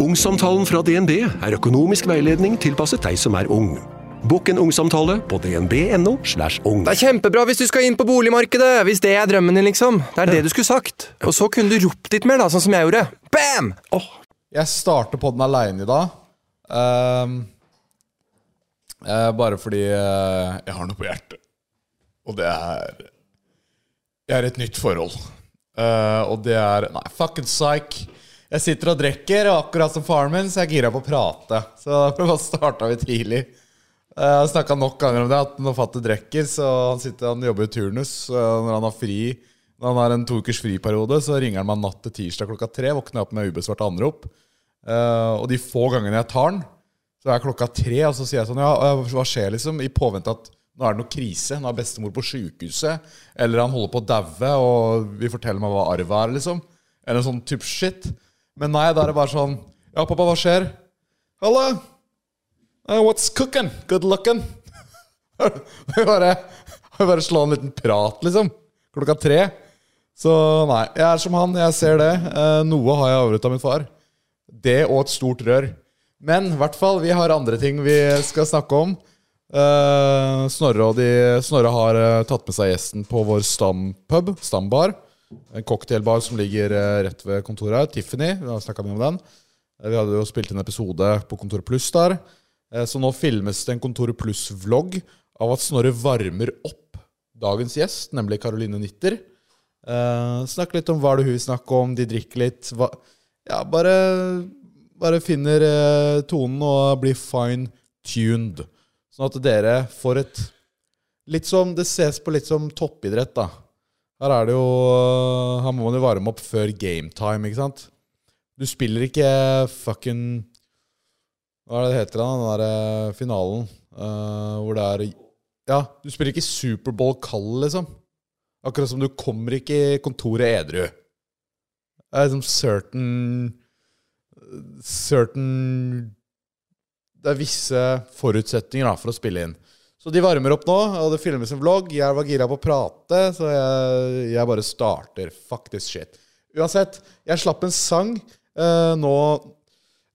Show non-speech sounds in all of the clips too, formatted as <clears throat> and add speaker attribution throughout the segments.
Speaker 1: Ungsamtalen fra DNB er økonomisk veiledning tilpasset deg som er ung. Bokk en ungsamtale på dnb.no. slash ung.
Speaker 2: Det er kjempebra hvis du skal inn på boligmarkedet! Hvis det er drømmen din, liksom. Det er det du skulle sagt. Og så kunne du ropt litt mer, da, sånn som jeg gjorde. Bam!
Speaker 3: Jeg starter podden aleine i dag. Ehm, eh, bare fordi eh, jeg har noe på hjertet. Og det er Jeg er i et nytt forhold. Eh, og det er Nei, fucking psych. Jeg sitter og drikker, og akkurat som faren min, så jeg er gira på å prate. Så da <laughs> starta vi tidlig. Eh, Jeg snakka nok ganger om det, at når fatter drikker, så han sitter han jobber i turnus. så Når han har fri Når han har en to ukers friperiode, så ringer han meg natt til tirsdag klokka tre. Våkner jeg opp med ubesvart anrop. Eh, og de få gangene jeg tar den, så er klokka tre, og så sier jeg sånn Ja, eh, hva skjer, liksom? I påvente at nå er det noe krise. Nå er bestemor på sjukehuset. Eller han holder på å daue, og vi forteller meg hva arv er, liksom. Eller en sånn type shit. Men nei, da er det bare sånn Ja, pappa, hva skjer? Halla! Uh, what's cooking? Good looking? <laughs> Vi bare, vi bare slå en liten prat, liksom. Klokka tre. Så nei, jeg er som han, jeg ser det. Eh, noe har jeg arvet av min far. Det og et stort rør. Men i hvert fall, vi har andre ting vi skal snakke om. Eh, Snorre, og de, Snorre har eh, tatt med seg gjesten på vår stampub, Stambar. En cocktailbar som ligger eh, rett ved kontoret her. Tiffany, vi har snakka mye om den. Eh, Vi hadde jo spilt inn episode på Kontor Pluss der. Eh, Så nå filmes det en Kontor Pluss-vlogg av at Snorre varmer opp dagens gjest, nemlig Caroline Nitter. Eh, Snakk litt om hva det er hun vil snakke om, de drikker litt. Hva, ja, bare, bare finner eh, tonen og blir fine-tuned. Sånn at dere får et Litt som Det ses på litt som toppidrett, da. Her er det jo eh, Her må man jo varme opp før gametime, ikke sant? Du spiller ikke fucking Hva er det det heter, da? Den derre finalen eh, hvor det er Ja, du spiller ikke Superbowl kald, liksom. Akkurat som du kommer ikke i kontoret edru. Det er liksom certain Certain Det er visse forutsetninger da, for å spille inn. Så de varmer opp nå, og det filmes en vlogg. Jeg var gira på å prate, så jeg, jeg bare starter. Fuck this shit. Uansett, jeg slapp en sang eh, nå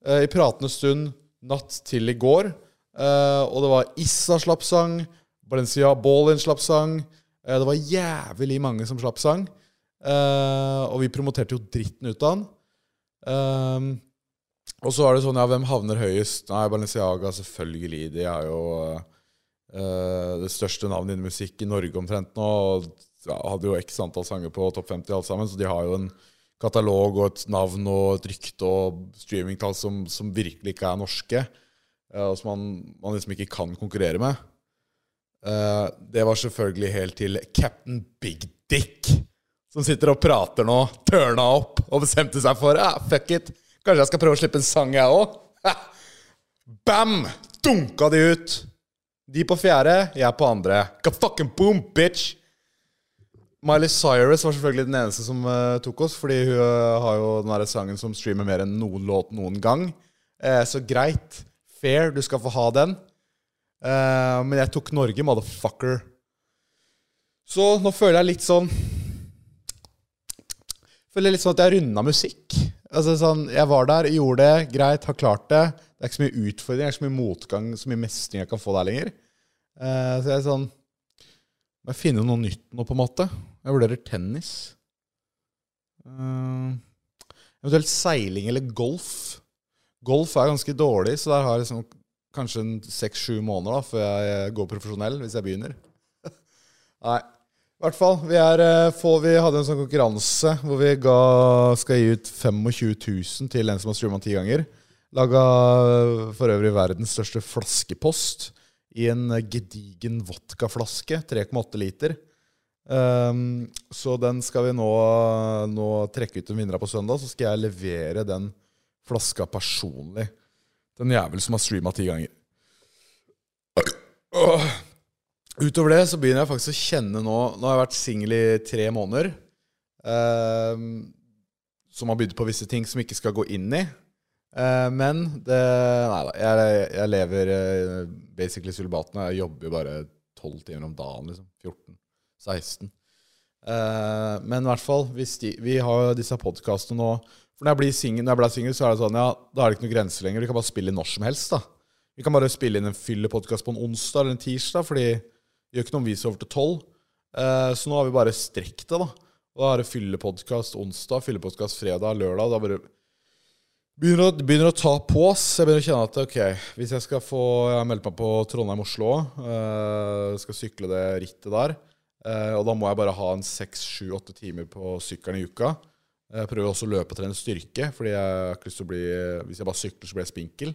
Speaker 3: eh, i pratende stund natt til i går. Eh, og det var Issa slapp sang, Balencia Ballin slapp sang. Eh, det var jævlig mange som slapp sang. Eh, og vi promoterte jo dritten ut av den. Ehm, og så er det sånn, ja, hvem havner høyest? Nei, Balenciaga, selvfølgelig. De er jo eh, det største navnet innen musikk i Norge omtrent nå. Og ja, hadde jo x antall sanger på topp 50 alt sammen, så de har jo en katalog og et navn og et rykte og streamingtall som, som virkelig ikke er norske. eh, og som man, man liksom ikke kan konkurrere med. Eh, det var selvfølgelig helt til Captain Big Dick, som sitter og prater nå, tørna opp, og bestemte seg for ah, fuck it, kanskje jeg skal prøve å slippe en sang, jeg òg. <laughs> Bam! Dunka de ut. De på fjerde, jeg på andre. Ka fucking boom, bitch! Miley Cyrus var selvfølgelig den eneste som eh, tok oss, fordi hun eh, har jo den der sangen som streamer mer enn noen låt noen gang. Eh, så greit. Fair, du skal få ha den. Eh, men jeg tok Norge, motherfucker. Så nå føler jeg litt sånn Føler jeg litt sånn at jeg har runda musikk. Altså sånn, Jeg var der, gjorde det, greit, har klart det. Det er ikke så mye utfordring, det er ikke så mye motgang, så mye mestring jeg kan få der lenger. Eh, så jeg er sånn Må jeg finne noe nytt nå, på en måte? Jeg vurderer tennis. Eh, eventuelt seiling eller golf. Golf er ganske dårlig, så der har jeg liksom kanskje en seks-sju måneder da, før jeg eh, går profesjonell, hvis jeg begynner. <laughs> Nei. I hvert fall, vi, er, eh, få- vi hadde en sånn konkurranse hvor vi ga, skal gi ut 25 000 til en som har streama ti ganger. Laga eh, for øvrig verdens største flaskepost i en eh, gedigen vodkaflaske. 3,8 liter. Ehm, så den skal vi nå, eh, nå trekke ut en vinner av på søndag. Så skal jeg levere den flaska personlig. Den jævel som har streama ti ganger. Åh. Utover det så begynner jeg faktisk å kjenne nå Nå har jeg vært singel i tre måneder. ehm, som har bydd på visse ting som jeg ikke skal gå inn i. Eh, men det Nei da. Jeg, jeg lever eh, basically sulibaten. Jeg jobber jo bare 12 timer om dagen. liksom 14-16. Eh, men i hvert fall, hvis de, vi har jo disse podkastene nå For når jeg, blir sing- når jeg ble singel, så er det sånn Ja, da er det ikke noen grenser lenger. Vi kan bare spille inn når som helst, da. Vi kan bare spille inn en fyllepodkast på en onsdag eller en tirsdag, fordi det gjør ikke noe om vi sover til tolv. Eh, så nå har vi bare strekt det, da. Og da er det fyllepodkast onsdag, fyllepodkast fredag, lørdag. Da bare begynner å, begynner å ta på oss. Jeg begynner å kjenne at ok, hvis jeg skal få Jeg har meldt meg på Trondheim-Oslo òg. eh, skal sykle det rittet der. Eh, og da må jeg bare ha en seks, sju, åtte timer på sykkelen i uka. Jeg prøver også å løpe og trene styrke, fordi jeg har ikke lyst til å bli Hvis jeg bare sykler, så blir jeg spinkel.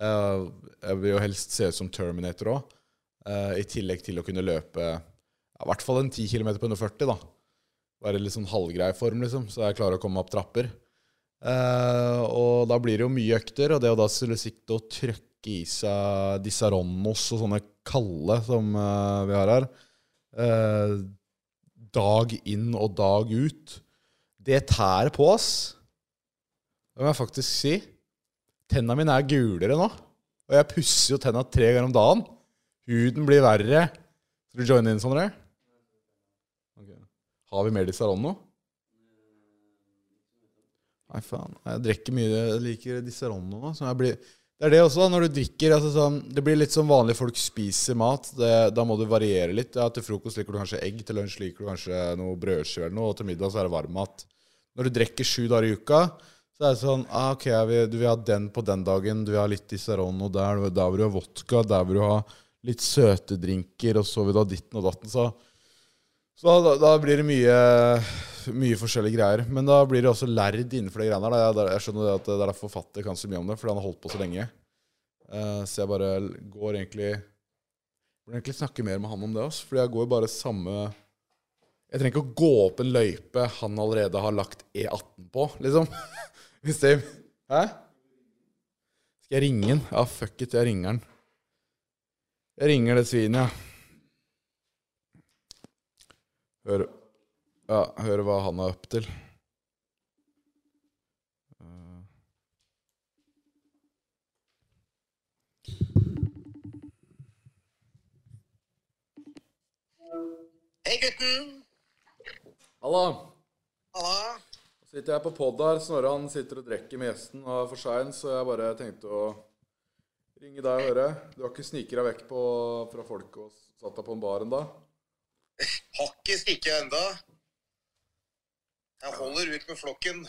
Speaker 3: Eh, jeg vil jo helst se ut som Terminator òg. I tillegg til å kunne løpe ja, i hvert fall en 10 km på under 40, da. Være litt sånn halvgrei form, liksom, så jeg klarer å komme meg opp trapper. Eh, og da blir det jo mye økter, og det å da skulle sikte og trøkke i seg disaronnos og sånne kalde som eh, vi har her, eh, dag inn og dag ut, det tærer på oss. Det må jeg faktisk si. Tenna mine er gulere nå, og jeg pusser jo tenna tre ganger om dagen. Huden blir verre. Skal du joine inn, Sondre? Ok. Har vi mer disaronn nå? Nei, faen. Jeg drikker mye. Jeg liker disse rånene nå. Så jeg blir, det er det også, da, når du drikker. Altså, sånn, det blir litt som vanlige folk spiser mat. Det, da må du variere litt. Ja, til frokost liker du kanskje egg, til lunsj liker du kanskje noe brødskive eller noe, og til middag så er det varmmat. Når du drikker sju dager i uka, så er det sånn ah, OK, jeg vil, du vil ha den på den dagen, du vil ha litt Disaronn, og der, der vil du ha vodka, der vil du ha litt søte drinker, og så vil du ha ditten og datten. Så så da, da blir det mye, mye forskjellige greier. Men da blir det også lærd innenfor de greiene her. da. Jeg, jeg skjønner det at det er derfor Fatter kan så mye om det, fordi han har holdt på så lenge. Eh, så jeg bare går egentlig Burde egentlig snakke mer med han om det. Også, fordi jeg går jo bare samme Jeg trenger ikke å gå opp en løype han allerede har lagt E18 på, liksom. <laughs> Hvis det Hæ? Skal jeg ringe han? Ja, fuck it, jeg ringer han. Jeg ringer det svinet, jeg. Ja. Hør, ja, hør hva han er opp til.
Speaker 4: Hei, gutten.
Speaker 3: Halla!
Speaker 4: Halla.
Speaker 3: Nå sitter jeg på pod her. Snorre han sitter og drikker med gjesten og er for sein, så jeg bare tenkte å ringe deg og høre. Du har ikke sniket deg vekk på, fra folk og satt deg på en bar ennå?
Speaker 4: Har ikke stikket enda. Jeg holder ut med flokken.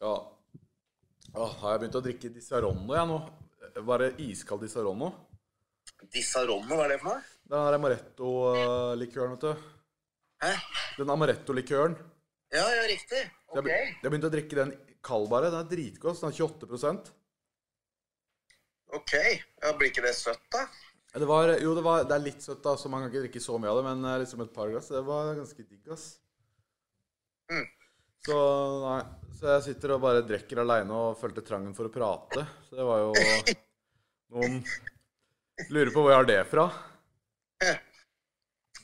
Speaker 3: Ja. ja. Har jeg begynt å drikke Disaronno, jeg nå? Var det iskald Disaronno?
Speaker 4: Disaronno, hva er det for noe?
Speaker 3: Den her amaretto-likøren, vet du.
Speaker 4: Hæ?
Speaker 3: Den amaretto-likøren.
Speaker 4: Ja, ja, riktig.
Speaker 3: Jeg, be- jeg begynte å drikke den kald bare. Den er dritgod. så Den er 28
Speaker 4: Ok. Ja, blir ikke det søtt, da?
Speaker 3: Ja, Det var, jo, det, var, det er litt søtt, da, så man kan ikke drikke så mye av det. Men eh, liksom et par glass, det var ganske digg, ass.
Speaker 4: Mm.
Speaker 3: Så nei. Så jeg sitter og bare drikker aleine og følte trangen for å prate. Så det var jo noen Lurer på hvor jeg har det fra.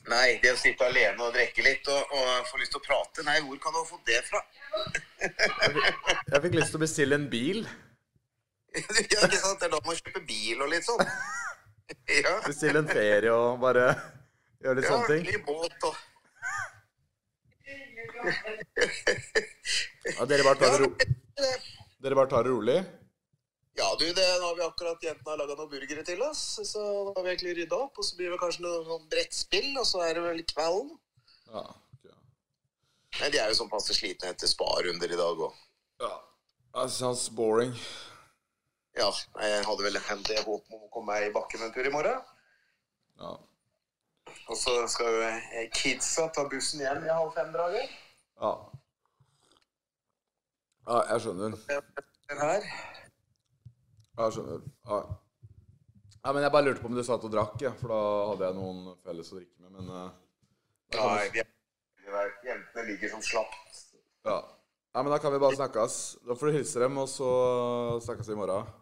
Speaker 4: Nei, det å sitte alene og drikke litt og, og få lyst til å prate Nei, hvor kan du ha fått det fra?
Speaker 3: Jeg fikk lyst til å bestille en bil.
Speaker 4: <laughs> ja, ikke sant? Det er da man kjøper bil og litt sånn. <laughs> ja.
Speaker 3: Bestille en ferie og bare gjøre litt
Speaker 4: ja,
Speaker 3: sånne ting.
Speaker 4: i båt og
Speaker 3: Ja, dere bare tar det ro dere bare tar det rolig?
Speaker 4: Ja, du, det, nå har vi akkurat jentene har laga noen burgere til oss. Så da har vi egentlig rydda opp, og så blir det kanskje noe sånn brettspill, og så er det vel kvelden.
Speaker 3: Ja. ok.
Speaker 4: Nei, de er jo sånn passe slitne etter sparunder i dag òg.
Speaker 3: ja. That sounds boring.
Speaker 4: Ja, nei, jeg hadde vel en del håp om å komme meg i bakken en tur i morgen.
Speaker 3: Ja.
Speaker 4: Og så skal jo eh, kidsa ta bussen hjem i halv fem-draget.
Speaker 3: Ja. ja jeg skjønner.
Speaker 4: Den her.
Speaker 3: Jeg skjønner. Ja. ja, men jeg bare lurte på om du satt og drakk, ja, for da hadde jeg noen felles å drikke med, men eh, da kan
Speaker 4: Nei,
Speaker 3: vi,
Speaker 4: de er, jentene ligger som slapp.
Speaker 3: ja. ja, men da kan vi bare snakkes. Da får du hilse dem, og så snakkes vi i morgen.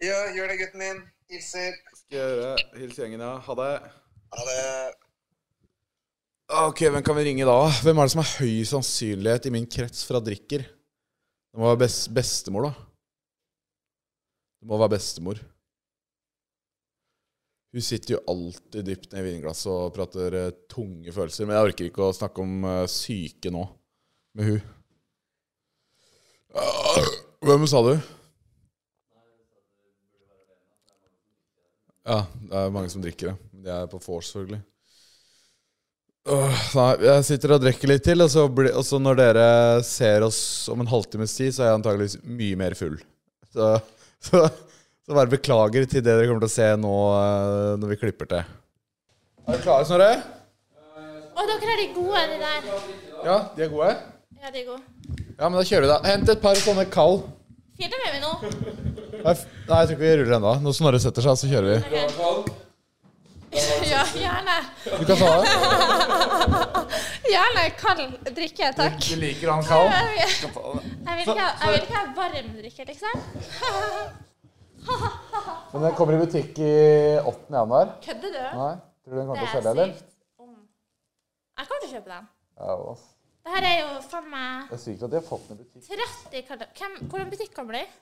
Speaker 4: Ja, gjør det, gutten min. Hilser.
Speaker 3: Skal jeg gjøre. Hils gjengen, ja. Ha det.
Speaker 4: Ha det.
Speaker 3: Ah, Ok, hvem kan vi ringe da? Hvem er det som har høy sannsynlighet i min krets for at drikker? Det må være bes bestemor, da. Det må være bestemor. Hun sitter jo alltid dypt ned i vinglasset og prater eh, tunge følelser. Men jeg orker ikke å snakke om eh, syke nå med hun. Hvem sa du? Ja, det er mange som drikker det. Men De er på vors, selvfølgelig. Åh, Nei, jeg sitter og drikker litt til, og så, blir- og så når dere ser oss om en halvtimes tid, så er jeg antageligvis mye mer full. Så, så, så bare beklager til det dere kommer til å se nå eh, når vi klipper til. Er dere klare, Snorre?
Speaker 5: Å, dere er de gode, de der.
Speaker 3: Ja, de er gode?
Speaker 5: Ja, de er gode.
Speaker 3: Ja, men da kjører vi, da. Hent et par sånne kall.
Speaker 5: Filmer vi nå?
Speaker 3: Nei, f- nei, jeg tror ikke vi ruller ennå. Når Snorre setter seg, så kjører vi.
Speaker 5: <laughs> Ja, gjerne.
Speaker 3: Du kan ta det.
Speaker 5: Gjerne kald drikke, takk.
Speaker 3: Du liker han kald?
Speaker 5: Jeg vil ikke ha, jeg vil ikke ha varm drikke, liksom.
Speaker 3: Men den kommer i butikk i 8. januar.
Speaker 5: Kødder du?
Speaker 3: Nei, tror du den kommer
Speaker 5: Det
Speaker 3: til å
Speaker 5: er
Speaker 3: selge, eller?
Speaker 5: sykt. om- Jeg kommer til å kjøpe den.
Speaker 3: Ja, ass.
Speaker 5: Det her er jo faen meg
Speaker 3: Det er sykt at de har fått den i butikk.
Speaker 5: 30 kalde... Hvem, hvordan butikk kommer det i?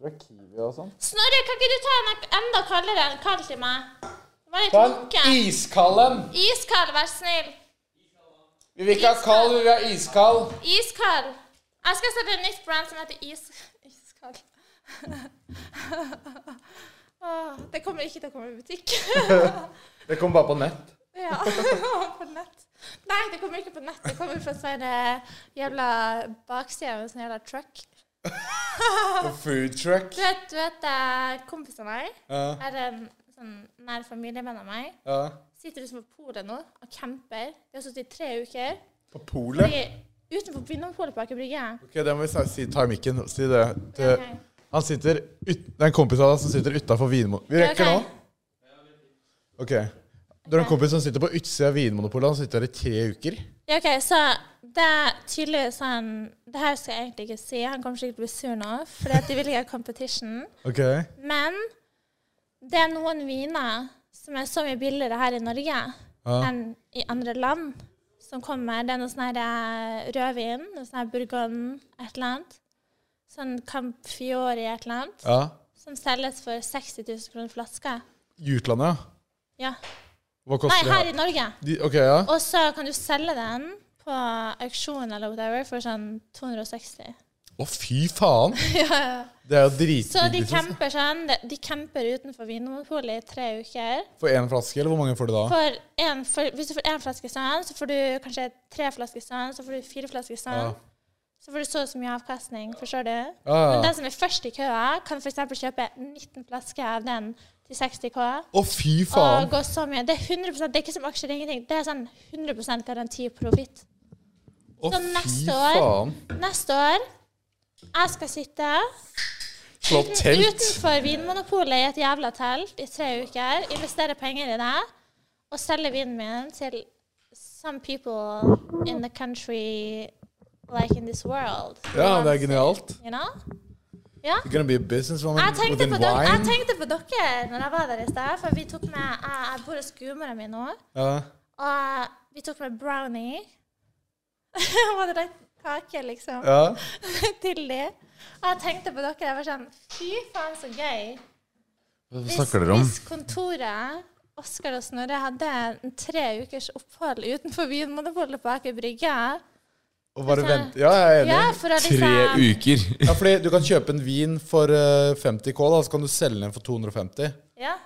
Speaker 3: Tror det er Kiwi og sånn.
Speaker 5: Snorre, kan ikke du ta en enda kaldere enn kald til meg? Var litt
Speaker 3: Ta
Speaker 5: lunken.
Speaker 3: iskald en!
Speaker 5: Iskald, vær snill.
Speaker 3: Vi vil ikke ha kald, vi vil ha iskald.
Speaker 5: Iskald. Jeg skal sette et nytt brand som heter is... Iskald. <laughs> Åh, det kommer ikke til å komme i butikk. <laughs>
Speaker 3: Det kommer bare på nett.
Speaker 5: ja, <laughs> på nett. Nei, det kommer ikke på nett. Det kommer fra sånn eh, jævla bakside av en sånn jævla truck.
Speaker 3: På food truck.
Speaker 5: Du vet, du vet eh, kompisen av meg?
Speaker 3: Ja,
Speaker 5: Er en sånn nær familievenn av meg?
Speaker 3: ja.
Speaker 5: Sitter liksom på polet nå og camper. Det har sittet i tre uker.
Speaker 3: På polet.
Speaker 5: Jeg er utenfor Vinmonopolet på Aker Brygge.
Speaker 3: Ok, det må vi si. Ta i mikken. Si det. til-
Speaker 5: Ok.
Speaker 3: Han sitter ut, Det er en kompis av deg som sitter utafor Vinmonopolet. Vi rekker
Speaker 5: Ok.
Speaker 3: nå. Ok. Du har en kompis som sitter på utsida av Vinmonopolet. Han sitter der i tre uker.
Speaker 5: Ja, OK, så det er tydeligvis sånn Det her skal jeg egentlig ikke si. Han kommer sikkert til å bli sur nå, for de vil ikke ha competition.
Speaker 3: Ok.
Speaker 5: Men det er noen viner som er så mye billigere her i Norge enn i andre land, som kommer. Det er noe sånn her eh, rødvin, noe sånn her Bourgogne, et eller annet. Sånn Camp Fiori, et eller annet.
Speaker 3: Ja.
Speaker 5: Som selges for 60 000 kroner flaska.
Speaker 3: I utlandet, ja.
Speaker 5: Ja.
Speaker 3: Hva
Speaker 5: Nei,
Speaker 3: koster det?
Speaker 5: her i Norge.
Speaker 3: De, ok, ja.
Speaker 5: Og så kan du selge den på auksjon eller whatever for sånn 260.
Speaker 3: Å, fy
Speaker 5: <laughs>
Speaker 3: faen! Det er jo liksom.
Speaker 5: Så de
Speaker 3: dritbillig. for-
Speaker 5: camper sånn. de- De camper utenfor Vinmonopolet i tre uker.
Speaker 3: For én flaske, eller hvor mange får du da?
Speaker 5: For en, for, hvis du får én flaske sånn, så får du kanskje tre flasker sånn, så får du fire flasker sånn.
Speaker 3: Ja.
Speaker 5: Så får du så og så mye avkastning, forstår du?
Speaker 3: ja.
Speaker 5: Men den som er først i køa, kan f.eks. kjøpe 19 flasker av den til 60K.
Speaker 3: Å, fy
Speaker 5: Og
Speaker 3: faen!
Speaker 5: gå så mye. Det er 100 Det er ikke som aksjer, det er ingenting. Det er sånn 100 garanti profitt.
Speaker 3: Å,
Speaker 5: så
Speaker 3: fy
Speaker 5: neste år-
Speaker 3: faen!
Speaker 5: Neste år jeg skal sitte
Speaker 3: Slå opp telt!
Speaker 5: utenfor Vinmonopolet i et jævla telt i tre uker, investere penger i det og selge vinen min til some people in the country like in this world.
Speaker 3: Ja, det er genialt.
Speaker 5: You know? Ja.
Speaker 3: You're gonna be a businesswoman
Speaker 5: Jeg tenkte,
Speaker 3: within
Speaker 5: på dere, jeg
Speaker 3: wine.
Speaker 5: tenkte på dere når jeg var der i sted, for vi tok med Jeg, jeg bor hos gudmora mi nå,
Speaker 3: Ja.
Speaker 5: og vi tok med brownie. <laughs> Var det rett kake, liksom?
Speaker 3: ja.
Speaker 5: til de. Og jeg tenkte på dere. Jeg var sånn Fy faen, så gøy.
Speaker 3: Hva
Speaker 5: Hvis,
Speaker 3: snakker dere om?
Speaker 5: hvis kontoret Oskar og Snorre hadde en tre ukers opphold utenfor Vinmonopolet på Aker Brygge
Speaker 3: Og bare vent. Ja, jeg er enig.
Speaker 5: Ja, for å liksom
Speaker 6: Tre uker.
Speaker 3: Ja, fordi du kan kjøpe en vin for eh, 50K, da, så kan du selge den for 250.
Speaker 5: Ja.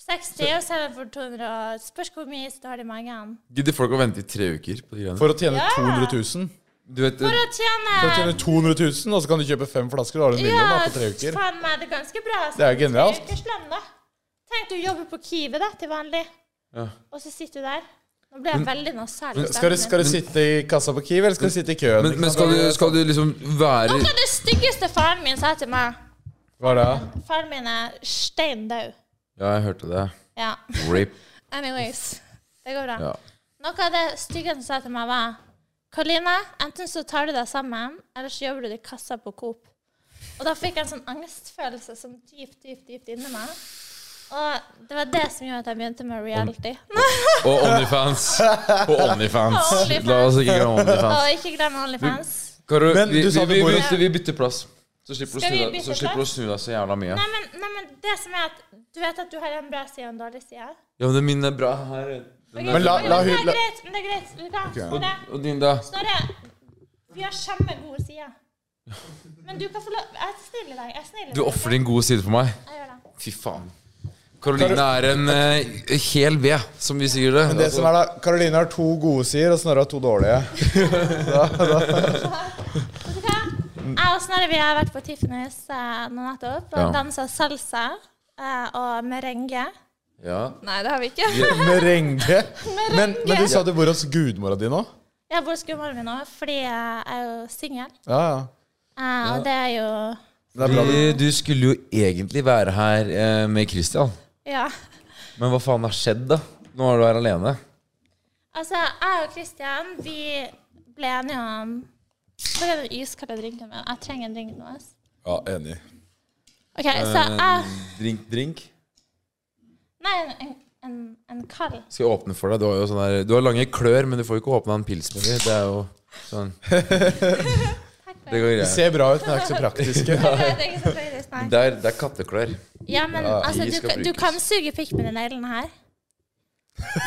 Speaker 5: 60 og selger for 200. og Spørs hvor mye is du har i magen.
Speaker 6: Gidder folk å vente i tre uker på de greiene?
Speaker 3: For å tjene 200 000.
Speaker 6: Du vet,
Speaker 3: eh,
Speaker 5: For
Speaker 3: For
Speaker 5: å
Speaker 3: å
Speaker 5: tjene
Speaker 3: tjene 200 000, og så kan du kjøpe fem flasker, da har du en million da, på tre uker.
Speaker 5: faen meg, det er ganske bra.
Speaker 3: Det er jo genialt.
Speaker 5: Tre ukers lønn, da. Tenk du jobber på Kiwi da, til vanlig,
Speaker 6: Ja.
Speaker 5: og så sitter du der. Nå ble jeg veldig nasal.
Speaker 3: Skal
Speaker 5: i
Speaker 3: du,
Speaker 5: stemmen min.
Speaker 3: skal du sitte i kassa på Kiwi, eller skal du sitte i køen?
Speaker 6: men, men skal, du, skal du liksom være
Speaker 5: Hva er det styggeste faren min sa til meg?
Speaker 3: Hva er det? da?
Speaker 5: Faren min er stein død.
Speaker 6: Ja, jeg hørte det.
Speaker 5: Ja.
Speaker 6: Rip.
Speaker 5: <laughs> Anyways. Det går bra.
Speaker 6: Ja.
Speaker 5: Noe av det stygge han sa til meg, var Karoline, enten så tar du deg sammen, eller så jobber du i kassa på Coop. Og da fikk jeg en sånn angstfølelse som dypt, dypt, dypt inni meg. Og det var det som gjorde at jeg begynte med reality.
Speaker 6: Og Onlyfans. Og Onlyfans.
Speaker 5: Og Onlyfans.
Speaker 6: La oss ikke glemme
Speaker 5: <laughs>
Speaker 6: Onlyfans.
Speaker 5: Og ikke glem OnlyFans.
Speaker 6: Karo,
Speaker 3: Men
Speaker 6: vi,
Speaker 3: du
Speaker 6: vi,
Speaker 3: sa
Speaker 6: vi,
Speaker 3: du
Speaker 6: vi,
Speaker 3: bor i-
Speaker 6: bytter, vi bytter plass. Så slipper du å
Speaker 5: Skal
Speaker 6: snu
Speaker 5: vi
Speaker 6: deg- så
Speaker 5: bytte
Speaker 6: slipper du å
Speaker 5: plass?
Speaker 6: snu deg så jævla mye.
Speaker 5: Nei men, nei, men det som er at du vet at du har en bra side og en dårlig side.
Speaker 6: Ja, men min er bra her. Den er-
Speaker 3: Men la, la
Speaker 5: det
Speaker 3: hun
Speaker 5: er
Speaker 3: la,
Speaker 5: greit. men Det er greit. Luka, Snorre,
Speaker 6: Og din, da?
Speaker 5: Snorre, vi har samme gode side. Men du kan få lov Jeg er snill i dag. Jeg er snill i dag.
Speaker 3: Du ofrer din gode side for meg.
Speaker 5: Jeg gjør det.
Speaker 3: Fy faen. Karoline er en eh, hel ved, som vi sier det.
Speaker 7: Det som er da, Karoline har to gode sider, og Snorre har to dårlige.
Speaker 5: <laughs> Vet du hva? Jeg og Snorre vi har vært på Tiffany's eh, nå nettopp og
Speaker 3: Ja.
Speaker 5: danset dansa salsa eh, og merengue.
Speaker 3: Ja.
Speaker 8: Nei, det har vi ikke.
Speaker 7: Merengue. Men, men du sa du bor hos gudmora di nå?
Speaker 5: Jeg bor hos gudmoren min nå fordi jeg er jo singel.
Speaker 7: Ja, ja.
Speaker 5: eh, Og det er jo
Speaker 7: Det er bra
Speaker 3: Du,
Speaker 7: du
Speaker 3: du skulle jo egentlig være her eh, med Christian,
Speaker 5: Ja.
Speaker 3: men hva faen har skjedd, da? Nå er du her alene.
Speaker 5: Altså, jeg og Christian, vi ble enige om Hvor er den iskalde drinken min? Jeg trenger en drink nå. ass.
Speaker 7: Ja, enig.
Speaker 5: OK, så
Speaker 3: Eh.
Speaker 5: jeg
Speaker 3: Drink, drink.
Speaker 5: Nei, en, en, en
Speaker 3: <laughs>
Speaker 5: kald.
Speaker 3: Skal jeg åpne for deg? Du har jo sånn der, du har lange klør, men du får jo ikke åpna en pilsmøller. Det er jo sånn Det går
Speaker 7: De
Speaker 3: greit.
Speaker 7: ser bra ut, men er ikke så praktiske.
Speaker 5: Nei, det er ikke så praktisk, nei.
Speaker 3: Det er, det er katteklør.
Speaker 5: Ja, men altså,
Speaker 3: is
Speaker 5: du,
Speaker 3: skal
Speaker 5: kan- du
Speaker 3: brukes.
Speaker 5: kan suge pikk med de neglene her.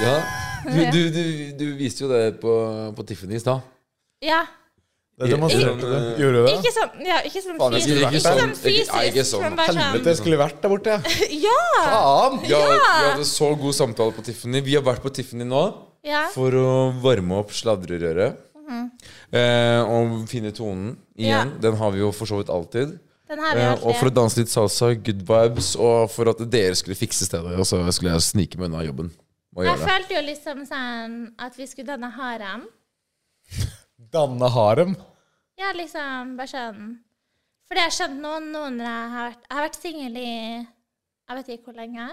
Speaker 3: Ja. Du, du, du, du viste jo det på, på Tiffany i stad.
Speaker 5: Ja.
Speaker 7: Det demonstrerte du. Gjorde du det?
Speaker 5: Ikke sånn, ja, ikke sånn
Speaker 3: Faen, jeg
Speaker 5: fysisk.
Speaker 3: skulle
Speaker 5: Ikke
Speaker 3: vært der.
Speaker 5: sånn
Speaker 3: Ikke- nei, ikke
Speaker 5: fysisk.
Speaker 3: sånn.
Speaker 5: men bare sånn-
Speaker 7: Helvete, jeg skulle vært der borte, jeg.
Speaker 5: <laughs> Ja!
Speaker 7: Faen!
Speaker 3: Vi har, vi hadde så god samtale på Tiffany. Vi har vært på Tiffany nå
Speaker 5: ja.
Speaker 3: for å varme opp sladrerøret. eh, og finne tonen igjen.
Speaker 5: Ja.
Speaker 3: Den har vi jo for så vidt alltid.
Speaker 5: Den her
Speaker 3: Eh,
Speaker 5: er
Speaker 3: og for å
Speaker 5: artig.
Speaker 3: danse litt salsa, good vibes, og for at dere skulle fikse stedet. Og så skulle jeg snike meg unna jobben. Og
Speaker 5: Jeg
Speaker 3: gjøre det.
Speaker 5: følte jo liksom sånn at vi skulle danne harem.
Speaker 7: Danne harem.
Speaker 5: Ja, liksom bare sånn Fordi jeg har skjønt noen noen når jeg har vært Jeg har vært singel i jeg vet ikke hvor lenge.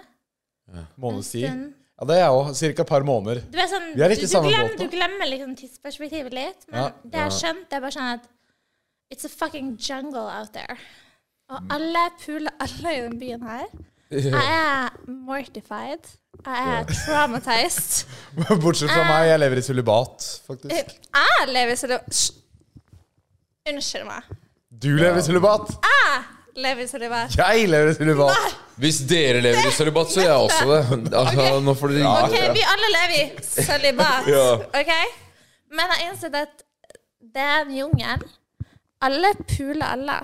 Speaker 5: En
Speaker 7: Månedstid.
Speaker 5: stund.
Speaker 7: Ja, det er jeg òg. Cirka et par måneder. <laughs>
Speaker 5: Du, er sånn,
Speaker 7: Vi er litt
Speaker 5: du,
Speaker 7: i
Speaker 5: du,
Speaker 7: samme
Speaker 5: glemmer,
Speaker 7: båt
Speaker 5: du
Speaker 7: nå.
Speaker 5: glemmer liksom tidsperspektivet litt. Men
Speaker 7: Ja.
Speaker 5: det jeg har skjønt, det er bare sånn at It's a fucking jungle out there. Og alle puler alle i den byen
Speaker 7: <laughs>
Speaker 5: her. Jeg er mortified. Jeg er traumatized.
Speaker 7: Bortsett fra meg, jeg lever i sølibat, faktisk.
Speaker 5: Jeg lever i celibat Unnskyld meg.
Speaker 7: Du lever i sølibat!
Speaker 5: Jeg lever i celibat.
Speaker 7: Jeg lever i sølibat!
Speaker 3: Hvis dere lever i sølibat, så gjør jeg også det. Altså, Nå får dere
Speaker 5: OK, vi alle lever i celibat.
Speaker 3: Ja.
Speaker 5: OK? Men jeg har innsett at det er en jungel. Alle puler alle.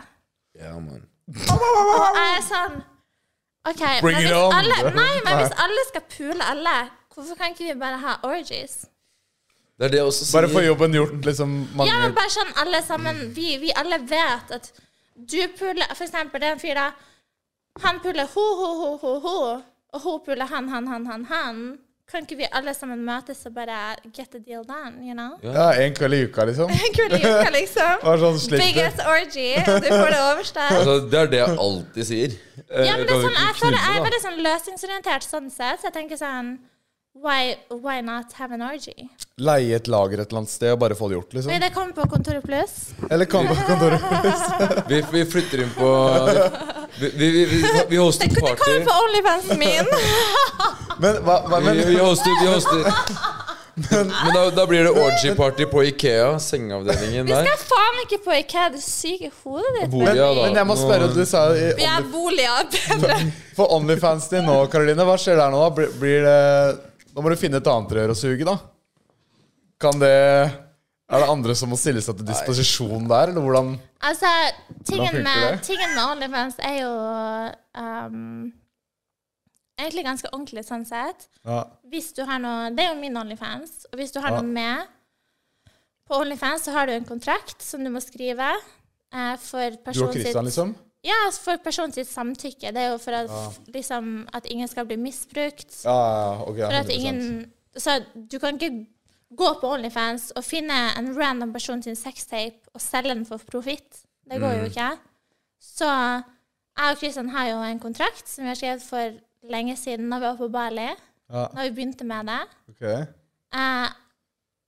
Speaker 3: Ja, man.
Speaker 5: Og jeg er sånn OK,
Speaker 7: Bring
Speaker 5: men
Speaker 7: it
Speaker 5: hvis,
Speaker 7: on.
Speaker 5: alle, nei, men hvis alle skal pule alle, hvorfor kan ikke vi bare ha orgies?
Speaker 3: Det er det jeg også sier.
Speaker 7: Bare få jobben gjort, liksom.
Speaker 5: Ja, men
Speaker 7: Mange
Speaker 5: bare sånn alle sammen Vi, vi alle vet at du puler For eksempel, det er en fyr da Han puler ho, ho, ho, ho, ho Og hun puler han, han, han, han, han Kan ikke vi alle sammen møtes og bare Get the deal done, you know?
Speaker 7: Ja, en kveld i uka, liksom.
Speaker 5: Kule uka,
Speaker 3: <laughs>
Speaker 5: liksom
Speaker 7: Bare sånn slipper.
Speaker 5: Biggest orgy, og du får det <laughs> overstått
Speaker 3: Altså, det er det jeg alltid sier. Eh,
Speaker 5: Ja, men
Speaker 3: kan
Speaker 5: det er
Speaker 3: vi
Speaker 5: sånn,
Speaker 3: ikke
Speaker 5: jeg føler jeg
Speaker 3: knulle,
Speaker 5: er
Speaker 3: da?
Speaker 5: veldig sånn løsningsorientert sånn sett, så jeg tenker sånn Why, why not have an orgy?
Speaker 7: Leie et lager et eller annet sted og bare få det gjort,
Speaker 5: Nei,
Speaker 7: liksom.
Speaker 5: det kommer på Kontoret Pluss.
Speaker 7: Eller kan på kontoret.
Speaker 3: Vi, vi flytter inn på Vi, vi, vi, vi, vi hoster
Speaker 5: Det, det
Speaker 3: party.
Speaker 5: kommer på Onlyfansen min!
Speaker 7: Men hva, hva
Speaker 3: Vi,
Speaker 7: men,
Speaker 3: vi hoster, vi hoster. Men da, da blir det orgy-party på Ikea, sengeavdelingen
Speaker 5: Vi
Speaker 3: der.
Speaker 5: skal faen ikke på IKEA, det syke hodet ditt.
Speaker 3: Bor-
Speaker 7: men,
Speaker 3: Ja, da.
Speaker 7: men jeg må spørre, du sa i
Speaker 5: Vi er
Speaker 7: Only,
Speaker 5: boliger
Speaker 7: <laughs>
Speaker 5: bedre.
Speaker 7: For Onlyfans din nå, Karoline, hva skjer der nå? da? Blir, blir det Nå må du finne et annet rør å suge, da. Kan det Er det andre som må stille seg til disposisjon der, eller hvordan
Speaker 5: Altså, tingen
Speaker 7: funker
Speaker 5: med,
Speaker 7: det?
Speaker 5: tingen med Onlyfans er jo ehm, egentlig ganske ordentlig sånn sett.
Speaker 7: ja.
Speaker 5: Hvis du har noe Det er jo min Onlyfans. Og hvis du har
Speaker 7: Ja.
Speaker 5: noe med på Onlyfans, så har du en kontrakt som du må skrive eh, for
Speaker 7: Du og
Speaker 5: personen sitt
Speaker 7: Christian, liksom?
Speaker 5: Ja, altså for personen sitt samtykke. Det er jo for at, liksom, at ingen skal bli misbrukt.
Speaker 7: Ja, ja, ja, ok. ja,
Speaker 3: Altså,
Speaker 5: For at
Speaker 7: 100%.
Speaker 5: ingen Så du kan ikke gå på Onlyfans og finne en random person sin sextape og selge den for profitt. Det går
Speaker 3: Mm.
Speaker 5: jo ikke. Så jeg og Kristian har jo en kontrakt som vi har skrevet for lenge siden da vi var på Bali.
Speaker 7: Ja.
Speaker 5: Da vi begynte med det.
Speaker 7: Ok.
Speaker 5: Eh,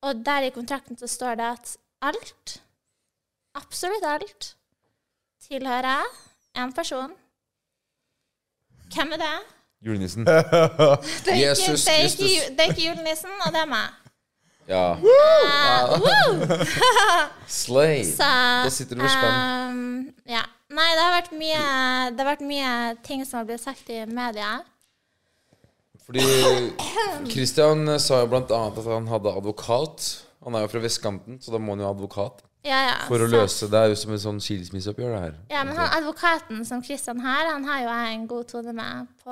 Speaker 5: og der i kontrakten så står det at alt, absolutt alt, tilhører én person. Hvem er det?
Speaker 3: Julenissen.
Speaker 5: Det er ikke,
Speaker 3: Jesus
Speaker 5: det er ikke,
Speaker 3: Kristus.
Speaker 5: ju- det er ikke julenissen, og det er meg.
Speaker 3: Ja.
Speaker 5: Eh, woo!
Speaker 3: Slay.
Speaker 5: Så
Speaker 3: Da sitter du med spenn.
Speaker 5: ehm, ja. Nei, det har, vært mye, det har vært mye ting som har blitt sagt i media.
Speaker 3: Fordi Christian sa jo blant annet at han hadde advokat. Han er jo fra vestkanten, så da må han jo ha advokat.
Speaker 5: Ja, ja.
Speaker 6: For å
Speaker 5: så-
Speaker 6: løse Det er jo som en sånn skilsmisseoppgjør, det her.
Speaker 5: Ja, men han advokaten som Christian her, han har jo jeg en god tone med på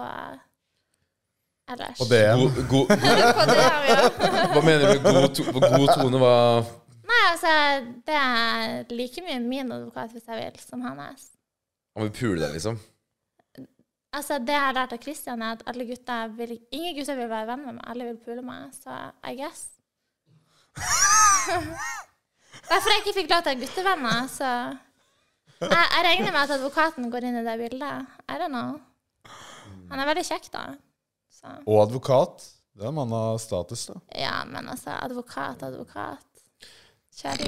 Speaker 5: ellers. <laughs>
Speaker 7: Og det
Speaker 6: God, god,
Speaker 5: på DM, ja.
Speaker 6: hva mener du med god, to, god tone? Hva
Speaker 5: Nei, altså, det er like mye min advokat, hvis jeg vil, som hans.
Speaker 6: Han vil pule deg, liksom?
Speaker 5: Altså, det jeg har lært av Christian, er at alle gutter vil, ingen gutter vil være venn med meg. Alle vil pule meg, så I guess. <laughs> Derfor jeg ikke fikk lov til å ha guttevenner, så jeg, jeg regner med at advokaten går inn i det bildet. I don't know. Han er veldig kjekk, da. Så.
Speaker 7: Og advokat. Det er en mann av status, da.
Speaker 5: Ja, men altså, advokat, advokat. Kjære.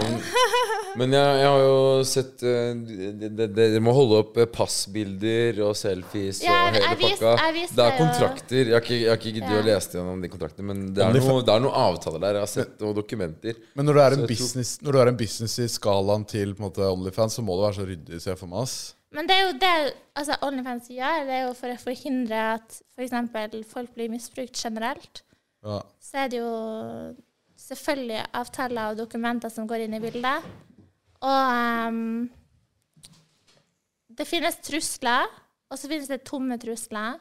Speaker 6: Men jeg, jeg har jo sett eh, de- de- Dere må holde opp eh, passbilder og selfies
Speaker 5: Ja, jeg-
Speaker 6: og hele
Speaker 5: jeg vis-
Speaker 6: pakka.
Speaker 5: jeg viste
Speaker 6: det er
Speaker 5: deg jo-
Speaker 6: kontrakter. Jeg har ikke, jeg har ikke giddet
Speaker 5: Ja.
Speaker 6: å lese gjennom de kontraktene, men det
Speaker 7: Om
Speaker 6: er,
Speaker 7: de
Speaker 6: noe, det er noen avtaler der. Jeg har sett noen dokumenter.
Speaker 7: Men når du er
Speaker 6: Så
Speaker 7: en
Speaker 6: jeg tror-
Speaker 7: business, når du er en business i skalaen til på en måte, Onlyfans, så må du være så ryddig, ser jeg for meg. ass.
Speaker 5: Men det er jo det altså, OnlyFans gjør, det er jo for å forhindre at f.eks. folk blir misbrukt generelt.
Speaker 7: Ja.
Speaker 5: Så er det jo selvfølgelig avtaler og dokumenter som går inn i bildet. Og ehm, det finnes trusler, og så finnes det tomme trusler.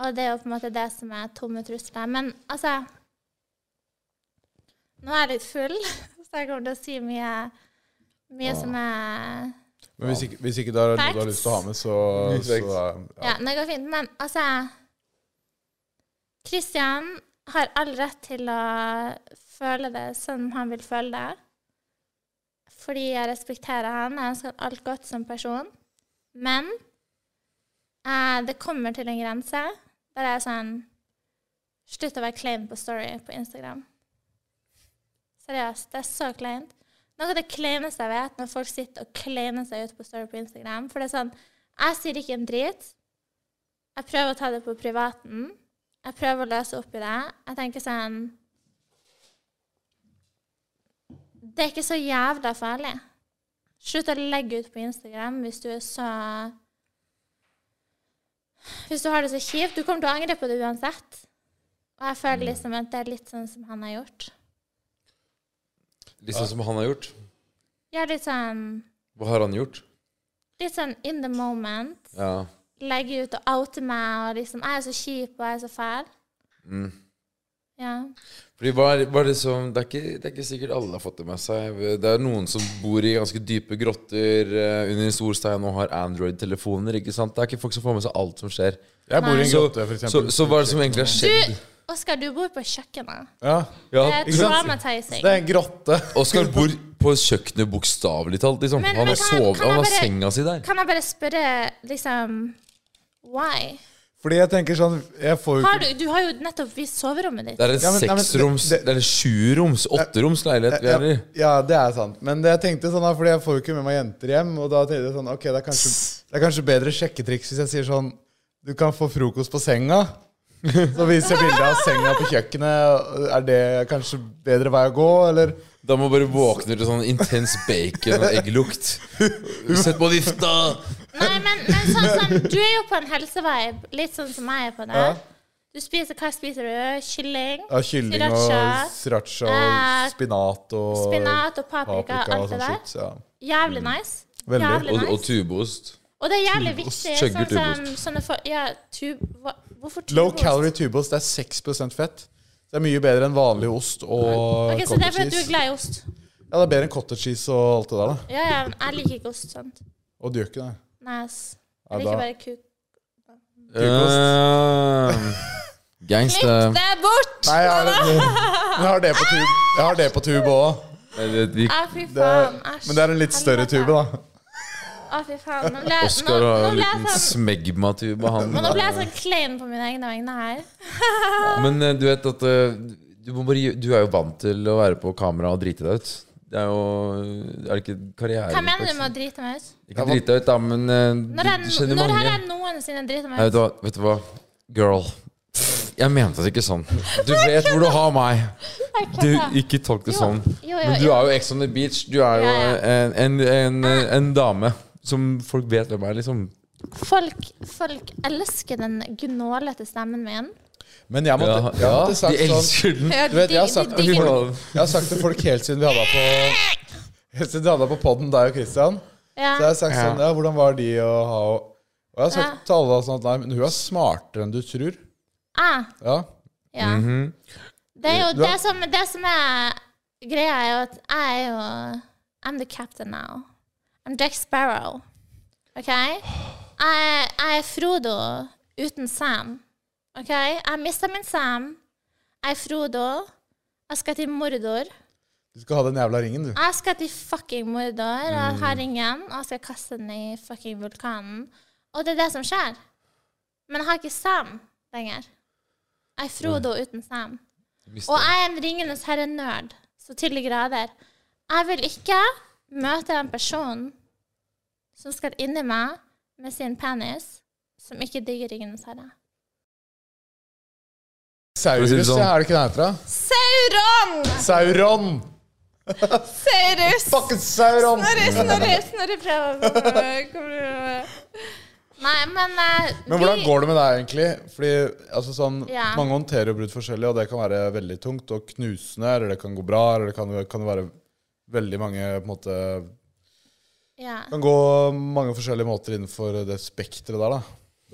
Speaker 5: Og det er jo på en måte det som er tomme trusler. Men altså Nå er jeg litt full, <laughs> så jeg kommer til å si mye, mye som er
Speaker 7: Men hvis ikke, hvis ikke det er noe du har lyst til å ha med, så,
Speaker 6: Facts.
Speaker 7: så er- ja.
Speaker 5: Ja, det går fint. Men altså Kristian har all rett til å føle det som han vil føle det. Fordi jeg respekterer han. Jeg ønsker han alt godt som person. Men eh, det kommer til en grense der jeg er sånn Slutt å være klein på story på Instagram. Seriøst, det er så kleint. Noe av det kleineste jeg vet, når folk sitter og kleiner seg ut på story på Instagram. For det er sånn Jeg sier ikke en drit. Jeg prøver å ta det på privaten. Jeg prøver å løse opp i det. Jeg tenker sånn Det er ikke så jævla farlig. Slutt å legge ut på Instagram hvis du er så Hvis du har det så kjipt. Du kommer til å angre på det uansett. Og jeg føler liksom at det er litt sånn som han har gjort.
Speaker 6: Litt sånn som han har gjort.
Speaker 5: Ja, litt sånn
Speaker 6: Hva har han gjort?
Speaker 5: Litt sånn in the moment.
Speaker 6: Ja.
Speaker 5: Legge ut og oute meg og liksom Jeg er så kjip og jeg er så fæl.
Speaker 6: Mm.
Speaker 5: Ja.
Speaker 6: Fordi hva er, hva er det, som, det, er ikke, det er ikke sikkert alle har fått det med seg. Det er noen som bor i ganske dype grotter eh, under en stor stein og har Android-telefoner. ikke sant? Det er ikke folk som får med seg alt som skjer.
Speaker 7: Jeg bor i en
Speaker 5: Nei.
Speaker 7: grotte, for
Speaker 6: Så,
Speaker 7: eksempel.
Speaker 6: så hva er det som egentlig har skjedd?
Speaker 5: Oskar, du bor på kjøkkenet.
Speaker 7: Ja.
Speaker 6: Ja,
Speaker 5: Det er
Speaker 7: ikke sant?
Speaker 5: traumatizing.
Speaker 7: Det er en grotte.
Speaker 6: Oskar bor på kjøkkenet bokstavelig talt. liksom.
Speaker 5: Men-
Speaker 6: han
Speaker 5: men kan
Speaker 6: har,
Speaker 5: jeg- kan
Speaker 6: sovet,
Speaker 5: jeg
Speaker 6: han har
Speaker 5: bare-
Speaker 6: senga si der.
Speaker 5: Kan jeg bare spørre, liksom Why?
Speaker 7: Fordi jeg tenker sånn Jeg får jo
Speaker 5: Har du,
Speaker 7: ikke
Speaker 5: du har jo nettopp vist soverommet ditt.
Speaker 6: Det er en
Speaker 7: Ja, men- nei, men det-
Speaker 6: seksroms,
Speaker 7: det-
Speaker 6: det er en sjuroms, åtteroms leilighet vi
Speaker 7: ja,
Speaker 6: er i.
Speaker 7: ja, det er sant. Men det jeg tenkte sånn da, fordi jeg får jo ikke med meg jenter hjem. Og da tenkte jeg sånn Ok, det er kanskje, det er kanskje bedre sjekketriks hvis jeg sier sånn Du kan få frokost på senga. Så viser jeg bilde av senga på kjøkkenet. Er det kanskje bedre vei å gå, eller?
Speaker 6: Da må man bare våkne til sånn intens bacon og egglukt.
Speaker 7: <laughs>
Speaker 6: Sett på vifta!
Speaker 5: Nei, men, men sånn som Du er jo på en helsevibe, litt sånn som jeg er på det.
Speaker 7: Ja.
Speaker 5: Du spiser Hva spiser du? Kylling?
Speaker 7: Ja, kylling og
Speaker 5: Sriracha.
Speaker 7: sriracha
Speaker 5: Eh,
Speaker 7: og spinat og
Speaker 5: Spinat og paprika og
Speaker 7: paprika og
Speaker 5: alt det
Speaker 7: sånn
Speaker 5: der.
Speaker 7: shit. Ja.
Speaker 5: Jævlig nice.
Speaker 7: Veldig.
Speaker 5: Jævlig
Speaker 6: Og, og
Speaker 5: nice.
Speaker 6: tubeost.
Speaker 5: Og det er jævlig
Speaker 6: tubeost.
Speaker 5: viktig. Sånn
Speaker 6: Skjøgger
Speaker 5: som
Speaker 6: tubeost.
Speaker 5: sånne for, Ja, tub... hva- Hvorfor tubeost?
Speaker 7: Low calorie tubeost, det er 6 fett. Det er mye bedre enn vanlig ost og
Speaker 5: Ok, Så det er
Speaker 7: cottage
Speaker 5: fordi du er
Speaker 7: cheese.
Speaker 5: glad i ost?
Speaker 7: Ja, det er bedre enn cottage cheese og alt det der, da.
Speaker 5: Ja, ja, men jeg liker ikke ost sånt.
Speaker 7: Og du gjør ikke det.
Speaker 5: Nice.
Speaker 7: Ja,
Speaker 5: Jeg liker
Speaker 7: da-
Speaker 5: bare kuk.
Speaker 6: Eh, Gangsta.
Speaker 5: Klipp det bort!
Speaker 7: Nei, jeg har, men jeg har det på tube. Jeg har det på tube òg.
Speaker 6: Nei, det- vi-
Speaker 5: Å, fy faen. Æsj.
Speaker 7: Men det er en litt større tube, da.
Speaker 5: Å, fy faen. Nå ble, jeg- nå,
Speaker 6: Oskar har jo
Speaker 5: nå,
Speaker 6: en
Speaker 5: ble jeg
Speaker 6: liten
Speaker 5: sånn,
Speaker 6: smegmatube av
Speaker 5: men nå
Speaker 6: han.
Speaker 5: ble jeg sånn klein på mine egne vegne her.
Speaker 6: Men eh, du vet at eh, du, må bare, gi- du er jo vant til å være på kamera og drite deg ut. Det er jo Er det ikke karriere
Speaker 5: Hva mener du med å drite meg ut?
Speaker 6: Ikke drite deg ut, da, men eh,
Speaker 5: Når,
Speaker 6: du
Speaker 5: jeg, når
Speaker 6: kjenner mange
Speaker 5: har jeg noensinne driti
Speaker 6: Nei,
Speaker 5: meg
Speaker 6: vet,
Speaker 5: ut?
Speaker 6: du hva, vet du hva? Girl. Jeg mente det ikke sånn. Du vet hvor du har meg.
Speaker 5: Jeg
Speaker 6: Du,
Speaker 5: kødder.
Speaker 6: ikke tolk det
Speaker 5: Jo,
Speaker 6: sånn.
Speaker 5: altså. jo, jo,
Speaker 6: Men du
Speaker 5: jo.
Speaker 6: er jo Ex on the beach. Du er jo
Speaker 5: Ja,
Speaker 6: en, en, en, en dame som folk vet hvem er, liksom.
Speaker 5: Folk, folk elsker den gnålete stemmen min.
Speaker 7: Men jeg måtte, jeg
Speaker 6: Ja,
Speaker 7: måtte
Speaker 6: de
Speaker 7: sagt sånn
Speaker 6: elsker den.
Speaker 5: Ja,
Speaker 7: Du vet, jeg har
Speaker 5: de-
Speaker 7: sagt
Speaker 5: de- de-
Speaker 7: Jeg har sagt til folk helt siden vi hadde deg på
Speaker 3: Hvis du hadde på podden deg og Christian, så har
Speaker 5: Ja.
Speaker 3: jeg sagt sånn Ja, hvordan var de å ha Og jeg har sagt
Speaker 5: Ja.
Speaker 3: til alle sånn at nei, men hun er smartere enn du tror.
Speaker 5: Ah,
Speaker 3: Ja.
Speaker 5: ja. Det er jo
Speaker 3: Du har-
Speaker 5: det som, det som er greia, er jo at jeg er jo I'm the captain now. I'm Jack Sparrow. OK? Jeg, jeg er Frodo uten Sam. OK? Jeg mista min Sam. Jeg er Frodo. Jeg skal til Mordor.
Speaker 3: Du skal ha den jævla ringen, du.
Speaker 5: Jeg skal til fucking Mordor. Jeg har ingen, og jeg skal kaste den i fucking vulkanen. Og det er det som skjer. Men jeg har ikke Sam lenger. Jeg er Frodo uten Sam.
Speaker 6: Mister.
Speaker 5: Og jeg er en Ringenes herre-nerd, så til de grader. Jeg vil ikke møte en person som skal inni meg med sin penis, som ikke digger Ringenes herre.
Speaker 3: Saurus,
Speaker 6: For å si det sånn.
Speaker 3: ja, er det ikke den heter? da?
Speaker 5: Sauron!
Speaker 3: Sauron!
Speaker 5: Saurus!
Speaker 3: Fucking Sauron!
Speaker 5: Snorre, Snorre, Snorre prøver Kommer du Nei, men eh,
Speaker 3: Men hvordan går det med deg, egentlig? Fordi altså, sånn,
Speaker 5: Ja.
Speaker 3: Mange håndterer jo brudd forskjellig, og det kan være veldig tungt og knusende, eller det kan gå bra, eller det kan, kan jo være veldig mange på en måte
Speaker 5: ja.
Speaker 3: kan gå mange forskjellige måter innenfor det spekteret der, da.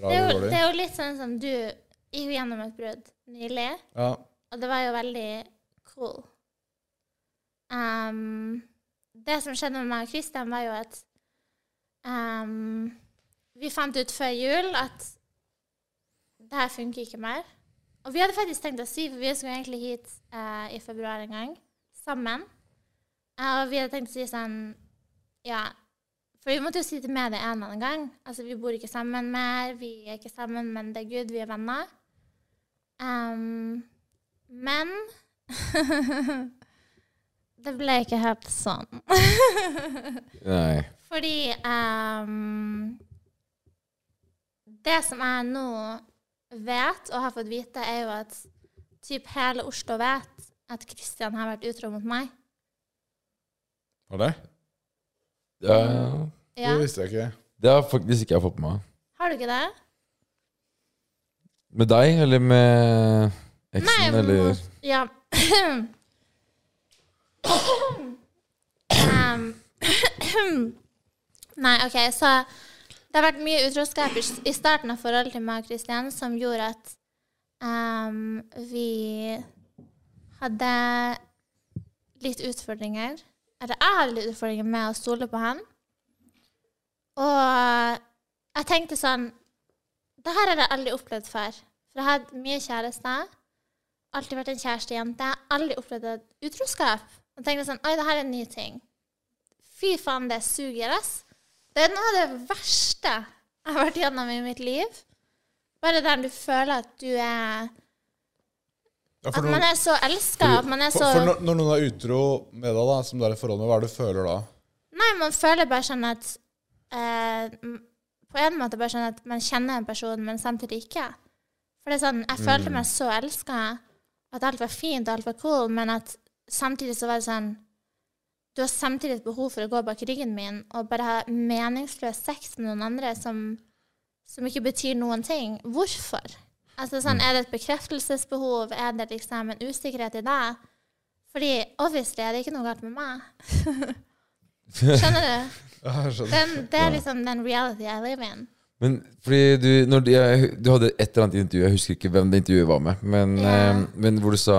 Speaker 3: Bra
Speaker 5: det, er
Speaker 3: eller
Speaker 5: jo, det
Speaker 3: dårlig.
Speaker 5: er jo litt sånn som du gikk jo gjennom et brudd nylig,
Speaker 3: Ja.
Speaker 5: og det var jo veldig cool. Ehm, det som skjedde med meg og Christian, var jo at ehm, vi fant ut før jul at det her funker ikke mer. Og vi hadde faktisk tenkt å si, for vi skulle egentlig hit eh, i februar en gang, sammen. Eh, og vi hadde tenkt å si sånn Ja. For vi måtte jo si til media en eller annen gang. Altså, vi bor ikke sammen mer, vi er ikke sammen, men det er Gud, vi er venner. Ehm, men <laughs> Det ble ikke helt sånn. <laughs>
Speaker 6: Nei.
Speaker 5: Fordi ehm, Det som jeg nå vet, og har fått vite, er jo at typ hele Oslo vet at Kristian har vært utro mot meg.
Speaker 3: Var det?
Speaker 6: Ja,
Speaker 5: Ja.
Speaker 3: Det visste jeg ikke.
Speaker 6: det har faktisk ikke jeg fått med meg.
Speaker 5: Har du ikke det?
Speaker 6: Med deg, eller med
Speaker 5: Nei,
Speaker 6: eksen,
Speaker 5: men
Speaker 6: eller
Speaker 5: mor- Ja. um, nei, OK, så det har vært mye utroskap i, i starten av forholdet til meg og Kristian som gjorde at um, vi hadde litt utfordringer. Eller jeg hadde litt utfordringer med å stole på han. Og jeg tenkte sånn Det her har jeg aldri opplevd før. For jeg har hatt mye kjærester alltid vært en kjærestejente. Jeg har aldri opplevd et utroskap. Og tenkte sånn Oi, det her er en ny ting. Fy faen, det suger, ass. Det er noe av det verste jeg har vært gjennom i mitt liv. Bare der du føler at du er
Speaker 3: Ja, for
Speaker 5: At
Speaker 3: når-
Speaker 5: man er så elska, at man er
Speaker 3: Altså, for,
Speaker 5: så
Speaker 3: for når, når noen er utro med deg, da, som du er i forhold med, hva er det du føler da?
Speaker 5: Nei, man føler bare sånn at eh, m- På en måte bare sånn at man kjenner en person, men samtidig ikke. For det er sånn, jeg følte meg så elska, at alt var fint og alt var cool, men at samtidig så var det sånn Du har samtidig et behov for å gå bak ryggen min og bare ha meningsløs sex med noen andre som, som ikke betyr noen ting. Hvorfor? Altså sånn, Er det et bekreftelsesbehov? Er det liksom en usikkerhet i deg? Fordi obviously er det ikke noe galt med meg. Skjønner du?
Speaker 3: Ja, jeg skjønner.
Speaker 5: Den, det er liksom den reality jeg lever in.
Speaker 6: Men fordi du, når du, jeg, du hadde et eller annet intervju, jeg husker ikke hvem det intervjuet var med, men,
Speaker 5: Ja.
Speaker 6: eh, men hvor du sa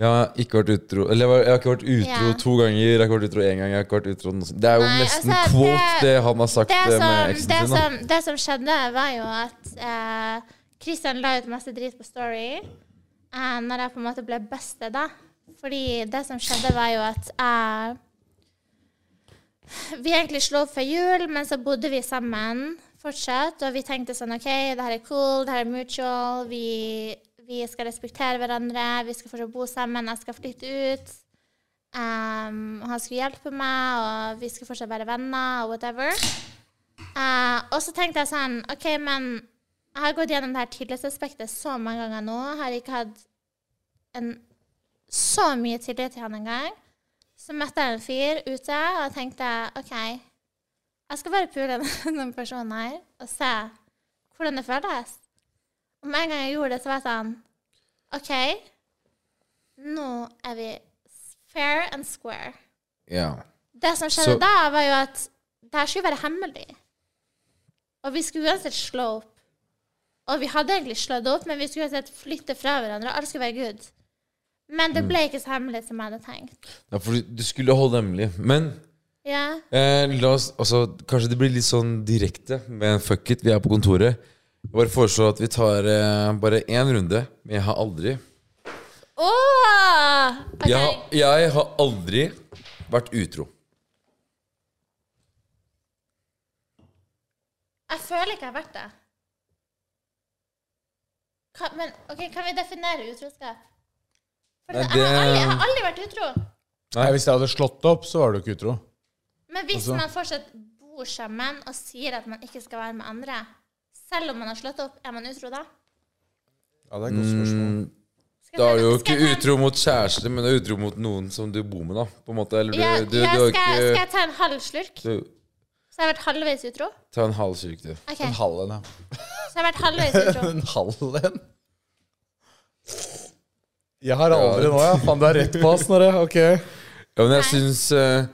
Speaker 6: jeg har ikke vært utro Eller jeg var- jeg har ikke vært utro
Speaker 5: Ja.
Speaker 6: to ganger, jeg har ikke vært utro én gang jeg har ikke vært utro noe sånt. Det er jo
Speaker 5: Nei,
Speaker 6: nesten
Speaker 5: altså,
Speaker 6: quote,
Speaker 5: det-
Speaker 6: det, han har sagt
Speaker 5: Det
Speaker 6: eh, med
Speaker 5: som,
Speaker 6: eksen
Speaker 5: det sånn-
Speaker 6: sin. da.
Speaker 5: som, det som skjedde, var jo at eh, Christian la ut masse drit på Story eh, når jeg på en måte ble busted, da. Fordi det som skjedde, var jo at jeg Vi egentlig slo opp før jul, men så bodde vi sammen fortsatt. Og vi tenkte sånn OK, det her er cool, det her er mutual. Vi, vi skal respektere hverandre. Vi skal fortsatt bo sammen. Jeg skal flytte ut. Um, han skulle hjelpe meg, og vi skulle fortsatt være venner, og whatever. Eh, og så tenkte jeg sånn OK, men jeg har gått gjennom det her tillitsaspektet så mange ganger nå. Jeg har ikke hatt en, så mye tillit til han engang. Så møtte jeg en fyr ute og tenkte OK, jeg skal bare pule <laughs> denne personen her og se hvordan det føles. Og med en gang jeg gjorde det, så var jeg sånn OK, nå er vi fair and square.
Speaker 6: Ja.
Speaker 5: Det som skjedde
Speaker 6: Så-
Speaker 5: da, var jo at det her skulle være hemmelig. Og vi skulle uansett slå opp. Og vi hadde egentlig slått opp, men vi skulle uansett flytte fra hverandre. og Alt skulle være good. Men
Speaker 6: Mm.
Speaker 5: det ble ikke så hemmelig som jeg hadde tenkt.
Speaker 6: Ja, for du- du skulle holde hemmelig. Men
Speaker 5: Ja.
Speaker 6: eh, la oss, altså, kanskje det blir litt sånn direkte med en fuck it. Vi er på kontoret. Jeg bare foreslår at vi tar eh, bare én runde. Men jeg har aldri
Speaker 5: Åh! Ok.
Speaker 6: jeg, har- jeg har aldri vært utro.
Speaker 5: Jeg føler ikke jeg har vært det. Kan, men ok, kan vi definere utroskap? For
Speaker 6: Nei,
Speaker 5: jeg, har
Speaker 6: det-
Speaker 5: aldri, jeg har aldri vært utro.
Speaker 3: Nei, Hvis jeg hadde slått opp, så var du ikke utro.
Speaker 5: Men hvis
Speaker 3: Altså-
Speaker 5: man fortsatt bor sammen og sier at man ikke skal være med andre, selv om man har slått opp, er man utro da?
Speaker 3: Ja, det er et godt spørsmål.
Speaker 5: Skal jeg
Speaker 6: Da er
Speaker 5: ta-
Speaker 6: du jo
Speaker 5: skal
Speaker 6: ikke
Speaker 5: jeg ta en-
Speaker 6: utro mot kjæreste, men du er utro mot noen som du bor med, da. På en måte. Eller du,
Speaker 5: Ja,
Speaker 6: du, du,
Speaker 5: ja,
Speaker 6: har
Speaker 5: skal, jeg- skal
Speaker 6: ikke
Speaker 5: jeg ta en halv slurk?
Speaker 6: du,
Speaker 5: Så jeg har vært halvveis utro?
Speaker 6: Ta en halv sirk, du.
Speaker 5: Ok,
Speaker 3: En halv en, ja.
Speaker 5: så jeg har vært halvveis
Speaker 6: <laughs>
Speaker 5: utro.
Speaker 3: En halv en? Jeg har aldri nå, ja. Faen, du er rett på oss, Snorre. Ok.
Speaker 6: Ja, men jeg syns eh, jeg-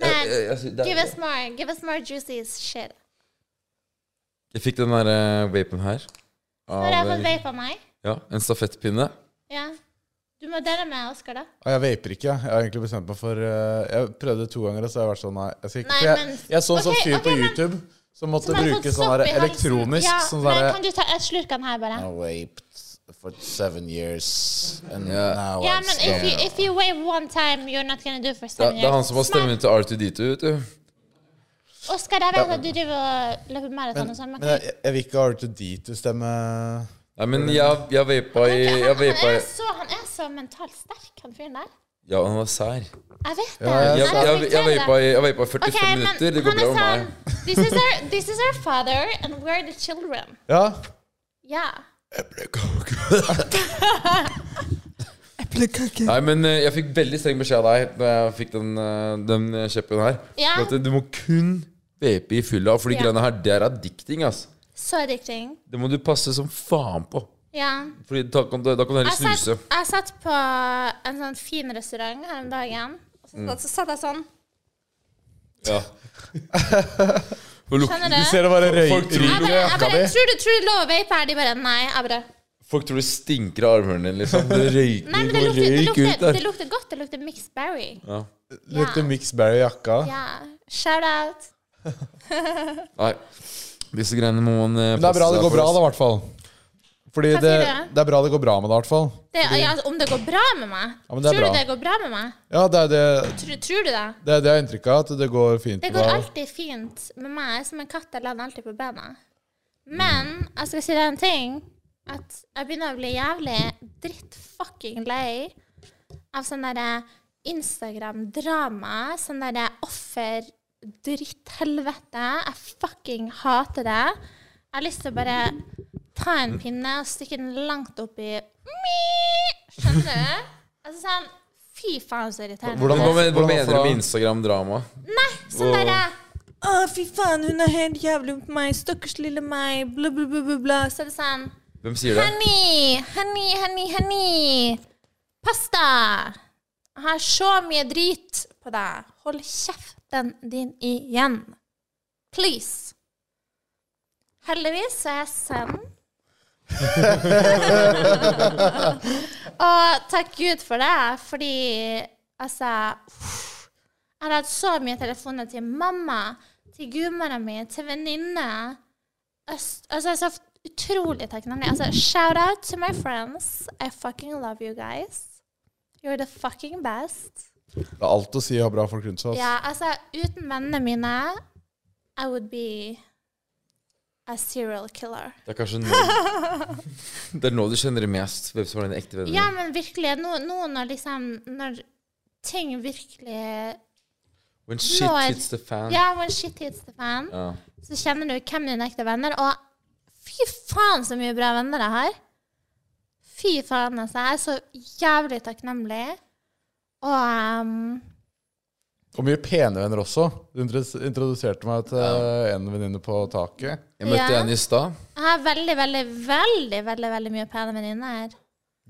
Speaker 6: jeg-
Speaker 5: Men
Speaker 6: jeg syns- det er-
Speaker 5: give us more, give us more juicy shit.
Speaker 6: Jeg fikk den derre vapen her.
Speaker 5: Nå har jeg
Speaker 6: Av,
Speaker 5: fått vape av meg.
Speaker 6: ja, en stafettpinne.
Speaker 5: Ja. Du må dele med Oskar, da.
Speaker 3: Ah, Jeg vaper ikke. Jeg Jeg har egentlig bestemt meg for eh, Jeg prøvde to ganger, og så har jeg vært sånn Nei. Jeg, skal ikke,
Speaker 5: Nei,
Speaker 3: for jeg,
Speaker 5: men-
Speaker 3: jeg så en sånn
Speaker 5: Ok,
Speaker 3: fyr
Speaker 5: ok,
Speaker 3: på
Speaker 5: men-
Speaker 3: YouTube som måtte
Speaker 5: Som har fått
Speaker 3: bruke sånn
Speaker 5: sopp
Speaker 3: der
Speaker 5: i halsen.
Speaker 3: elektronisk
Speaker 5: ja,
Speaker 3: sånn
Speaker 5: men
Speaker 3: derre
Speaker 5: Kan du ta et slurk av den her, bare?
Speaker 7: I vaped for seven years, and
Speaker 6: Yeah.
Speaker 7: now
Speaker 5: Ja,
Speaker 7: I'm
Speaker 5: men if you,
Speaker 7: stoned.
Speaker 5: if you wave one time, you're not gonna do for
Speaker 6: Det,
Speaker 5: seven
Speaker 6: det er han som har stemmen til R2D2, vet du.
Speaker 5: years. Oskar, jeg vet at du driver og løper maraton og sånn, men
Speaker 3: Men jeg, jeg vil ikke ha R2D2-stemme.
Speaker 6: Nei, men jeg, jeg vapa i
Speaker 5: han,
Speaker 6: Jeg
Speaker 5: han,
Speaker 6: vapa i
Speaker 5: er så, han er så mentalt sterk, han fyren der.
Speaker 6: Ja, han var sær.
Speaker 5: Jeg vet det.
Speaker 3: jeg-
Speaker 6: Jeg, jeg, jeg,
Speaker 5: respekterer det.
Speaker 6: vapa i jeg vapa i
Speaker 5: Ok,
Speaker 6: 45
Speaker 5: men
Speaker 6: minutter. Det går
Speaker 5: han
Speaker 6: bra
Speaker 5: er
Speaker 6: med meg.
Speaker 5: sånn, This is, our,
Speaker 6: <laughs>
Speaker 5: this is our father, and we're the children.
Speaker 3: Ja.
Speaker 5: Ja.
Speaker 6: Nei, men eh, jeg fikk veldig streng beskjed av deg da jeg fikk den, eh, den eh, kjeppen her.
Speaker 5: Ja.
Speaker 6: For At eh, du må kun vape i fylla, for de
Speaker 5: Ja.
Speaker 6: greiene her, det er addicting, ass.
Speaker 5: Så addicting.
Speaker 6: Det må du passe som faen på.
Speaker 5: Ja.
Speaker 6: Fordi da kan du, da kan du heller
Speaker 5: Altså, Jeg
Speaker 6: snuse.
Speaker 5: satt, jeg satt på en sånn fin restaurant her om dagen, og så, så satt jeg sånn.
Speaker 6: Mm.
Speaker 5: <laughs>
Speaker 6: Ja. For luk,
Speaker 5: Skjønner
Speaker 3: Du ser det bare røy-
Speaker 6: Folk tror-
Speaker 5: Jeg bare,
Speaker 3: ryker i
Speaker 5: jeg
Speaker 3: jakka
Speaker 5: bare
Speaker 3: di.
Speaker 5: tror, du, tror du lov å vape her? De bare nei. Jeg bare
Speaker 6: folk tror det stinker av armhulene dine, liksom. Det røyker
Speaker 5: Nei, men det
Speaker 6: går
Speaker 5: lukter, det
Speaker 6: røyk ut
Speaker 5: lukter,
Speaker 6: der.
Speaker 5: det lukter godt. Det lukter mixed berry.
Speaker 6: Ja.
Speaker 3: Lukter mixed berry i jakka.
Speaker 5: Ja. Shout out.
Speaker 6: Nei. Disse greiene må man eh,
Speaker 3: Men det er bra
Speaker 6: passe
Speaker 3: det
Speaker 6: seg
Speaker 3: går
Speaker 6: for,
Speaker 3: bra,
Speaker 6: ass.
Speaker 3: da, i hvert fall. Fordi
Speaker 5: Hva
Speaker 3: det,
Speaker 5: sier du?
Speaker 3: det er bra det går bra med det, i hvert fall.
Speaker 5: Det, ja, altså, om det går bra med meg?
Speaker 3: Ja, men det er
Speaker 5: tror
Speaker 3: bra.
Speaker 5: du det går bra med meg?
Speaker 3: Ja, det er det
Speaker 5: Tror, tror du
Speaker 3: Det
Speaker 5: det?
Speaker 3: er det jeg har inntrykk av, at det går fint.
Speaker 5: Det
Speaker 3: med
Speaker 5: går
Speaker 3: deg.
Speaker 5: alltid fint med meg. Jeg er Som en katt, jeg lander alltid på bena. Men jeg skal si deg en ting. At jeg begynner å bli jævlig drittfucking lei av sånn derre Instagram-drama. Sånn derre offer-dritthelvete. Jeg fucking hater det. Jeg har lyst til å bare ta en pinne og stikke den langt opp i Skjønner du? Altså sånn Fy faen, så irriterende.
Speaker 3: Hvordan-
Speaker 6: Men Hva, men- hva
Speaker 3: Hvordan
Speaker 6: mener du
Speaker 3: fra-
Speaker 6: med Instagram-drama?
Speaker 5: Nei, sånn derre Å, Ah, fy faen, hun er helt jævlig på meg. Stakkars lille meg. Bla, bla, bla, bla, bla. Så er det sånn
Speaker 6: Hvem sier det?
Speaker 5: Honey, honey, honey, honey. Pasta. Jeg har så mye drit på deg. Hold kjeften din igjen. Please. Heldigvis så er jeg send. Og takk Gud for det, fordi altså jeg har hatt så mye telefoner til mamma, til gudmora mi, til venninne. Øst- Altså, jeg er så f- utrolig takknemlig. Altså, shout out to my friends. I fucking love you guys. You're the fucking best.
Speaker 3: Det er alt å si å ha bra folk rundt seg. ass.
Speaker 5: Ja, altså, uten vennene mine, I would be a serial killer.
Speaker 6: Det er kanskje nå
Speaker 5: <laughs>
Speaker 6: Det er nå du kjenner det mest, hvem som er dine ekte venner.
Speaker 5: Ja, men virkelig, nå, nå når liksom, når ting virkelig
Speaker 6: When shit
Speaker 5: Nå er-
Speaker 6: hits the fan.
Speaker 5: Ja, when shit hits the fan.
Speaker 6: Ja.
Speaker 5: så kjenner du hvem dine ekte venner Og fy faen så mye bra venner jeg har. Fy faen, altså. Jeg er så jævlig takknemlig. Og ehm,
Speaker 3: Og mye pene venner også. Du introdu- introduserte meg til en venninne på taket.
Speaker 6: Jeg møtte
Speaker 5: Ja.
Speaker 6: en i stad.
Speaker 5: jeg har veldig, veldig, veldig veldig, veldig mye pene venninner.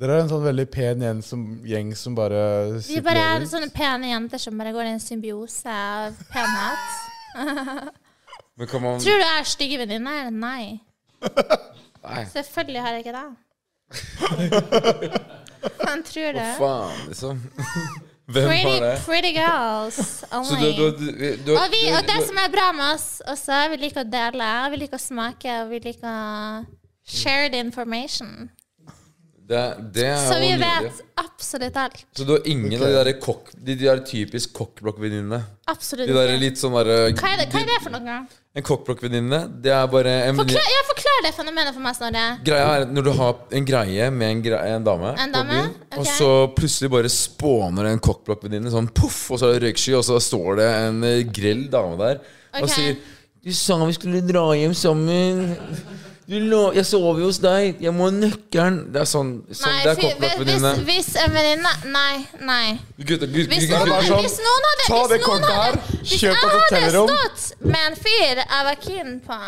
Speaker 3: Dere er en sånn veldig pen gjeng som, gjeng som bare
Speaker 5: Vi
Speaker 3: sitter
Speaker 5: bare er sånn-
Speaker 3: rundt.
Speaker 5: sånne pene jenter som bare går i en symbiose av penhet.
Speaker 6: Men kan man
Speaker 5: Tror du jeg er stygge venninner? Nei.
Speaker 6: Nei.
Speaker 5: Selvfølgelig har jeg
Speaker 6: <laughs>
Speaker 5: ikke det. Han tror det.
Speaker 6: Faen,
Speaker 5: <laughs>
Speaker 6: liksom. Hvem var
Speaker 5: Pretty,
Speaker 6: det?
Speaker 5: pretty girls
Speaker 6: <laughs> Så du,
Speaker 5: only.
Speaker 6: du, du, du, du
Speaker 5: Og, vi, og det
Speaker 6: du-
Speaker 5: som er bra med oss også, er vi liker å dele, og vi liker å smake, og vi liker å shared information.
Speaker 6: det, det er
Speaker 5: Så vi
Speaker 6: jo nydelig.
Speaker 5: vet absolutt alt.
Speaker 6: Så du har ingen av de der, kokk, de, de der typisk kokkblokkvenninnene?
Speaker 5: Absolutt
Speaker 6: De der
Speaker 5: ikke.
Speaker 6: litt sånn derre
Speaker 5: Hva er det, hva er det for noe?
Speaker 6: En kokkblokkvenninne, det er bare en venninne-
Speaker 5: Forklar, ja, forklar det fenomenet for meg, Snorre.
Speaker 6: Greia er at når du har en greie med en, greie, en dame,
Speaker 5: En
Speaker 6: på
Speaker 5: dame,
Speaker 6: byen, og
Speaker 5: ok.
Speaker 6: så plutselig bare spåner det en kokkblokkvenninne sånn poff, og så er det røyksky, og så står det en eh, grell dame der og
Speaker 5: Ok.
Speaker 6: sier Du sa vi skulle dra hjem sammen. Du lo jeg sover hos deg. Jeg må ha nøkkelen. Det er sånn. sånn
Speaker 5: Nei,
Speaker 6: det er
Speaker 5: fy- hvis,
Speaker 6: kokkblokkvenninne.
Speaker 5: hvis en venninne Nei, nei.
Speaker 6: Gutta, gutta,
Speaker 5: Hvis
Speaker 6: gutta,
Speaker 5: noen,
Speaker 3: bare sånn,
Speaker 5: hvis noen hadde
Speaker 3: ta
Speaker 5: hvis
Speaker 3: det
Speaker 5: noen
Speaker 3: kortet
Speaker 5: hadde-
Speaker 3: her,
Speaker 5: Hvis
Speaker 3: kjøp
Speaker 5: jeg
Speaker 3: et
Speaker 5: hadde
Speaker 3: hotellrom.
Speaker 5: stått med en fyr jeg var keen på,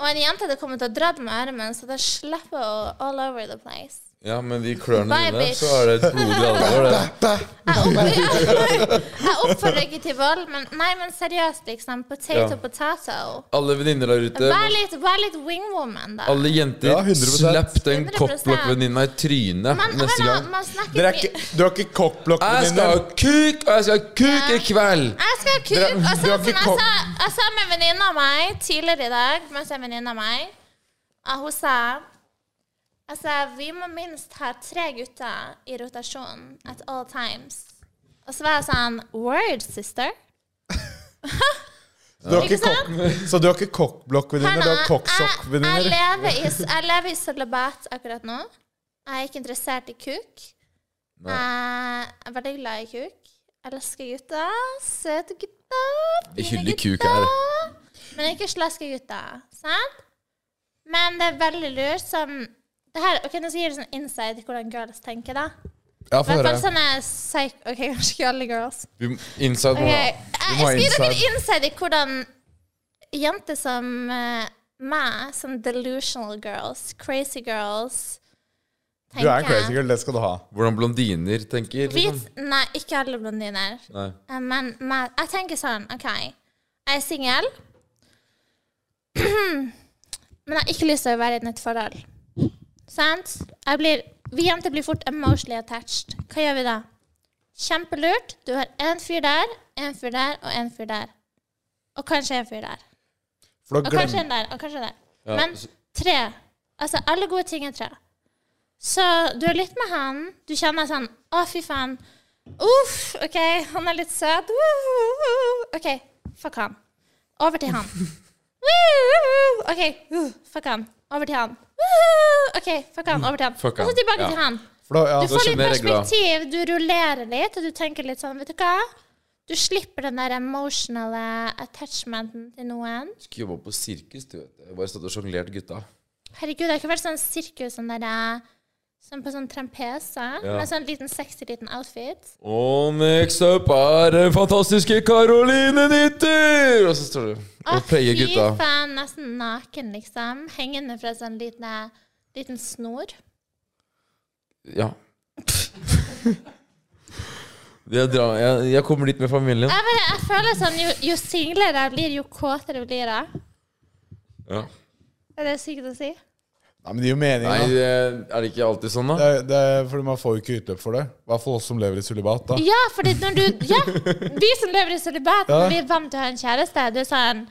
Speaker 5: og en jente hadde kommet og dratt med armen, så det slipper jo all over the place.
Speaker 6: Ja, men de klørne
Speaker 5: Bye,
Speaker 6: dine,
Speaker 5: bitch.
Speaker 6: så er det et blodig alvor. det.
Speaker 5: Jeg oppfordrer, jeg oppfordrer ikke til vold, men, nei, men seriøst, liksom. Potato,
Speaker 6: Ja.
Speaker 5: potato.
Speaker 6: Alle venninner der ute
Speaker 5: Vær litt, vær litt wingwoman, da.
Speaker 6: Alle jenter,
Speaker 3: Ja, 100%.
Speaker 6: slapp den
Speaker 5: 100%.
Speaker 6: kokkblokkvenninna i trynet
Speaker 5: Man,
Speaker 6: neste
Speaker 5: man,
Speaker 6: gang.
Speaker 5: man snakker
Speaker 3: Dere er
Speaker 5: mye-
Speaker 3: ikke, du har ikke
Speaker 6: Jeg skal ha
Speaker 3: kokkblokkvenninner.
Speaker 6: kuk, og jeg skal ha kuk i
Speaker 5: Ja.
Speaker 6: kveld!
Speaker 5: Jeg skal ha kuk.
Speaker 3: Dere-
Speaker 5: Og så,
Speaker 3: dere har
Speaker 5: sånn,
Speaker 3: ikke
Speaker 5: jeg,
Speaker 3: kom-
Speaker 5: sa, jeg sa med en venninne av meg tidligere i dag mens en venninne av meg at Hun sa Altså, vi må minst ha tre gutter i rotasjon at all times. Og så var jeg sånn Word, sister.
Speaker 3: Du har ikke
Speaker 5: Ikke sant?
Speaker 3: kokk- Så du har ikke kokkblokkvenninner, du har
Speaker 5: Hanna, jeg, jeg,
Speaker 3: kokksokkvenninner.
Speaker 5: lever i, s- jeg lever i sølibat akkurat nå. Jeg er ikke interessert i kuk. Jeg er veldig glad i kuk. Elsker gutter. Søte gutter.
Speaker 6: Jeg
Speaker 5: fine
Speaker 6: hyller kuk
Speaker 5: gutter.
Speaker 6: her.
Speaker 5: Men ikke slaske gutter. Sant? Men det er veldig lurt som det her, ok, Nå skal jeg gi deg sånn insight i hvordan girls tenker. da
Speaker 3: Ja,
Speaker 5: I
Speaker 3: få
Speaker 5: hvert
Speaker 3: høre.
Speaker 5: fall sånne psych... Ok, <laughs> kanskje ikke alle girls.
Speaker 6: Vi må- Inside
Speaker 5: Ok, Eh,
Speaker 6: må
Speaker 5: Jeg,
Speaker 3: må ha
Speaker 5: jeg skal gi
Speaker 3: insight.
Speaker 5: dere insight i hvordan jenter som eh, meg, som delusional girls, crazy girls,
Speaker 3: Du er en crazy girl, det skal du ha.
Speaker 6: Hvordan blondiner tenker. Liksom.
Speaker 5: Hvit Nei, ikke alle blondiner.
Speaker 6: Nei.
Speaker 5: Eh, Men, men jeg tenker sånn, OK. Jeg er singel. <clears throat> men jeg har ikke lyst til å være i et nytt forhold. Sant? Jeg blir, vi jenter blir fort emotionally attached. Hva gjør vi da? Kjempelurt. Du har én fyr der, én fyr der og én fyr der. Og kanskje en fyr der.
Speaker 3: For da
Speaker 5: Og kanskje
Speaker 3: glemmer
Speaker 5: en der, og kanskje en der.
Speaker 6: Ja,
Speaker 5: Men
Speaker 6: så-
Speaker 5: tre. Altså, alle gode ting er tre. Så du er litt med han. Du kjenner sånn Å, fy faen. Uff, OK, han er litt søt. Woo-hoo-hoo. OK, fuck han. Over
Speaker 6: <laughs>
Speaker 5: til han. Woo-hoo. OK, uh, fuck han. Over til han. Woo-hoo. OK, fuck han. Over til han.
Speaker 6: Mm,
Speaker 5: Og
Speaker 6: Fuck han,
Speaker 5: så tilbake
Speaker 6: ja. Altså,
Speaker 5: til han.
Speaker 3: For da,
Speaker 5: Du
Speaker 3: ja,
Speaker 6: da
Speaker 5: får litt
Speaker 6: skjønner jeg regla.
Speaker 5: perspektiv, du rullerer litt, og du tenker litt sånn, vet du hva? Du slipper den der emotionale attachmenten til noen.
Speaker 6: Skulle jobba på sirkus, du vet. Jeg bare stått og sjonglert gutta.
Speaker 5: Herregud, det har ikke vært sånn sirkus sånn der, eh, Sånn på sånn trampese. Med sånn liten sexy liten outfit.
Speaker 6: Og next up er den fantastiske Caroline Nytter! Og så står du
Speaker 5: Ah,
Speaker 6: og player gutta.
Speaker 5: faen, nesten naken, liksom. Hengende fra sånn liten, liten snor.
Speaker 6: Ja. Jeg, drar, jeg, jeg kommer dit med familien.
Speaker 5: Jeg, bare, jeg føler sånn, jo, jo singlere jeg blir, jo kåtere blir jeg.
Speaker 6: Ja.
Speaker 5: Er det sykt å si?
Speaker 3: Nei, men det gir jo mening.
Speaker 6: Nei,
Speaker 3: da.
Speaker 6: det- er det ikke alltid sånn, da?
Speaker 3: Det, er- det, er fordi man får jo ikke utløp for det. I hvert fall oss som lever i sølibat. da.
Speaker 5: Ja, fordi når du Ja! Vi som lever i sølibat,
Speaker 3: Ja.
Speaker 5: når vi er vant til å ha en kjæreste. Du er sånn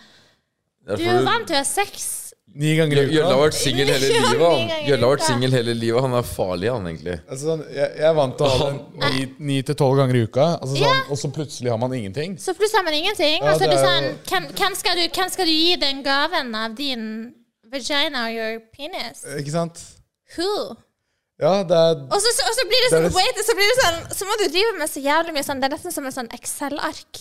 Speaker 5: Du er jo vant til å ha sex.
Speaker 3: Ni ganger i
Speaker 6: Jølle har
Speaker 3: uka.
Speaker 6: vært singel hele
Speaker 5: Ja,
Speaker 6: livet.
Speaker 5: <laughs>
Speaker 6: han.
Speaker 5: ni ganger i
Speaker 6: Jølle har vært
Speaker 5: uka.
Speaker 6: singel hele livet. Han er farlig, han egentlig.
Speaker 3: Altså, sånn, jeg, jeg er vant til å ha det ni, ni til tolv ganger i uka, altså, sånn,
Speaker 5: Ja.
Speaker 3: og så plutselig har man ingenting.
Speaker 5: Så plutselig har man ingenting.
Speaker 3: Ja,
Speaker 5: og så er
Speaker 3: det
Speaker 5: du
Speaker 3: er
Speaker 5: sånn
Speaker 3: jo-
Speaker 5: hvem, hvem, skal du, hvem skal du gi den gaven av din vagina or your penis?
Speaker 3: Ikke sant?
Speaker 5: Who?
Speaker 3: Ja, det er
Speaker 5: Og så, og så blir det sånn
Speaker 3: Det er det-
Speaker 5: wait, så blir det sånn Så må du drive med så jævlig mye sånn Det er nesten som en sånn Excel-ark.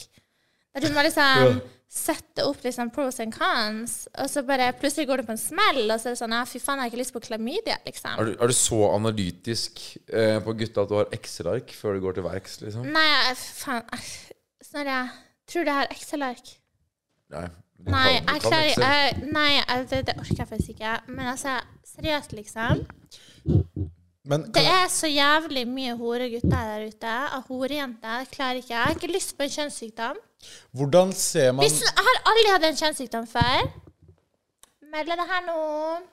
Speaker 5: Der du må liksom sette opp liksom pros and cons, og så bare plutselig går du på en smell, og så er det sånn ja, fy faen, jeg har ikke lyst på klamydia, liksom.
Speaker 6: Er du, er du så analytisk eh, på gutta at du har Excel-ark før du går til verks, liksom?
Speaker 5: Nei, jeg- faen jeg- Snorre, tror du jeg har Excel-ark?
Speaker 6: Nei. Du
Speaker 5: Nei, eh,
Speaker 6: kan- du
Speaker 5: jeg
Speaker 6: kan
Speaker 5: klarer
Speaker 6: Excel.
Speaker 5: jeg, Nei, jeg, det, det orker jeg faktisk ikke. Men altså, seriøst, liksom.
Speaker 3: Men
Speaker 5: Det er så jævlig mye horegutter der ute. Av horejenter klarer ikke jeg. Jeg har ikke lyst på en kjønnssykdom.
Speaker 3: hvordan ser man
Speaker 5: Hvis, jeg har aldri hatt en kjønnssykdom før. Melder det her nå.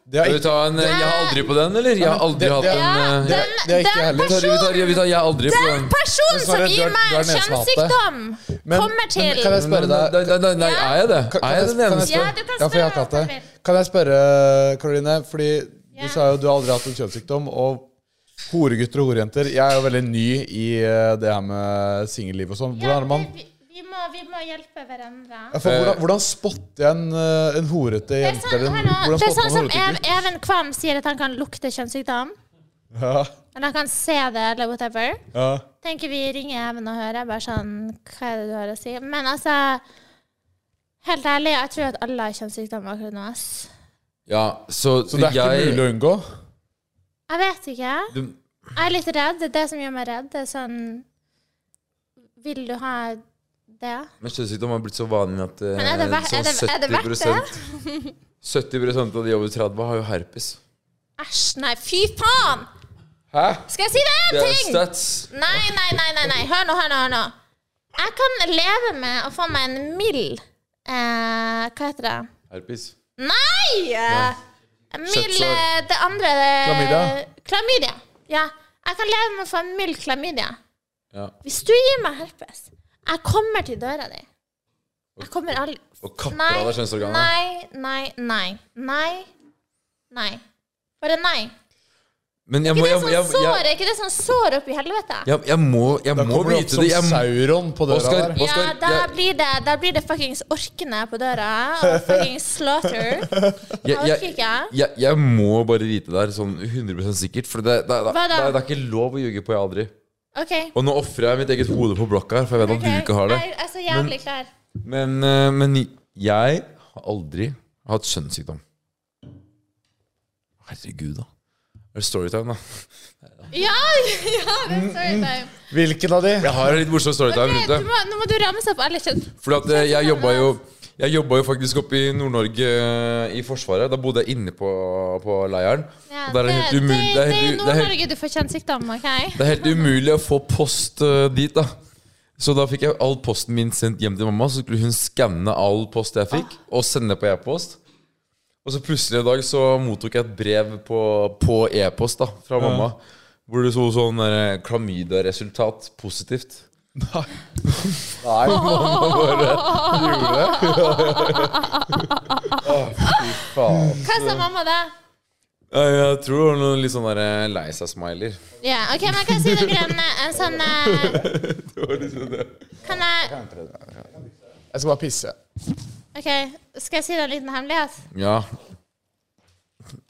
Speaker 3: det har
Speaker 6: Skal vi
Speaker 3: ikke,
Speaker 6: ta en eh, 'jeg har aldri' på den, eller? Jeg har aldri hatt
Speaker 3: det-
Speaker 6: en eh,
Speaker 5: den,
Speaker 3: det er ikke jeg heller.
Speaker 6: Vi tar, vi tar, vi tar 'jeg har aldri' på
Speaker 5: den
Speaker 6: den.
Speaker 5: personen som
Speaker 3: Snorre, du er-
Speaker 5: gir meg
Speaker 3: du er
Speaker 5: en
Speaker 3: nesenhate.
Speaker 5: kjønnssykdom,
Speaker 3: Men-
Speaker 5: kommer til
Speaker 3: men kan jeg spørre
Speaker 6: Nei,
Speaker 3: deg
Speaker 6: eh, nei, nei, nei, er jeg det?
Speaker 3: Kan,
Speaker 6: Er
Speaker 3: kan,
Speaker 6: jeg den
Speaker 3: jeg, kan, jeg
Speaker 6: eneste?
Speaker 5: Ja,
Speaker 3: spørre?
Speaker 5: du kan
Speaker 3: ja, for jeg har ikke
Speaker 5: spørre
Speaker 3: hatt det.
Speaker 5: Emil.
Speaker 3: Kan jeg spørre, Karoline? Fordi
Speaker 5: Ja.
Speaker 3: du sa jo du har aldri hatt en kjønnssykdom. Og horegutter og horejenter Jeg er jo veldig ny i eh, det her med singelliv og sånn. Hvordan er det man
Speaker 5: Ja, vi, vi, må, vi må hjelpe hverandre.
Speaker 3: ja, for hvordan, hvordan spotter jeg en, eh, en horete
Speaker 5: Det er
Speaker 3: jente?
Speaker 5: sånn,
Speaker 3: Eller
Speaker 5: hør
Speaker 3: en,
Speaker 5: nå,
Speaker 3: hvordan
Speaker 5: det
Speaker 3: spotter
Speaker 5: er sånn
Speaker 3: man en
Speaker 5: som
Speaker 3: horete
Speaker 5: Ev
Speaker 3: gutt?
Speaker 5: Even Kvam sier at han kan lukte kjønnssykdom.
Speaker 3: Ja,
Speaker 5: Eller han kan se det, eller whatever.
Speaker 3: ja.
Speaker 5: Tenker vi ringer Even og hører. Bare sånn Hva er det du har å si? Men altså Helt ærlig, jeg tror at alle har kjønnssykdom akkurat nå. ass.
Speaker 6: Ja, så,
Speaker 3: Så det er ikke
Speaker 6: jeg,
Speaker 3: mulig å unngå?
Speaker 5: Jeg vet ikke.
Speaker 6: Du-
Speaker 5: Jeg er litt redd. Det er det som gjør meg redd. Det er sånn Vil du ha det?
Speaker 6: Men kjønnssykdom har blitt så vanlig at eh,
Speaker 5: Men er det ver- er det- er det verdt det? <laughs>
Speaker 6: 70%, 70 av de over 30 har jo herpes.
Speaker 5: Æsj, nei, fy faen!
Speaker 6: Hæ?
Speaker 5: Skal jeg si deg én
Speaker 6: Det er
Speaker 5: ting?
Speaker 6: stats.
Speaker 5: Nei, nei, nei, nei, nei. Hør nå, hør nå, hør nå. Jeg kan leve med å få meg en mild eh, Hva heter det?
Speaker 6: Herpes.
Speaker 5: Nei! eh, Mild
Speaker 6: Kjøttsår.
Speaker 5: eh, Det andre eh,
Speaker 3: Klamydia?
Speaker 5: Klamydia. Ja. Jeg kan leve med å få en mild klamydia.
Speaker 6: Ja.
Speaker 5: Hvis du gir meg herpes, jeg kommer til døra di. Jeg kommer aldri
Speaker 6: Og kapper av deg kjønnsorganet.
Speaker 5: Nei, nei, nei. Nei. Nei. Bare nei.
Speaker 6: Men jeg
Speaker 5: Ikke
Speaker 6: må
Speaker 5: det
Speaker 6: jeg,
Speaker 5: sånn
Speaker 6: jeg,
Speaker 5: sår,
Speaker 6: jeg,
Speaker 5: er ikke det sånn sår oppi helvete?
Speaker 6: jeg, jeg må, jeg
Speaker 3: Da
Speaker 6: må
Speaker 3: kommer du opp
Speaker 6: vite
Speaker 3: som
Speaker 6: det. Jeg, må-
Speaker 3: sauron på døra
Speaker 6: Oskar-
Speaker 3: der.
Speaker 5: Ja,
Speaker 6: Oskar,
Speaker 5: da
Speaker 6: jeg-
Speaker 5: blir det, da blir det fuckings orkene på døra. Og fuckings
Speaker 6: <laughs>
Speaker 5: slaughter. Jeg
Speaker 6: jeg,
Speaker 5: orker
Speaker 6: jeg,
Speaker 5: ikke.
Speaker 6: jeg, jeg må bare vite det her sånn 100 sikkert. For det, det, det,
Speaker 5: Hva
Speaker 6: det,
Speaker 5: da?
Speaker 6: det er ikke lov å ljuge på 'jeg aldri'.
Speaker 5: OK.
Speaker 6: Og nå ofrer jeg mitt eget hode på blokka her, for jeg vet at
Speaker 5: ok, altså,
Speaker 6: du ikke har det.
Speaker 5: Jeg er så jævlig klar.
Speaker 6: Men, eh, men jeg har aldri hatt kjønnssykdom. Herregud, da. Det er storytime, da.
Speaker 5: Ja! <laughs> ja det er sorry, time.
Speaker 3: Hvilken av de?
Speaker 6: Jeg har en litt morsom
Speaker 5: Ok,
Speaker 6: storytime rundt Mm, det.
Speaker 5: du må, nå må du ramse opp alle kjønn.
Speaker 6: Fordi at eh, jeg jobba jo jeg jobba jo faktisk oppe i Nord-Norge eh, i Forsvaret. Da bodde jeg inne på, på leiren.
Speaker 5: Ja,
Speaker 6: og der er det helt
Speaker 5: det,
Speaker 6: umulig
Speaker 5: det er i
Speaker 6: helt u- det er helt-
Speaker 5: Nord-Norge du får kjønnssykdom, OK?
Speaker 6: Det er helt umulig å få post eh, dit, da. Så da fikk jeg all posten min sendt hjem til mamma. Så skulle hun skanne all post jeg fikk, og sende på e-post. Og så plutselig en dag så mottok jeg et brev på, på e-post da, fra mamma. Hvor det sto sånn eh, klamydia-resultat positivt.
Speaker 3: Nei, faen.
Speaker 5: Hva
Speaker 6: <laughs>
Speaker 5: sa mamma da?
Speaker 6: Ja, Jeg tror det var noe litt sånn der, eh, lei seg-smiler.
Speaker 5: Ja, OK, men jeg kan si dere en, en sånn
Speaker 6: <laughs>
Speaker 5: eh,
Speaker 6: liksom
Speaker 5: Kan jeg
Speaker 3: Jeg skal bare pisse.
Speaker 5: OK, skal jeg si deg en liten hemmelighet?
Speaker 6: Ja.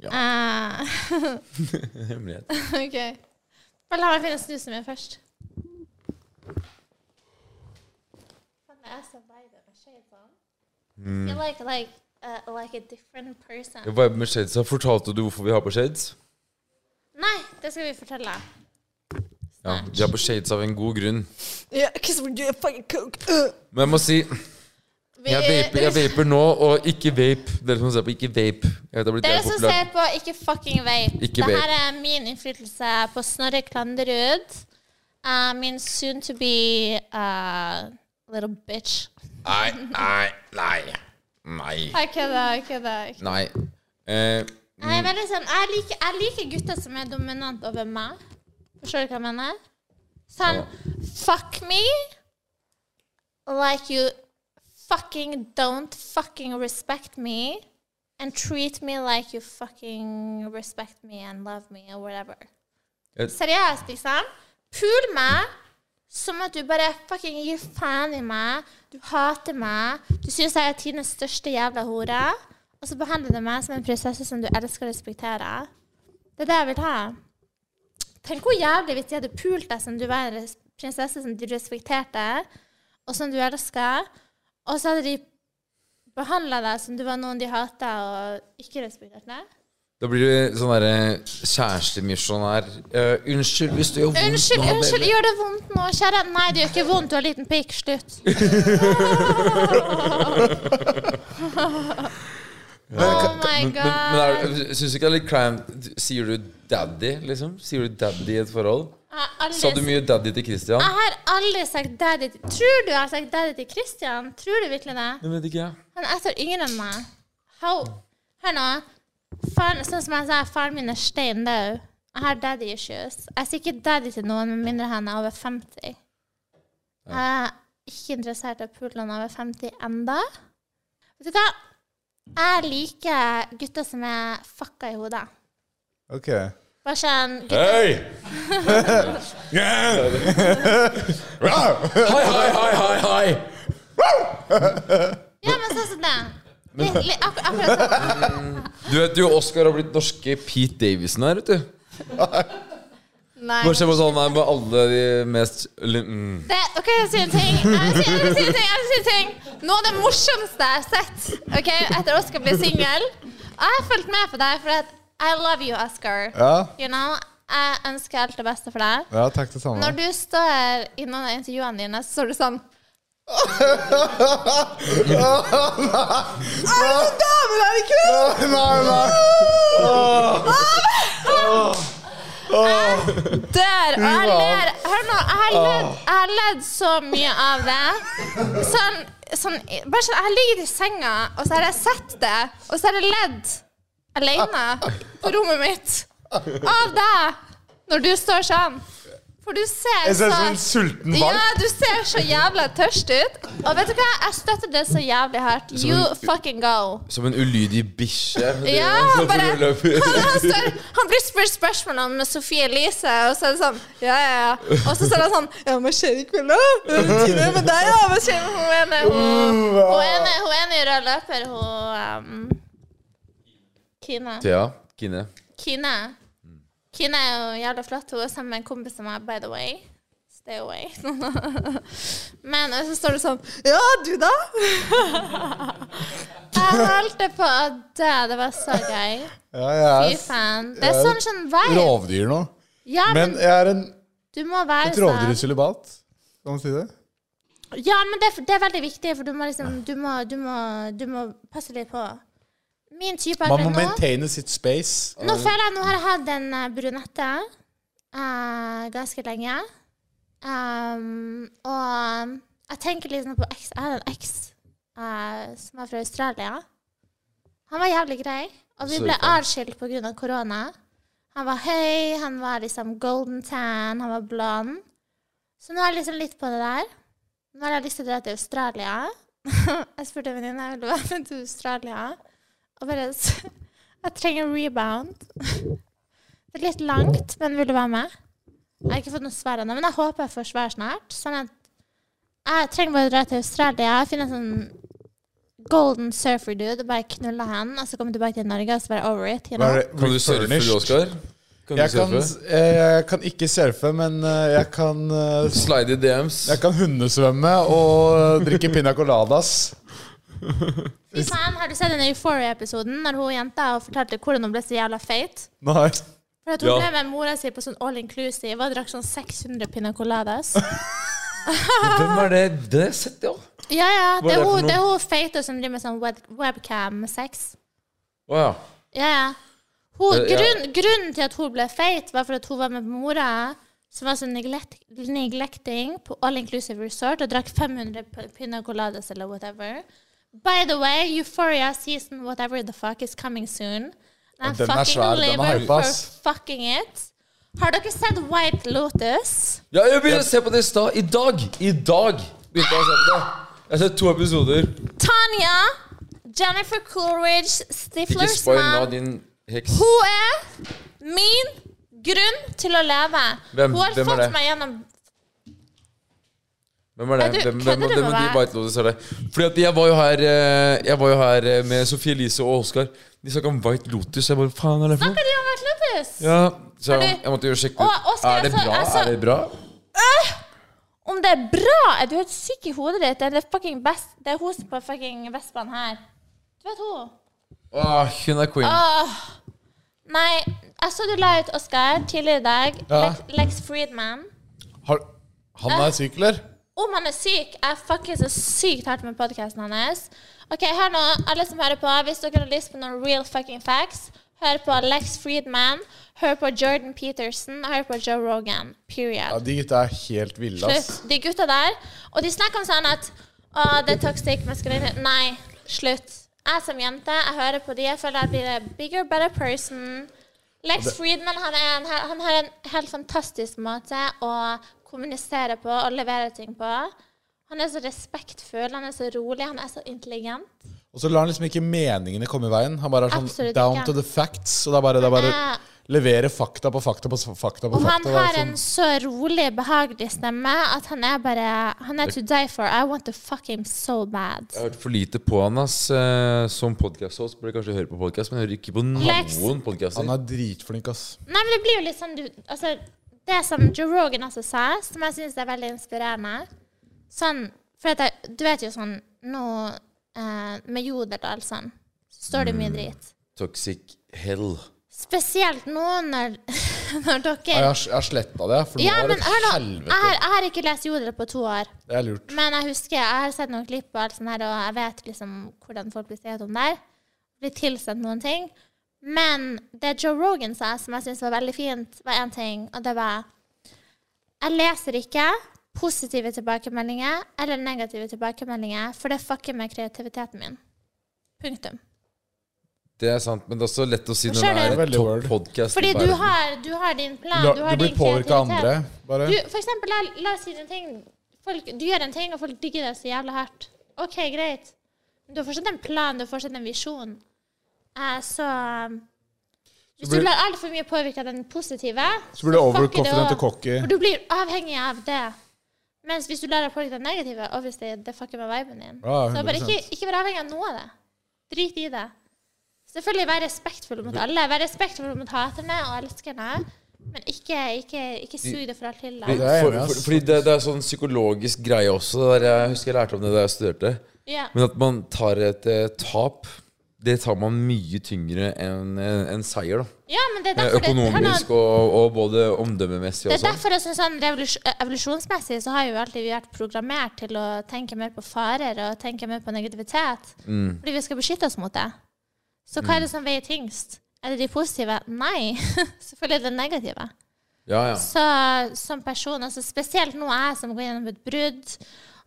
Speaker 5: Eh, <laughs>
Speaker 6: Hemmelighet.
Speaker 5: Ok. Bare la meg finne snusen min først. Fan, Jeg er så lei den jeg skjev på.
Speaker 6: Mm.
Speaker 5: I feel like, like, uh, like a different person.
Speaker 6: Jeg var med shades, så Fortalte du hvorfor vi har på shades?
Speaker 5: Nei, det skal vi fortelle.
Speaker 6: Ja, Vi har på shades av en god grunn.
Speaker 5: Yeah, cause we're doing fucking <laughs> coke.
Speaker 6: Men jeg må si
Speaker 5: Eh,
Speaker 6: Jeg vaper, jeg vaper nå, og ikke vape. Dere som ser på, ikke vape. Jeg vet det har blitt
Speaker 5: Dere
Speaker 6: jævlig
Speaker 5: som
Speaker 6: populært.
Speaker 5: ser på, ikke fucking vape.
Speaker 6: Ikke
Speaker 5: Dette
Speaker 6: vape.
Speaker 5: er min innflytelse på Snorre Klanderud. Uh, min soon to be uh, little bitch.
Speaker 6: Nei, nei, nei. Nei.
Speaker 5: Jeg kødder, jeg kødder. jeg kødder.
Speaker 6: Nei. Eh,
Speaker 5: Jeg, er veldig sånn, jeg, liker, jeg liker gutter som er dominant over meg. Forstår du hva jeg mener? Sånn Fuck me like you fucking don't fucking respect me. And treat me like you fucking respect me and love me or whatever.
Speaker 6: Jeg-
Speaker 5: Seriøst, liksom. Pul meg som at du bare fucking gir faen i meg. Du hater meg. Du syns jeg er tidenes største jævla hore. Og så behandler du meg som en prinsesse som du elsker og respekterer. Det er det jeg vil ha. Tenk hvor jævlig hvis de hadde pult deg som du var en res- prinsesse som du respekterte, og som du elsker, og så hadde de behandla deg som du var noen de hata og ikke respekterte.
Speaker 6: da blir du sånn derre kjærestemisjonær. Eh, unnskyld hvis du gjør vondt
Speaker 5: Unnskyld,
Speaker 6: nå,
Speaker 5: unnskyld,
Speaker 6: baby.
Speaker 5: gjør det vondt nå, kjære? Nei, det gjør ikke vondt, du har liten pikk. Slutt. Oh my
Speaker 6: Men, men, men er,
Speaker 5: god.
Speaker 6: syns du ikke det er litt cramped? Sier du 'daddy', liksom? Sier du 'daddy' i et forhold?
Speaker 5: Jeg har aldri
Speaker 6: Sa du mye 'daddy' til Christian?
Speaker 5: Jeg har aldri sagt daddy til Tror du jeg har sagt daddy til Christian? Tror du virkelig det?
Speaker 6: Det vet ikke jeg.
Speaker 5: Han er ett år yngre enn meg. How? Hør nå. Faren, sånn som jeg sa, faren min er stein død. Jeg har daddy issues. Jeg sier ikke daddy til noen med mindre han er over 50. Jeg er ikke interessert i å pule noen over 50 enda. Vet du hva? Jeg liker gutter som er fucka i hodet.
Speaker 3: Ok.
Speaker 5: Bare sånn gutter,
Speaker 6: Hei! Hei, hei, hei, hei, hei!
Speaker 5: Ja, men sånn som det. Litt, litt, akkur akkurat sånn.
Speaker 6: Du vet jo Oscar har blitt norske Pete Davison her, vet du.
Speaker 5: Nei.
Speaker 6: Bare se på sånn her med alle de mest li- mm.
Speaker 5: Det, ok, jeg sier en ting. Jeg vil si- jeg vil si en ting, jeg vil si en ting. Noe av det morsomste jeg har sett ok, etter Oscar ble singel Og jeg har fulgt med på deg, for at I love you, Oscar.
Speaker 3: Ja.
Speaker 5: You know, Jeg ønsker alt det beste for deg.
Speaker 3: Ja, takk det samme.
Speaker 5: Når du står i noen av intervjuene dine, så står du sånn
Speaker 3: Nei, nei, nei.
Speaker 5: dør. Og jeg
Speaker 3: Wow.
Speaker 5: ler Hør nå, jeg har ledd,
Speaker 3: Ah.
Speaker 5: jeg har ledd så mye av det. Sånn, sånn, bare sånn, Jeg ligger i senga, og så har jeg sett det, og så har jeg ledd alene på rommet mitt av deg når du står sånn. For du ser
Speaker 3: Jeg ser ut
Speaker 5: så-
Speaker 3: som en sulten
Speaker 5: Ja,
Speaker 3: valp.
Speaker 5: du ser så jævla tørst ut. Og vet du hva, jeg støtter det så jævlig hardt. You fucking go.
Speaker 6: Som en ulydig bikkje. Det
Speaker 5: Ja,
Speaker 6: er sånn
Speaker 5: bare,
Speaker 6: hvor du
Speaker 5: han,
Speaker 6: løper.
Speaker 5: han, står, han blir spurt spørsmål om Sofie Elise, og så er det sånn Ja, ja, ja. Og så står han sånn Ja, hva skjer i kveld, da? Hva betyr det med deg, da? Hva skjer med hun ene? Hun, hun ene, hun ene i rød løper, hun um, Kine.
Speaker 6: Thea, Kine.
Speaker 5: Kine. Kine er jo jævla flott. Hun er sammen med en kompis som er by the way. Stay away. <laughs> Men og så står det sånn Ja, du, da? Jeg holdt på å dø. Det var så gøy.
Speaker 3: Ja, jeg
Speaker 5: Fy
Speaker 3: er
Speaker 5: faen. Det er sånn sånn
Speaker 3: s-
Speaker 5: vibe.
Speaker 3: rovdyr nå.
Speaker 5: Ja, men
Speaker 3: Men jeg er en,
Speaker 5: du må være
Speaker 3: et
Speaker 5: sånn.
Speaker 3: rovdyrsølibat. Kan man si det?
Speaker 5: Ja, men det, er- det er veldig viktig, for du må liksom Du må, du må, du må passe litt på. Min type
Speaker 3: Man
Speaker 5: akkurat
Speaker 3: må
Speaker 5: nå
Speaker 3: maintaine sitt space.
Speaker 5: Nå føler jeg nå har jeg hatt en eh, brunette eh, ganske lenge. Um, og jeg tenker liksom på eks. Jeg hadde en eks eh, som var fra Australia. Han var jævlig grei. Og vi ble atskilt pga. korona. Han var høy, han var liksom golden tan, han var blond. Så nå er jeg liksom litt på det der. Nå har jeg lyst til å dra til Australia. <laughs> jeg spurte en venninne om hun ville være med til Australia. Og bare s- Jeg trenger en rebound. det er litt langt, men vil du være med? Jeg har ikke fått noe svar ennå, men jeg håper jeg får svar snart. Sånn at jeg trenger bare å dra til Australia, finne en sånn golden surfer dude og bare knulle han, og så komme tilbake til Norge og så være over it. You know?
Speaker 3: Hva er det?
Speaker 6: <laughs> Kan du surfe,
Speaker 3: Refurnished?
Speaker 6: Oskar? Kan du
Speaker 3: Jeg kan,
Speaker 6: surfe?
Speaker 3: eh, jeg kan ikke surfe, men eh, jeg kan eh, s-
Speaker 6: Slide i DMs.
Speaker 3: Jeg kan hundesvømme og eh, drikke <laughs> piña coladas.
Speaker 5: Fy faen, har du sett den Euphoria-episoden når hun jenta fortalte hvordan hun ble så jævla feit?
Speaker 3: Nei.
Speaker 5: For at hun
Speaker 6: Ja.
Speaker 5: ble med mora si på sånn all inclusive og drakk sånn 600 pina
Speaker 6: <laughs>
Speaker 5: coladas.
Speaker 6: Hvem er det? Det har jeg sett, ja.
Speaker 5: Ja, ja. Det er
Speaker 6: er det for
Speaker 5: hun,
Speaker 6: noe?
Speaker 5: det er hun feite som driver med sånn web webcam-sex.
Speaker 6: Å ja.
Speaker 5: Ja, ja. Hun,
Speaker 6: Eh, ja.
Speaker 5: grunn, grunnen til at hun ble feit, var for at hun var med mora, som var sånn neglect, neglecting på all inclusive resort og drakk 500 p- pina coladas eller whatever. By the way, Euphoria season whatever the fuck is coming soon. And I
Speaker 3: den er
Speaker 5: fucking
Speaker 3: svær, den er
Speaker 5: liver
Speaker 3: hype,
Speaker 5: for
Speaker 3: ass.
Speaker 5: fucking it. Har dere sett White Lotus?
Speaker 6: Ja, jeg begynte å se på det i stad. I dag! I dag begynte jeg å se på det. Jeg har sett to episoder.
Speaker 5: Tanya, Jennifer Coolridge,
Speaker 6: Ikke
Speaker 5: Stifler's
Speaker 6: spoil nå,
Speaker 5: mom.
Speaker 6: din heks.
Speaker 5: Hun er min grunn til å leve.
Speaker 6: Hvem-
Speaker 5: Hun har
Speaker 6: hvem er
Speaker 5: fått
Speaker 6: det? Hm?
Speaker 5: meg gjennom
Speaker 6: Hvem er det?
Speaker 5: Er du-
Speaker 6: Hvem, hvem,
Speaker 5: kødder
Speaker 6: hvem,
Speaker 5: du
Speaker 6: hvem
Speaker 5: med
Speaker 6: av de
Speaker 5: meg?
Speaker 6: White Lotus er det? Fordi at jeg var jo her eh, Jeg var jo her eh, med Sofie Elise og Oskar. De snakka om White Lotus. Jeg bare faen, er det for noe?
Speaker 5: Snakker de om White Lotus?
Speaker 6: Ja, så
Speaker 5: Har
Speaker 6: jeg,
Speaker 5: du-
Speaker 6: jeg måtte jo sjekke
Speaker 5: Å,
Speaker 6: ut.
Speaker 5: Oskar,
Speaker 6: Er det
Speaker 5: jeg så- altså-
Speaker 6: bra?
Speaker 5: jeg så-
Speaker 6: Er det bra?
Speaker 5: Om det er bra? Er du helt syk i hodet ditt? Er det, fucking best? det er hun som på fucking Vestbanen her. Du vet hun?
Speaker 6: Åh, hun er queen.
Speaker 5: Åh. Nei, jeg så du la ut Oskar tidligere i dag.
Speaker 3: Ja.
Speaker 5: Lex, Lex Friedman.
Speaker 3: Har, han er syk, eller?
Speaker 5: Om han er syk Jeg er fucking så sykt hardt med podkasten hans. Ok, hør nå, alle som hører på. Hvis dere har lyst på noen real fucking facts, hør på Lex Friedman, hør på Jordan Peterson, hør på Joe Rogan. Period.
Speaker 3: Ja, de gutta er helt ville, ass.
Speaker 5: Slutt. De gutta der. Og de snakker om sånn at Å, det er toxic maskulinitet. Nei, slutt. Jeg som jente, jeg hører på de. Jeg føler jeg blir a bigger, better person. Lex Friedman han, er en, he- han har en helt fantastisk måte å kommunisere på og levere ting på. Han er så respektfull, han er så rolig, han er så intelligent.
Speaker 3: Og så lar han liksom ikke meningene komme i veien. Han bare er sånn
Speaker 5: Absolutt
Speaker 3: down
Speaker 5: ikke.
Speaker 3: to the facts. Og det er bare, det er bare
Speaker 5: Han er-
Speaker 3: levere fakta på fakta på s- fakta på
Speaker 5: Eh, Og han
Speaker 3: fakta. Det er
Speaker 5: har en
Speaker 3: sånn-
Speaker 5: så rolig, behagelig stemme at han er bare Han er to die for. I want to fuck him so bad.
Speaker 6: Jeg har hørt for lite på han, ass. Eh, Som podcast-host burde jeg kanskje høre på podcast, men jeg hører ikke på
Speaker 5: Lex.
Speaker 6: noen
Speaker 3: Han
Speaker 6: podcaster.
Speaker 3: er dritflink, ass.
Speaker 5: Nei, men det blir jo litt sånn du, altså, Det som Joe Rogan også sa, som jeg syns er veldig inspirerende Sånn, for at jeg, Du vet jo sånn nå eh, Med jodel og alt sånn, så står det
Speaker 3: Mm.
Speaker 5: mye drit.
Speaker 6: Toxic hell.
Speaker 5: Spesielt nå når, <laughs> når dere
Speaker 3: Jeg har, jeg har sletta det, for nå
Speaker 5: Ja,
Speaker 3: er
Speaker 5: men
Speaker 3: det
Speaker 5: hør nå. Ah. Jeg
Speaker 3: helvete.
Speaker 5: har, jeg har ikke lest jodel på to år.
Speaker 3: Det er lurt.
Speaker 5: Men jeg husker, jeg har sett noen klipp og alt sånt her, og jeg vet liksom hvordan folk blir skrevet om der. Blir tilsendt noen ting. Men det Joe Rogan sa, som jeg syns var veldig fint, var én ting, og det var Jeg leser ikke positive tilbakemeldinger eller negative tilbakemeldinger, for det fucker med kreativiteten min. Punktum.
Speaker 6: Det er sant, men det er også lett å si når
Speaker 5: Skjønner du?
Speaker 6: det er en
Speaker 3: Veldig
Speaker 6: topp
Speaker 3: word.
Speaker 6: podcast
Speaker 5: Fordi
Speaker 6: i
Speaker 5: du
Speaker 6: verden.
Speaker 5: har, du har din plan,
Speaker 3: La,
Speaker 5: du har
Speaker 3: du blir
Speaker 5: din
Speaker 3: påvirka av
Speaker 5: kreativitet.
Speaker 3: andre, bare.
Speaker 5: Du, for eksempel, la, la oss si en ting. Folk, du gjør en ting, og folk digger det så jævlig hardt. OK, greit. Men du har fortsatt en plan, du har fortsatt en visjon. Eh, så um, Hvis
Speaker 3: blir-
Speaker 5: du lar altfor mye påvirke av den positive,
Speaker 3: Så blir du
Speaker 5: fucker det
Speaker 3: overconfident
Speaker 5: også.
Speaker 3: og cocky.
Speaker 5: For du blir avhengig av det. Mens hvis du lar deg påvirke av den negative, obviously, det fucker med viben din.
Speaker 3: Ja,
Speaker 5: så bare
Speaker 3: 100%.
Speaker 5: ikke, ikke vær avhengig av noe av det. Drit i det. Selvfølgelig vær respektfull mot alle. Vær respektfull mot haterne og elskerne. Men ikke, ikke, ikke sug det fra til deg.
Speaker 3: det er jeg
Speaker 6: For,
Speaker 3: enig i,
Speaker 6: for,
Speaker 3: ass.
Speaker 6: fordi det, det er sånn psykologisk greie også. det Der jeg husker jeg lærte om det da jeg studerte.
Speaker 5: Ja.
Speaker 6: Men at man tar et eh, tap, det tar man mye tyngre enn eh, en seier. da
Speaker 5: ja, men det er
Speaker 6: Eh,
Speaker 5: derfor det- hør nå,
Speaker 6: Økonomisk og, og både omdømmemessig
Speaker 5: Det er <laughs>
Speaker 6: og sånn.
Speaker 5: derfor også sånn revolusj- eh, evolusjonsmessig så har jo alltid vi vært programmert til å tenke mer på farer og tenke mer på negativitet.
Speaker 6: Mm.
Speaker 5: Fordi vi skal beskytte oss mot det. Så hva er det som veier tyngst? Er det de positive? Nei. <laughs> Selvfølgelig er det det negative.
Speaker 6: Ja, ja.
Speaker 5: Så som person, altså spesielt nå jeg som går gjennom et brudd,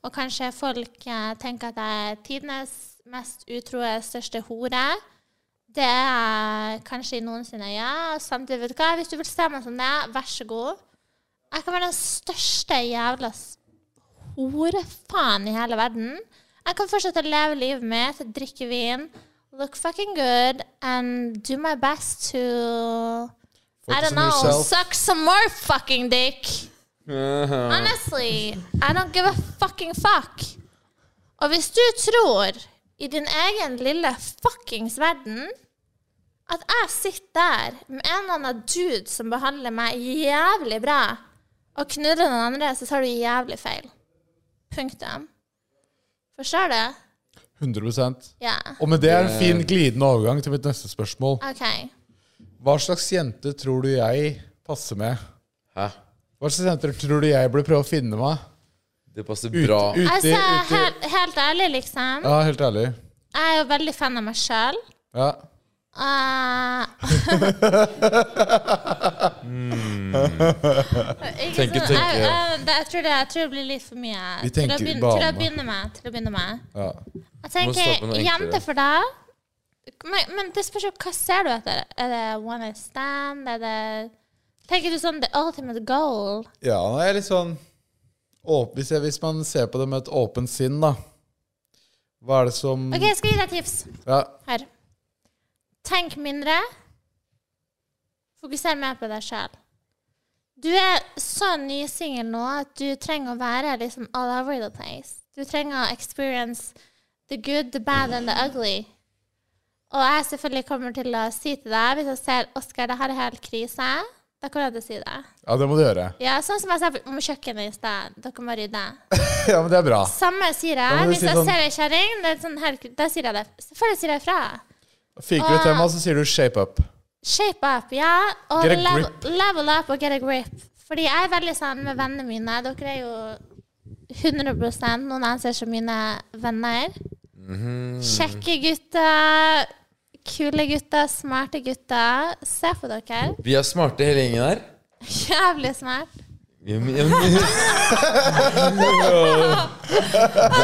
Speaker 5: og kanskje folk eh, tenker at jeg er tidenes mest utroe, største hore. Det er kanskje i noens øyne, ja. og Samtidig, vet du hva, hvis du vil se meg som det, er, vær så god. Jeg kan være den største jævla s- horefaen i hele verden. Jeg kan fortsette å leve livet mitt, drikke vin, look fucking good, and do my best to I
Speaker 3: Focus on
Speaker 5: don't know.
Speaker 3: yourself. Uh-huh.
Speaker 5: Suck some more fucking dick. Honestly, I don't give a fucking fuck. Og hvis du tror i din egen lille fuckings verden at jeg sitter der med en eller annen dude som behandler meg jævlig bra, og knuller noen andre, så tar du jævlig feil. Punktum. Forstår du?
Speaker 3: 100
Speaker 5: Ja.
Speaker 3: Og med det er
Speaker 7: Eh.
Speaker 3: en fin glidende overgang til mitt neste spørsmål.
Speaker 5: OK.
Speaker 3: Hva slags jente tror du jeg passer med?
Speaker 6: Hæ?
Speaker 3: Hva slags jenter tror du jeg burde prøve å finne meg?
Speaker 6: Det passer
Speaker 3: Ut-
Speaker 6: bra.
Speaker 3: ute,
Speaker 5: Altså,
Speaker 3: ute.
Speaker 5: helt, helt ærlig, liksom.
Speaker 3: Ja, helt ærlig.
Speaker 5: Jeg er jo veldig fan av meg sjøl.
Speaker 3: Ja.
Speaker 5: Ah. <laughs>
Speaker 3: Mm.
Speaker 5: Ikke
Speaker 6: Tenke,
Speaker 5: sant?
Speaker 6: tenke.
Speaker 5: Jeg, jeg, det, jeg, tror det, jeg tror det blir litt for mye.
Speaker 3: Vi
Speaker 5: Til å
Speaker 3: tenker
Speaker 5: begynne,
Speaker 3: bane.
Speaker 5: til å begynne med. Til å begynne med.
Speaker 3: ja.
Speaker 5: Jeg
Speaker 6: starte på
Speaker 5: tenker
Speaker 6: noe
Speaker 5: jente
Speaker 6: enklere.
Speaker 5: for deg. Men, men det spørs jo hva ser du etter. Er det one night stand? Er det Tenker du sånn the ultimate goal?
Speaker 3: ja, jeg er litt sånn åp, hvis, jeg, hvis man ser på det med et åpent sinn, da. Hva er det som
Speaker 5: OK, jeg skal gi deg et tips.
Speaker 3: ja,
Speaker 5: Her. Tenk mindre. Fokuser mer på deg sjøl. Du er så nysingel nå at du trenger å være liksom all over the place. Du trenger å experience the good, the bad and the ugly. Og jeg selvfølgelig kommer til å si til deg hvis jeg ser Oskar, det her er helt krise. Da kommer jeg til å si det.
Speaker 3: ja, det må du gjøre.
Speaker 5: Ja, Sånn som jeg sa om kjøkkenet i sted. Dere må rydde.
Speaker 3: Ja, men det er bra.
Speaker 5: Samme sier
Speaker 3: må
Speaker 5: jeg.
Speaker 3: du
Speaker 5: Hvis
Speaker 3: si
Speaker 5: jeg
Speaker 3: sånn-
Speaker 5: ser ei kjerring, det er sånn helt- da sier jeg det. Selvfølgelig sier jeg fra.
Speaker 3: Fiker
Speaker 5: Ah.
Speaker 3: du et tema, så sier du 'shape up'.
Speaker 5: Shape up, ja. Og
Speaker 3: Get a
Speaker 5: level,
Speaker 3: grip.
Speaker 5: level up og get a grip. Fordi jeg er veldig sånn med vennene mine. Dere er jo 100 noen jeg ser som mine venner.
Speaker 3: Mhm.
Speaker 5: Kjekke gutter, kule gutter, smarte gutter. Se på dere. <laughs>
Speaker 6: Vi er smarte hele gjengen her.
Speaker 5: Jævlig smart.
Speaker 6: Vi er- vi er- Vi er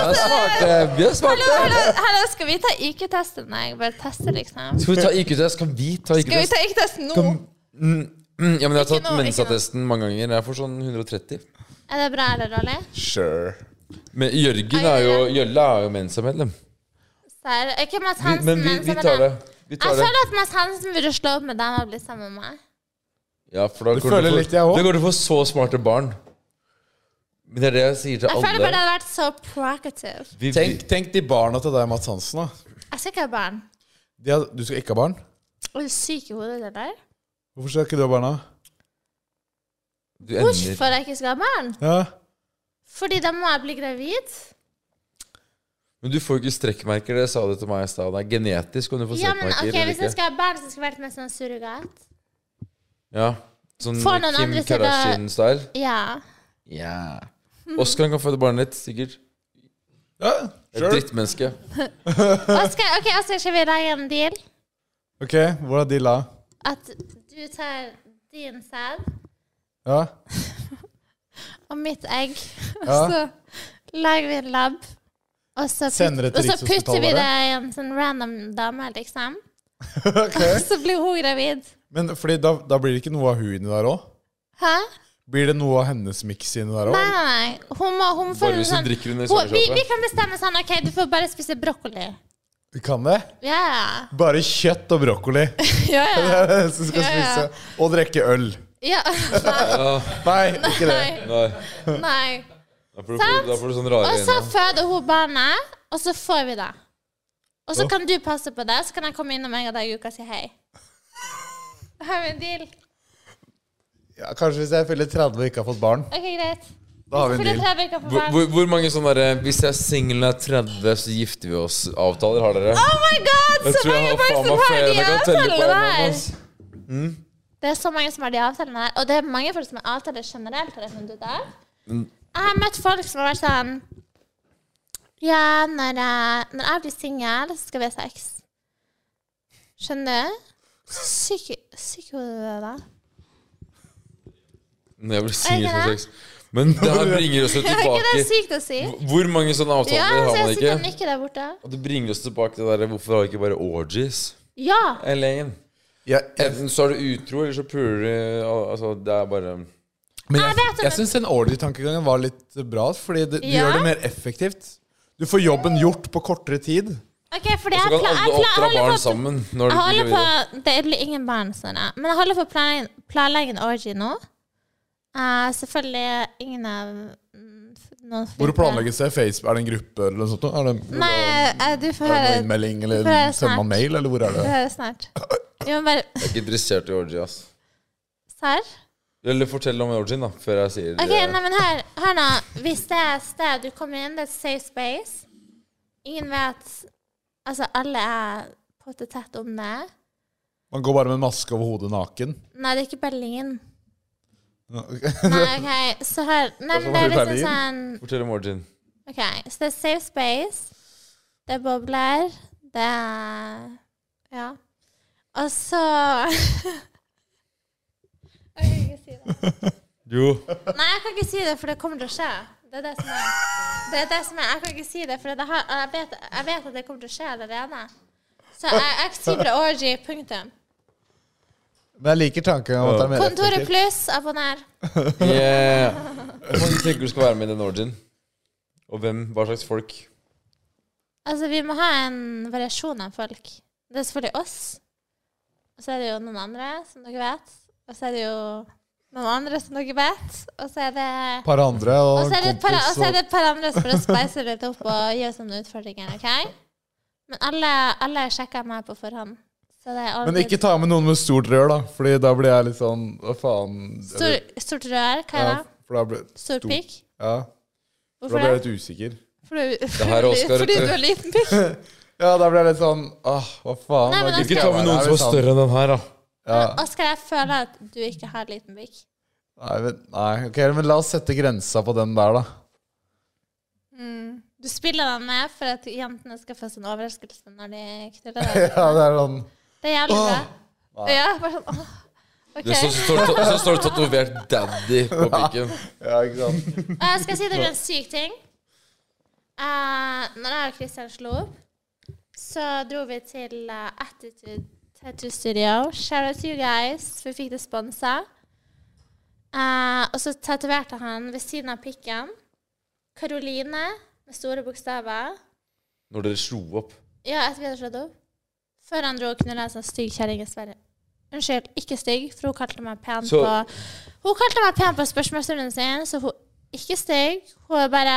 Speaker 6: smarte. Vi
Speaker 5: Hallo,
Speaker 6: er smarte.
Speaker 5: hallo, hallo, skal vi ta IQ-testen? Nei, jeg bare tester, liksom.
Speaker 6: Skal vi ta IQ-test? Kan vi ta
Speaker 5: Skal vi
Speaker 6: IQ-test?
Speaker 5: ta IQ-testen nå?
Speaker 6: Kan- Mm, mm, ja, men Jeg har
Speaker 5: Ikke
Speaker 6: tatt
Speaker 5: nå, ikke nå.
Speaker 6: Mensa-testen mange ganger. Jeg får sånn 130.
Speaker 5: Er det bra eller dårlig?
Speaker 7: Sure.
Speaker 6: Men Jørgen er jo Jølle er jo Mensa-medlem.
Speaker 5: Ser, ikke Mads
Speaker 6: Vi-
Speaker 5: Hansen,
Speaker 6: Men vi,
Speaker 5: men
Speaker 6: vi
Speaker 5: så
Speaker 6: tar det. Vi
Speaker 5: Jeg
Speaker 6: tar det.
Speaker 5: føler at Mads Hansen burde slå opp med dem og bli sammen med meg.
Speaker 6: Ja, for da
Speaker 7: Det
Speaker 6: går
Speaker 7: føler
Speaker 6: for,
Speaker 7: litt jeg også.
Speaker 6: Da går du for så smarte barn. Men det er det jeg sier til
Speaker 5: Jeg føler bare det
Speaker 6: alle.
Speaker 5: hadde vært så provocative.
Speaker 6: Vi, vi,
Speaker 7: Tenk, tenk de barna til deg, Mats Hansen. da
Speaker 5: Jeg skal ikke ha barn.
Speaker 7: de har, Du skal ikke ha barn?
Speaker 5: Er du syk i hodet, eller?
Speaker 7: Hvorfor skal ikke du ha barna?
Speaker 6: du ender
Speaker 5: Hvorfor jeg ikke skal ha barn?
Speaker 7: Ja.
Speaker 5: Fordi da må jeg bli gravid.
Speaker 6: Men du får jo ikke strekkmerker, det sa du til meg i stad. Det er genetisk om du får
Speaker 5: Ja, men
Speaker 6: strekkmerker
Speaker 5: ok,
Speaker 6: eller
Speaker 5: Hvis jeg
Speaker 6: ikke.
Speaker 5: skal ha barn, så skal jeg være med sånn surrogat.
Speaker 6: Ja, sånn
Speaker 5: Får noen
Speaker 6: Kim
Speaker 5: andre til å-
Speaker 6: Kardashian-style.
Speaker 5: Ja.
Speaker 6: Ja. Oskar kan føde barnet ditt, sikkert.
Speaker 7: ja.
Speaker 6: Et drittmenneske.
Speaker 5: Oskar, ok, Oskar, skal vi lage en deal?
Speaker 7: Ok, hvordan de la?
Speaker 5: At du tar din sæd
Speaker 7: Ja.
Speaker 5: og mitt egg, <laughs> og
Speaker 7: Ja.
Speaker 5: så lager vi en lab. Og så, put,
Speaker 7: Sender det
Speaker 5: og
Speaker 7: til
Speaker 5: så putter vi
Speaker 7: Rikshospitalet.
Speaker 5: det i en sånn random dame, liksom.
Speaker 7: <laughs> Ok.
Speaker 5: Så blir hun gravid.
Speaker 7: Men fordi da, da blir det ikke noe av hun inni der òg?
Speaker 5: Hæ?
Speaker 7: Blir det noe av hennes miks inni der
Speaker 5: Nei,
Speaker 7: òg?
Speaker 5: nei, nei. Hun må, hun får
Speaker 6: Bare hvis
Speaker 5: en sånn-
Speaker 6: du drikker under
Speaker 5: hun, vi, vi
Speaker 6: sommerkjøpet.
Speaker 5: kan bestemme sånn OK, du får bare spise brokkoli.
Speaker 7: Vi kan det.
Speaker 5: Ja,
Speaker 7: <laughs> Bare kjøtt og brokkoli <laughs>
Speaker 5: ja. ja,
Speaker 7: som skal
Speaker 5: Ja, ja.
Speaker 7: spise. Og drikke øl.
Speaker 5: ja. <laughs>
Speaker 6: Ja,
Speaker 7: Nei, ikke
Speaker 5: Nei.
Speaker 7: det.
Speaker 6: nei.
Speaker 5: nei.
Speaker 6: Da får du, da får du sånn rare
Speaker 5: Og så
Speaker 6: øyne.
Speaker 5: føder hun barnet, og så får vi det. Og så kan du passe på det, så kan jeg komme innom en gang i uka og si
Speaker 7: <laughs>
Speaker 5: hei. Har vi en deal?
Speaker 7: Ja, kanskje hvis jeg fyller 30 og ikke har fått barn.
Speaker 5: OK, greit.
Speaker 7: Da har vi en
Speaker 5: Fyller 30
Speaker 7: deal.
Speaker 5: uker på
Speaker 6: Hvor,
Speaker 5: barn.
Speaker 6: hvor, hvor mange sånne der, eh, Hvis jeg er singel når jeg er 30, så gifter vi oss-avtaler har dere?
Speaker 5: Oh my god,
Speaker 6: Jeg
Speaker 5: så
Speaker 6: tror jeg
Speaker 5: mange
Speaker 6: har
Speaker 5: folk
Speaker 6: faen
Speaker 5: som
Speaker 6: meg
Speaker 5: har
Speaker 6: flere
Speaker 5: de
Speaker 6: enn jeg kan telle på.
Speaker 5: avtalene
Speaker 6: en hånd,
Speaker 5: der.
Speaker 6: ass.
Speaker 5: Det er så mange som har de avtalene der. Og det er mange folk som har avtaler generelt. Har jeg funnet ut av. Jeg har møtt folk som har vært sånn Ja, når jeg, når jeg blir singel, så skal vi ha sex. Skjønner du? Så syk syk i hodet du er da.
Speaker 6: Når jeg blir singel
Speaker 5: Er det
Speaker 6: som
Speaker 5: det?
Speaker 6: sex. Men det <laughs> her bringer oss jo
Speaker 5: Er ikke <laughs> det
Speaker 6: tilbake
Speaker 5: sykt å si?
Speaker 6: Hvor mange sånne avtaler
Speaker 5: Ja, så
Speaker 6: har
Speaker 5: jeg
Speaker 6: man
Speaker 5: sitter og
Speaker 6: ikke?
Speaker 5: nikker der borte.
Speaker 6: Og det bringer oss tilbake til det der Hvorfor har vi ikke bare orgies?
Speaker 5: Ja.
Speaker 6: Hele gjengen.
Speaker 7: Jeg, jeg,
Speaker 6: Enten så er du utro, eller så puler du al- Altså, det er bare
Speaker 7: men
Speaker 5: Jeg
Speaker 7: jeg,
Speaker 5: vet om
Speaker 7: jeg
Speaker 5: en-
Speaker 7: syns den orgy-tankegangen var litt bra, fordi det, du
Speaker 5: Ja.
Speaker 7: gjør det mer effektivt. Du får jobben gjort på kortere tid.
Speaker 5: OK, fordi
Speaker 6: Så
Speaker 5: jeg,
Speaker 6: kan
Speaker 5: pla-
Speaker 6: alle
Speaker 5: jeg, pla-
Speaker 6: oppdra
Speaker 5: jeg holder
Speaker 6: barn
Speaker 5: på
Speaker 6: sammen når
Speaker 5: Jeg
Speaker 6: de blir
Speaker 5: holder
Speaker 6: gravide.
Speaker 5: på Det blir ingen barn, sånn, ja. men jeg holder på å plan- planlegge en orgy nå. Eh, selvfølgelig ingen av mm, f- noen
Speaker 7: Hvor
Speaker 5: flinke-
Speaker 7: planlegges det? Facebook? Er det en gruppe eller noe sånt? Er det,
Speaker 5: Nei, eh, du får
Speaker 7: er det noen
Speaker 5: høre
Speaker 7: innmelding,
Speaker 5: det er
Speaker 7: eller sender
Speaker 5: snart.
Speaker 7: man mail, eller hvor er
Speaker 5: Du
Speaker 7: det?
Speaker 5: hører snart. Vi må bare
Speaker 6: Jeg er ikke interessert i orgy, ass.
Speaker 5: Serr?
Speaker 6: Eller fortell om orgyen, da, før jeg sier
Speaker 5: OK,
Speaker 6: eh,
Speaker 5: nei, men hør, hør nå. Hvis det er et sted du kommer inn, det er et safe space Ingen vet Altså, alle er pottet tett om det.
Speaker 7: Man går bare med en maske over hodet naken.
Speaker 5: Nei, det er ikke Berlin.
Speaker 7: Ok.
Speaker 5: Nei, OK, så hør Nei, men det er liksom sånn
Speaker 6: Fortell om orgyen.
Speaker 5: Ok, så det er safe space. Det er bobler. Det er Ja. Og så <laughs> Jeg kan ikke si det.
Speaker 6: Jo.
Speaker 5: Nei, jeg kan ikke si det, for det kommer til å skje. Det er det som er. Det er det som er. Jeg kan ikke si det, for det har, jeg, vet, jeg vet at det kommer til å skje allerede. Så jeg, jeg sier bare orgy, punktum.
Speaker 7: <laughs> Men jeg liker tanken om at det er mer
Speaker 5: Kontoret
Speaker 7: effektivt.
Speaker 5: pluss, abonner.
Speaker 6: Yeah. Hvor mange tenker du skal være med i den orgyen? Og hvem? Hva slags folk?
Speaker 5: Altså, vi må ha en variasjon av folk. Det er selvfølgelig oss. Og så er det jo noen andre, som dere vet. Og så er det jo noen andre, som dere vet. Og så er det
Speaker 7: Et par andre og
Speaker 5: og så
Speaker 7: en
Speaker 5: er det, et par, og
Speaker 7: kompis.
Speaker 5: så er
Speaker 7: Og...
Speaker 5: det et par andre som bare speiser litt opp og gjør sånne utfordringer, OK? Men alle, alle sjekker meg på forhånd. Så det er alltid
Speaker 7: Men ikke ta med noen med stort rør, da, Fordi da blir jeg litt sånn Hva faen?
Speaker 5: Stor, Stort rør, hva er
Speaker 7: ja,
Speaker 5: det?
Speaker 7: for da blir,
Speaker 5: Stor pikk?
Speaker 7: ja, for da
Speaker 5: Hvorfor
Speaker 7: blir
Speaker 5: det?
Speaker 7: jeg litt usikker.
Speaker 5: Fordi,
Speaker 6: her er
Speaker 5: fordi,
Speaker 6: Oscar,
Speaker 5: fordi
Speaker 6: vet
Speaker 5: du
Speaker 6: du.
Speaker 5: har liten pikk?
Speaker 7: Ja, da blir jeg litt sånn Åh,
Speaker 3: ah,
Speaker 7: hva faen?
Speaker 5: Nei, men
Speaker 7: hva
Speaker 5: altså-
Speaker 7: gidder jeg være her, liksom?
Speaker 6: enn den her, da.
Speaker 5: Oskar, jeg føler at du ikke har liten pikk.
Speaker 7: Nei, men, nei, ok, men la oss sette grensa på den der, da.
Speaker 5: Du spiller den med for at jentene skal få sånn overraskelse når de knuller deg.
Speaker 3: <laughs> Ja, det er sånn
Speaker 5: Det er jævlig bra. Ja, bare sånn åh. OK.
Speaker 6: Det står- så står det så står det tatovert 'daddy' på pikken.
Speaker 7: Ja, ikke sant?
Speaker 5: Eh, skal jeg si dere en syk ting? Uh, når jeg og Kristian slo opp, så dro vi til eh, Attitude Tattoo Studio. Shout out to you guys. Vi fikk det sponsa. Eh, og så tatoverte han ved siden av pikken Karoline med store bokstaver.
Speaker 6: Når dere slo opp.
Speaker 5: Ja, etter vi hadde slått opp. Før han dro og knulla en sånn stygg kjerring i Sverige. Unnskyld, ikke stygg, for hun kalte meg pen
Speaker 6: Så-
Speaker 5: på Hun kalte meg pen på spørsmålsrunden sin, så hun ikke stygg. Hun er bare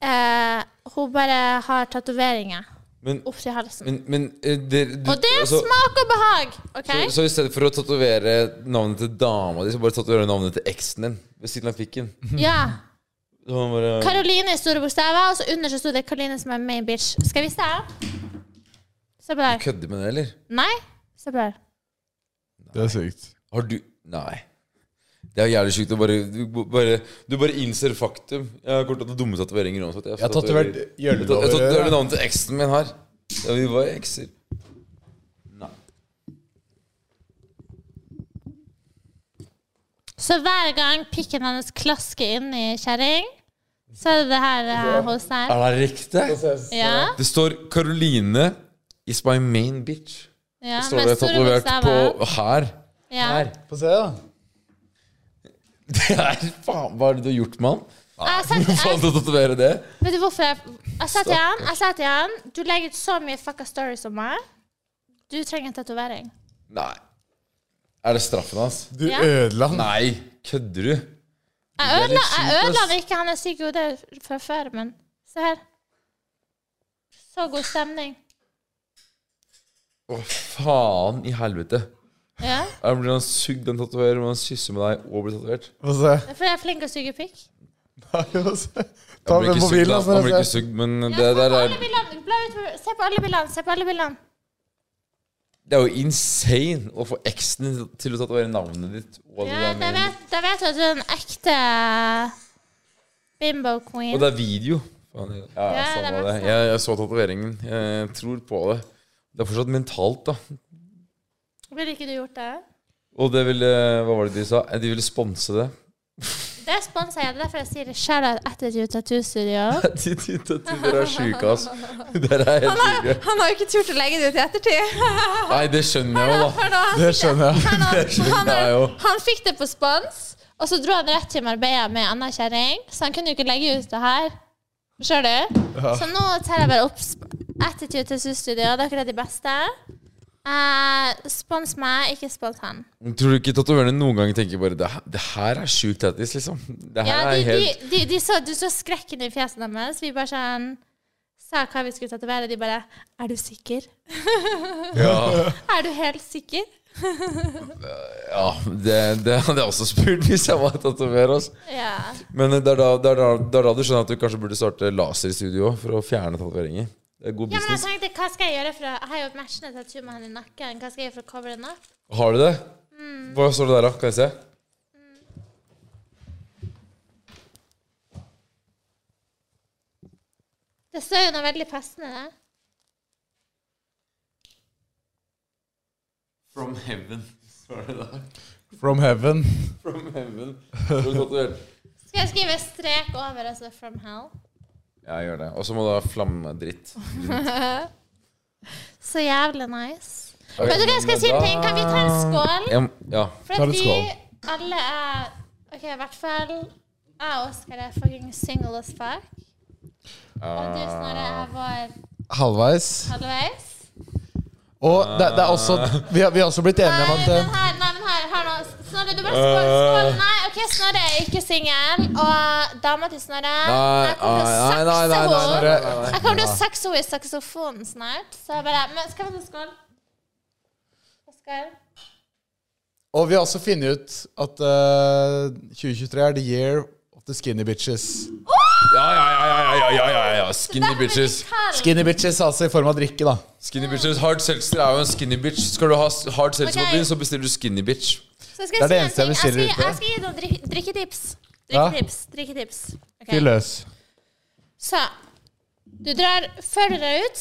Speaker 5: eh, Hun bare har tatoveringer
Speaker 6: Men,
Speaker 5: opp til halsen.
Speaker 6: men, men eh, dere du-
Speaker 5: og det er
Speaker 6: altså,
Speaker 5: smak og behag! OK?
Speaker 6: så, så i stedet for å tatovere navnet til dama di, så bare tatovere navnet til eksen din ved siden av pikken.
Speaker 5: ja.
Speaker 6: Så man bare-
Speaker 5: Karoline i store bokstaver, og så under så sto det Karoline som er main bitch. Skal jeg vise deg? Se på der.
Speaker 6: Kødder med det, eller?
Speaker 5: Nei? Se på der.
Speaker 3: Det er sykt.
Speaker 6: Har du Nei. Det er jævlig sjukt å bare du, bare du bare innser faktum. Jeg har kort hatt dumme tatoveringer uansett.
Speaker 3: Jeg har tatovert
Speaker 6: Jeg tat- jeg tatoverer
Speaker 3: gjøllover.
Speaker 6: navnet til eksen min her. Ja, vi var ekser. Nei.
Speaker 5: Så hver gang pikken hennes klasker inn i kjerring, så er det det her eh, hos deg.
Speaker 6: Er det riktig?
Speaker 5: Ja,
Speaker 6: Det står Caroline is my main bitch.
Speaker 5: ja,
Speaker 6: Står
Speaker 5: med
Speaker 6: det
Speaker 5: store
Speaker 6: tatovert
Speaker 5: bokstaver.
Speaker 6: på <laughs> her.
Speaker 5: Ja.
Speaker 3: Få se, da.
Speaker 6: Det er faen Hva er det du har gjort, mann?
Speaker 5: Jeg
Speaker 6: <laughs>
Speaker 5: sa
Speaker 6: Hvordan
Speaker 5: til
Speaker 6: faen
Speaker 5: jeg-
Speaker 6: skal du tatovere det?
Speaker 5: Vet du hvorfor jeg Jeg sa til han, jeg sa til han Du legger ut så mye fucka stories om meg. Du trenger en tatovering.
Speaker 6: Nei. Er det straffen hans?
Speaker 3: Du
Speaker 5: Ja.
Speaker 3: ødela den.
Speaker 6: Nei, kødder du?
Speaker 5: Jeg
Speaker 6: Det er litt
Speaker 5: ødela jeg
Speaker 6: kjipt,
Speaker 5: ødela
Speaker 6: ass.
Speaker 5: det ikke, han er syk i hodet fra før, men se her. Så god stemning.
Speaker 6: Å, faen i helvete.
Speaker 5: Ja.
Speaker 6: Her blir han sugd av en tatoverer, men han kysser med deg og blir tatovert.
Speaker 3: Få se. <laughs>
Speaker 5: Det er fordi jeg er flink til å suge pikk.
Speaker 3: Nei, få se. Ta
Speaker 6: Han blir
Speaker 3: med
Speaker 6: ikke sugd,
Speaker 3: mobilen,
Speaker 6: da.
Speaker 3: altså.
Speaker 6: han blir ikke
Speaker 3: se.
Speaker 6: sugd, men
Speaker 5: Ja,
Speaker 6: det
Speaker 5: se, på
Speaker 6: der
Speaker 5: alle
Speaker 6: er
Speaker 5: bildene. Bla ut, se på alle bildene. Se på alle bildene.
Speaker 6: Det er jo insane å få eksen din til å tatovere navnet ditt. Og,
Speaker 5: Ja,
Speaker 6: det
Speaker 5: da
Speaker 6: der med-
Speaker 5: vet, da vet du at du er en ekte bimbo
Speaker 6: og
Speaker 5: queen.
Speaker 6: det er video. Faen, Ja, ja,
Speaker 5: det er
Speaker 6: samme det.
Speaker 5: masse.
Speaker 6: Jeg, jeg så tatoveringen. Jeg tror på det. Det er fortsatt mentalt, da.
Speaker 5: Ville ikke du gjort det?
Speaker 6: Og det ville Hva var det de sa? Eh, De ville sponse det. <laughs>
Speaker 5: Det sponser jeg. Det er derfor jeg sier det sjæl at Attitude Tattoo
Speaker 6: <laughs>
Speaker 5: Studio.
Speaker 6: De de tatoverer er sjuke, ass. Dere er helt syke.
Speaker 9: Han har jo ikke turt å legge det ut i ettertid.
Speaker 5: <laughs>
Speaker 6: Nei, det skjønner jeg jo, da.
Speaker 5: Hør nå.
Speaker 3: Det skjønner jeg.
Speaker 5: Han, han,
Speaker 6: Det er jo
Speaker 5: han fikk det på spons, og så dro han rett til Marbella med anna kjerring, så han kunne jo ikke legge ut det her. Skjønner du? Så nå tar jeg bare opp sp- Attitude Tattoo Studio. Dere er de beste. Eh, spons meg, ikke spons han.
Speaker 6: Tror du ikke tatovørene noen gang tenker bare Det, her- det her er sjukt tattis, liksom? Det her
Speaker 5: Ja, de,
Speaker 6: er helt
Speaker 5: de, de, de så, du så skrekken i fjeset deres. Vi bare sånn sa hva vi skulle tatovere. De bare 'Er du sikker? <laughs>
Speaker 6: Ja,
Speaker 5: Er du helt sikker?'
Speaker 6: ja det, det hadde jeg også spurt hvis jeg var tatoverer. Altså.
Speaker 5: Ja.
Speaker 6: Men det er, da, det, er da, det er da du skjønner at du kanskje burde starte laserstudio også for å fjerne tatoveringer. Det er god
Speaker 5: ja, men jeg
Speaker 6: business.
Speaker 5: tenkte, hva skal jeg gjøre for å Jeg har jo et matchende tattoo med han i nakken. Hva skal jeg gjøre for å cover den opp?
Speaker 6: Har du det?
Speaker 5: Mm.
Speaker 6: Hva står det der, da? Kan jeg se?
Speaker 5: Det står jo noe veldig passende der.
Speaker 6: From heaven. Står det der?
Speaker 3: From heaven.
Speaker 6: From heaven. Står det tatovert?
Speaker 5: Skal jeg skrive strek over, altså 'from hell'?
Speaker 6: Ja, gjør det. Og så må du ha flammedritt.
Speaker 5: Så jævlig nice. Vet du hva, skal jeg si en ting? Kan vi ta en skål?
Speaker 6: Ja, ja.
Speaker 5: For
Speaker 3: Ta
Speaker 5: at
Speaker 3: litt
Speaker 5: vi
Speaker 3: skål.
Speaker 5: alle er OK, i hvert fall jeg og Oskar er fucking single as fuck. Og du, Snorre,
Speaker 6: Ah.
Speaker 5: er vår
Speaker 3: Halvveis.
Speaker 5: halvveis.
Speaker 3: Og det, det er også Vi har, vi har også blitt enige om
Speaker 5: Nei,
Speaker 3: at
Speaker 5: men
Speaker 3: eh,
Speaker 5: her, nei, men her, hør nå. Snorre, du bare skål, skål.
Speaker 6: Eh.
Speaker 5: Nei, OK, Snorre er ikke singel. Og dama til Snorre
Speaker 6: Nei, ah,
Speaker 5: Jeg kommer til å
Speaker 6: nei, nei, nei, nei,
Speaker 5: sakse
Speaker 6: Snorre.
Speaker 5: henne. Jeg kommer til å sakse henne i saksofonen snart. Så jeg bare Men skal vi ta skål? Oskar?
Speaker 3: Og vi har også funnet ut at eh, 2023 er the year of the skinny bitches.
Speaker 6: Ja, ja, ja, ja, ja, ja, ja, ja. Skinny bitches.
Speaker 3: Skinny bitches altså i form av drikke, da.
Speaker 6: Skinny bitches, Hard seltzer er jo en skinny bitch. Skal du ha s- hard seltzer
Speaker 5: Ok.
Speaker 6: på byen, så bestiller du skinny bitch.
Speaker 5: Så
Speaker 3: Det
Speaker 5: skal
Speaker 3: er det
Speaker 5: jeg
Speaker 3: eneste
Speaker 5: si
Speaker 3: jeg
Speaker 5: en ting.
Speaker 3: bestiller
Speaker 5: Jeg skal,
Speaker 3: ute.
Speaker 5: jeg skal gi noen drik- drikketips.
Speaker 3: Ja.
Speaker 5: Drikketips. drikketips. Ok.
Speaker 3: Fyr løs.
Speaker 5: Så du drar, følger deg ut,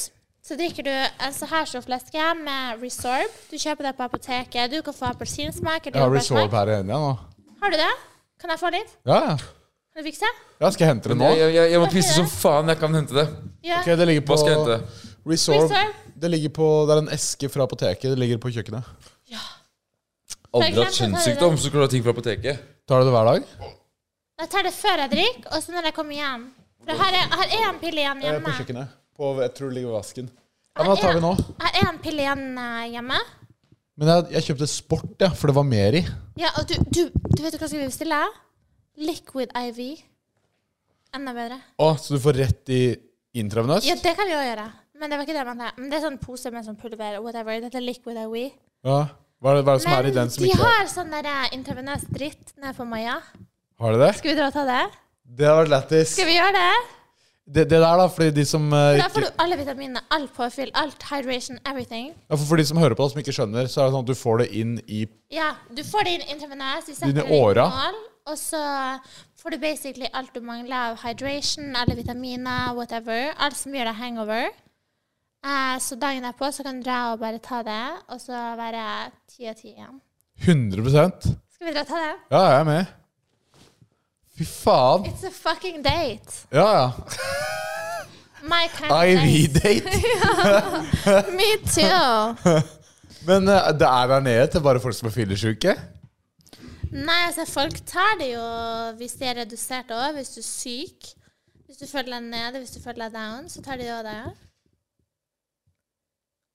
Speaker 5: så drikker du en så her stor flaske med Resorb. Du kjøper det på apoteket. Du kan få appelsinsmak. eller
Speaker 3: Jeg har
Speaker 5: jordbærsmak.
Speaker 3: Resolve her igjen, jeg nå.
Speaker 5: Har du det? Kan jeg få litt?
Speaker 3: Ja, ja.
Speaker 5: Kan du fikse?
Speaker 3: ja. Skal jeg hente det nå?
Speaker 6: Jeg, jeg, jeg, jeg må pisse som faen. Jeg kan hente det.
Speaker 5: Ja.
Speaker 3: Ok, det ligger på
Speaker 6: Hva skal jeg hente?
Speaker 3: Resolve.
Speaker 5: Resolve.
Speaker 3: Det ligger på Det er en eske fra apoteket. Det ligger på kjøkkenet.
Speaker 5: For
Speaker 6: Aldri hatt
Speaker 5: eksempel,
Speaker 6: kjønnssykdom, så skulle du ha ting fra apoteket.
Speaker 3: Tar du det hver dag?
Speaker 5: Jeg tar det før jeg drikker, og så når jeg kommer hjem. For her er, her er en pille igjen
Speaker 3: Eh, På
Speaker 5: hjemme.
Speaker 3: kjøkkenet. På, jeg tror det ligger ved vasken. Ja, men da tar vi nå.
Speaker 5: Her er en pille igjen eh, hjemme.
Speaker 3: Men jeg, jeg kjøpte Sport, ja, for det var mer i.
Speaker 5: Ja, og du, du, du vet jo hva skal vi bestille? Liquid IV. Enda bedre.
Speaker 3: Å, så du får rett i intravenøst?
Speaker 5: Ja, det kan vi òg gjøre. Men det var ikke det jeg mente. Men det er sånn pose med sånn pulver. whatever. Dette er liquid IV.
Speaker 3: Ja. Hva er det, hva er det som er
Speaker 5: Men
Speaker 3: i den som
Speaker 5: de
Speaker 3: ikke har
Speaker 5: har sånn der eh, intravenøs dritt nede på Maja.
Speaker 3: Har de det?
Speaker 5: Skal vi dra og ta det?
Speaker 3: Det hadde vært lættis.
Speaker 5: Skal vi gjøre det?
Speaker 3: Det, det der, da, fordi de som eh,
Speaker 5: Da
Speaker 3: ikke
Speaker 5: får du alle vitaminene, alt påfyll, alt hydration, everything.
Speaker 3: ja, for, for de som hører på, da, som ikke skjønner, så er det sånn at du får det inn i
Speaker 5: Ja, du får det inn intravenøst. Vi setter
Speaker 3: Dine
Speaker 5: det i
Speaker 3: åra.
Speaker 5: kanal, og så får du basically alt du mangler av hydration, alle vitaminer, whatever. Alt som gjør deg hangover. Eh, så dagen derpå så kan du dra og bare ta det, og så være ti av ti igjen.
Speaker 3: 100 Ja,
Speaker 5: Skal vi dra og ta det?
Speaker 3: jeg er med. Fy faen.
Speaker 5: It's a fucking date.
Speaker 3: Ja, ja.
Speaker 5: My kind of date.
Speaker 3: IV-date.
Speaker 5: Me too.
Speaker 3: Men eh, det er der nede til bare folk som er fyllesyke?
Speaker 5: Nei, altså folk tar det jo hvis de er redusert òg, hvis du er syk. Hvis du føler deg nede, hvis du føler deg down, så tar de òg det.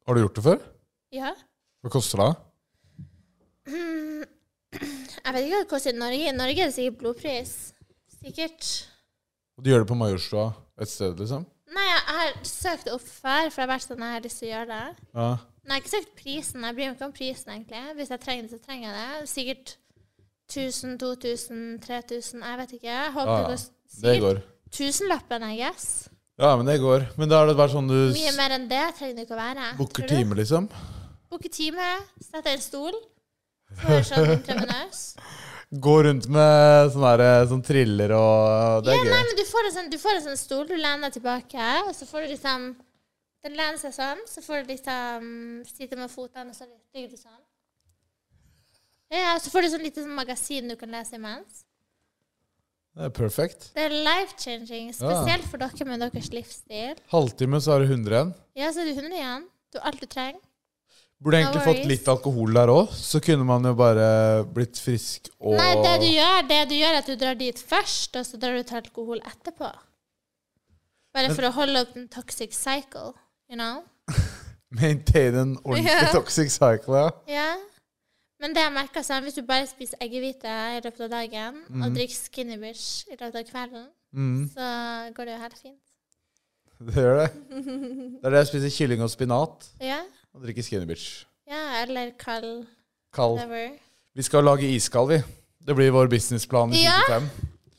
Speaker 3: Har du gjort det før?
Speaker 5: Ja.
Speaker 3: Hva koster det?
Speaker 5: Jeg vet ikke hva det koster i Norge. I Norge er det sikkert blodpris. Sikkert.
Speaker 3: Og de gjør det på Majorstua et sted, liksom?
Speaker 5: Nei, jeg har søkt opp før, for jeg har vært sånn jeg har lyst til å gjøre det.
Speaker 3: Ja.
Speaker 5: Men jeg har ikke søkt prisen. Jeg bryr meg ikke om prisen, egentlig. Hvis jeg trenger det, så trenger jeg det. Sikkert 1000, 2000, 3000, jeg vet ikke. Jeg håper
Speaker 3: Ja,
Speaker 5: det
Speaker 3: ja.
Speaker 5: går
Speaker 3: Det
Speaker 5: sikkert
Speaker 3: går.
Speaker 5: Tusenlappen, I guess.
Speaker 3: Ja, men det går. Men da er det bare sånn du
Speaker 5: Mye mer enn det trenger det ikke å være.
Speaker 3: booker
Speaker 5: tror du?
Speaker 3: time, liksom?
Speaker 5: Booker time, sett deg i en stol, får sånn intravenøs.
Speaker 3: Gå rundt med sånn der, sånn triller og Det
Speaker 5: Ja,
Speaker 3: er
Speaker 5: nei,
Speaker 3: gøy.
Speaker 5: men du får, en sånn, du får en sånn stol, du lener deg tilbake, og så får du liksom Den lener seg sånn, så får du liksom sitte med fotene, og så ligger du sånn. Ja, så får du sånn lite sånn magasin du kan lese imens.
Speaker 3: Det er perfekt.
Speaker 5: Det er
Speaker 3: Ah.
Speaker 5: life-changing, spesielt for dere med deres livsstil.
Speaker 3: Halvtime, så er det 100 igjen.
Speaker 5: Ja, så er du 100 igjen. Du har alt du trenger.
Speaker 3: Burde
Speaker 5: No
Speaker 3: egentlig fått
Speaker 5: worries.
Speaker 3: litt alkohol der òg, så kunne man jo bare blitt frisk og
Speaker 5: Nei, det du gjør, det du gjør er at du drar dit først, og så drar du til alkohol etterpå. Bare for å holde opp den toxic cycle, you know?
Speaker 3: Maintain en
Speaker 5: <laughs>
Speaker 3: ordentlig
Speaker 5: Ja.
Speaker 3: toxic cycle, ja.
Speaker 5: Ja. Men det jeg merker sånn, hvis du bare spiser eggehvite i løpet av dagen, og drikker Skinny Bitch i løpet av kvelden, så går det jo helt fint.
Speaker 3: Det gjør det. Det er det jeg spiser kylling og spinat
Speaker 5: Ja.
Speaker 3: og drikker Skinny Bitch.
Speaker 5: ja eller kald
Speaker 3: Kald.
Speaker 5: whatever.
Speaker 3: Vi skal lage iskald, vi. Det blir vår businessplan i
Speaker 5: Ja.
Speaker 3: 2025.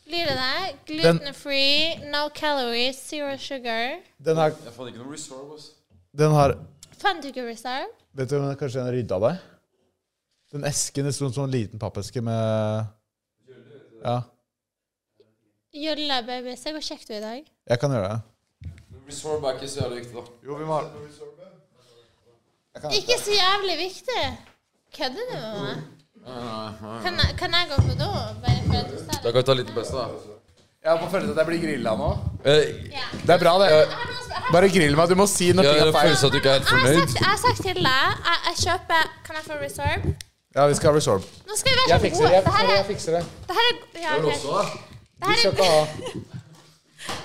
Speaker 5: Blir det det? Gluten-free, no calories, zero sugar.
Speaker 3: Den her,
Speaker 6: Jeg fant ikke noe resolve. ass.
Speaker 3: den her
Speaker 5: Fant du ikke reserve?
Speaker 3: Vet du om jeg kanskje den rydda deg? Den esken det sto en sånn liten pappeske med Ja.
Speaker 5: Jølla, baby. Se hvor kjekk du er i dag.
Speaker 3: Jeg kan gjøre det.
Speaker 6: Resolve er ikke så jævlig viktig, da.
Speaker 3: Jo, vi må ha
Speaker 5: Ikke så jævlig viktig. Kødder du med meg?
Speaker 3: Ah,
Speaker 5: Kan jeg, kan jeg gå på do? Bare for at du sa
Speaker 6: Da
Speaker 5: det?
Speaker 6: kan vi ta en liten pause, da.
Speaker 3: Jeg må føle at jeg blir grilla nå.
Speaker 6: Eh,
Speaker 5: Ja.
Speaker 3: Det er bra, det.
Speaker 5: Jeg har noe som- jeg har-
Speaker 3: Bare grill meg. Du må si når
Speaker 6: Jeg
Speaker 3: ting
Speaker 6: har
Speaker 3: er feil.
Speaker 6: følelsen at du ikke er helt
Speaker 5: Jeg har
Speaker 6: fornøyd.
Speaker 5: sagt, jeg har sagt til deg jeg, jeg kjøper Kan jeg få reserve?
Speaker 3: Ja, vi skal ha resorb.
Speaker 5: Nå skal vi være
Speaker 3: Jeg
Speaker 5: så
Speaker 3: fikser
Speaker 5: gode.
Speaker 3: det. jeg
Speaker 5: Det her
Speaker 3: fikser det,
Speaker 5: er,
Speaker 3: jeg fikser det.
Speaker 5: det her er, ja, ok.
Speaker 3: Du skal ikke ha
Speaker 5: <laughs>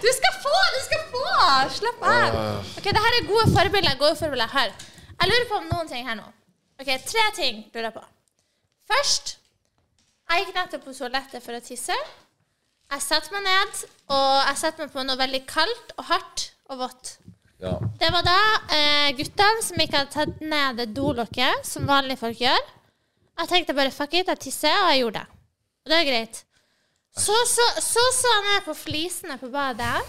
Speaker 5: Du skal få! Du skal få! Slapp av. Ok, Det her er gode forbilder. Gode forbilder. Hør. Jeg lurer på om noen ting her nå. Ok, Tre ting lurer jeg på. Først Jeg gikk nettopp på toalettet for å tisse. Jeg setter meg ned, og jeg setter meg på noe veldig kaldt og hardt og vått.
Speaker 6: Ja.
Speaker 5: Det var da eh, guttene som ikke hadde tatt ned det dolokket, som vanlige folk gjør. Jeg tenkte bare fuck it, jeg tisser, og jeg gjorde det. Og det er greit. Så så, så, så jeg ned på flisene på
Speaker 6: <laughs>
Speaker 5: badet,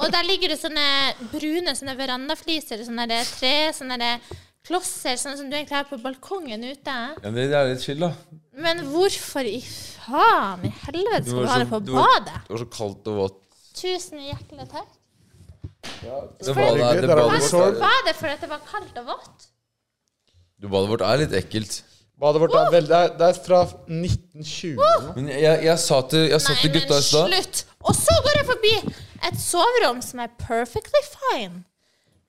Speaker 5: og der ligger det sånne brune sånne verandafliser, sånne der tre, sånne der klosser, sånn som du egentlig har på balkongen ute.
Speaker 6: Ja, det er litt chill, da.
Speaker 5: Men hvorfor i faen i helvete skal
Speaker 6: var
Speaker 5: du ha
Speaker 6: så-
Speaker 5: det på
Speaker 6: du var-
Speaker 5: badet?
Speaker 6: Det var så kaldt og vått.
Speaker 5: Tusen hjertelig takk.
Speaker 6: Det badet, det badet,
Speaker 7: Hyggelig, dere har
Speaker 6: vårt,
Speaker 7: det
Speaker 5: Var det fordi det var kaldt og vått?
Speaker 6: det badet vårt er litt ekkelt.
Speaker 7: Badet vårt er veldig det er- Det er fra 1920. nå.
Speaker 6: Men jeg, jeg, sa til, jeg sa
Speaker 5: Nei,
Speaker 6: til
Speaker 5: men
Speaker 6: gutta i stad
Speaker 5: slutt! Og så går jeg forbi et soverom som er perfectly fine.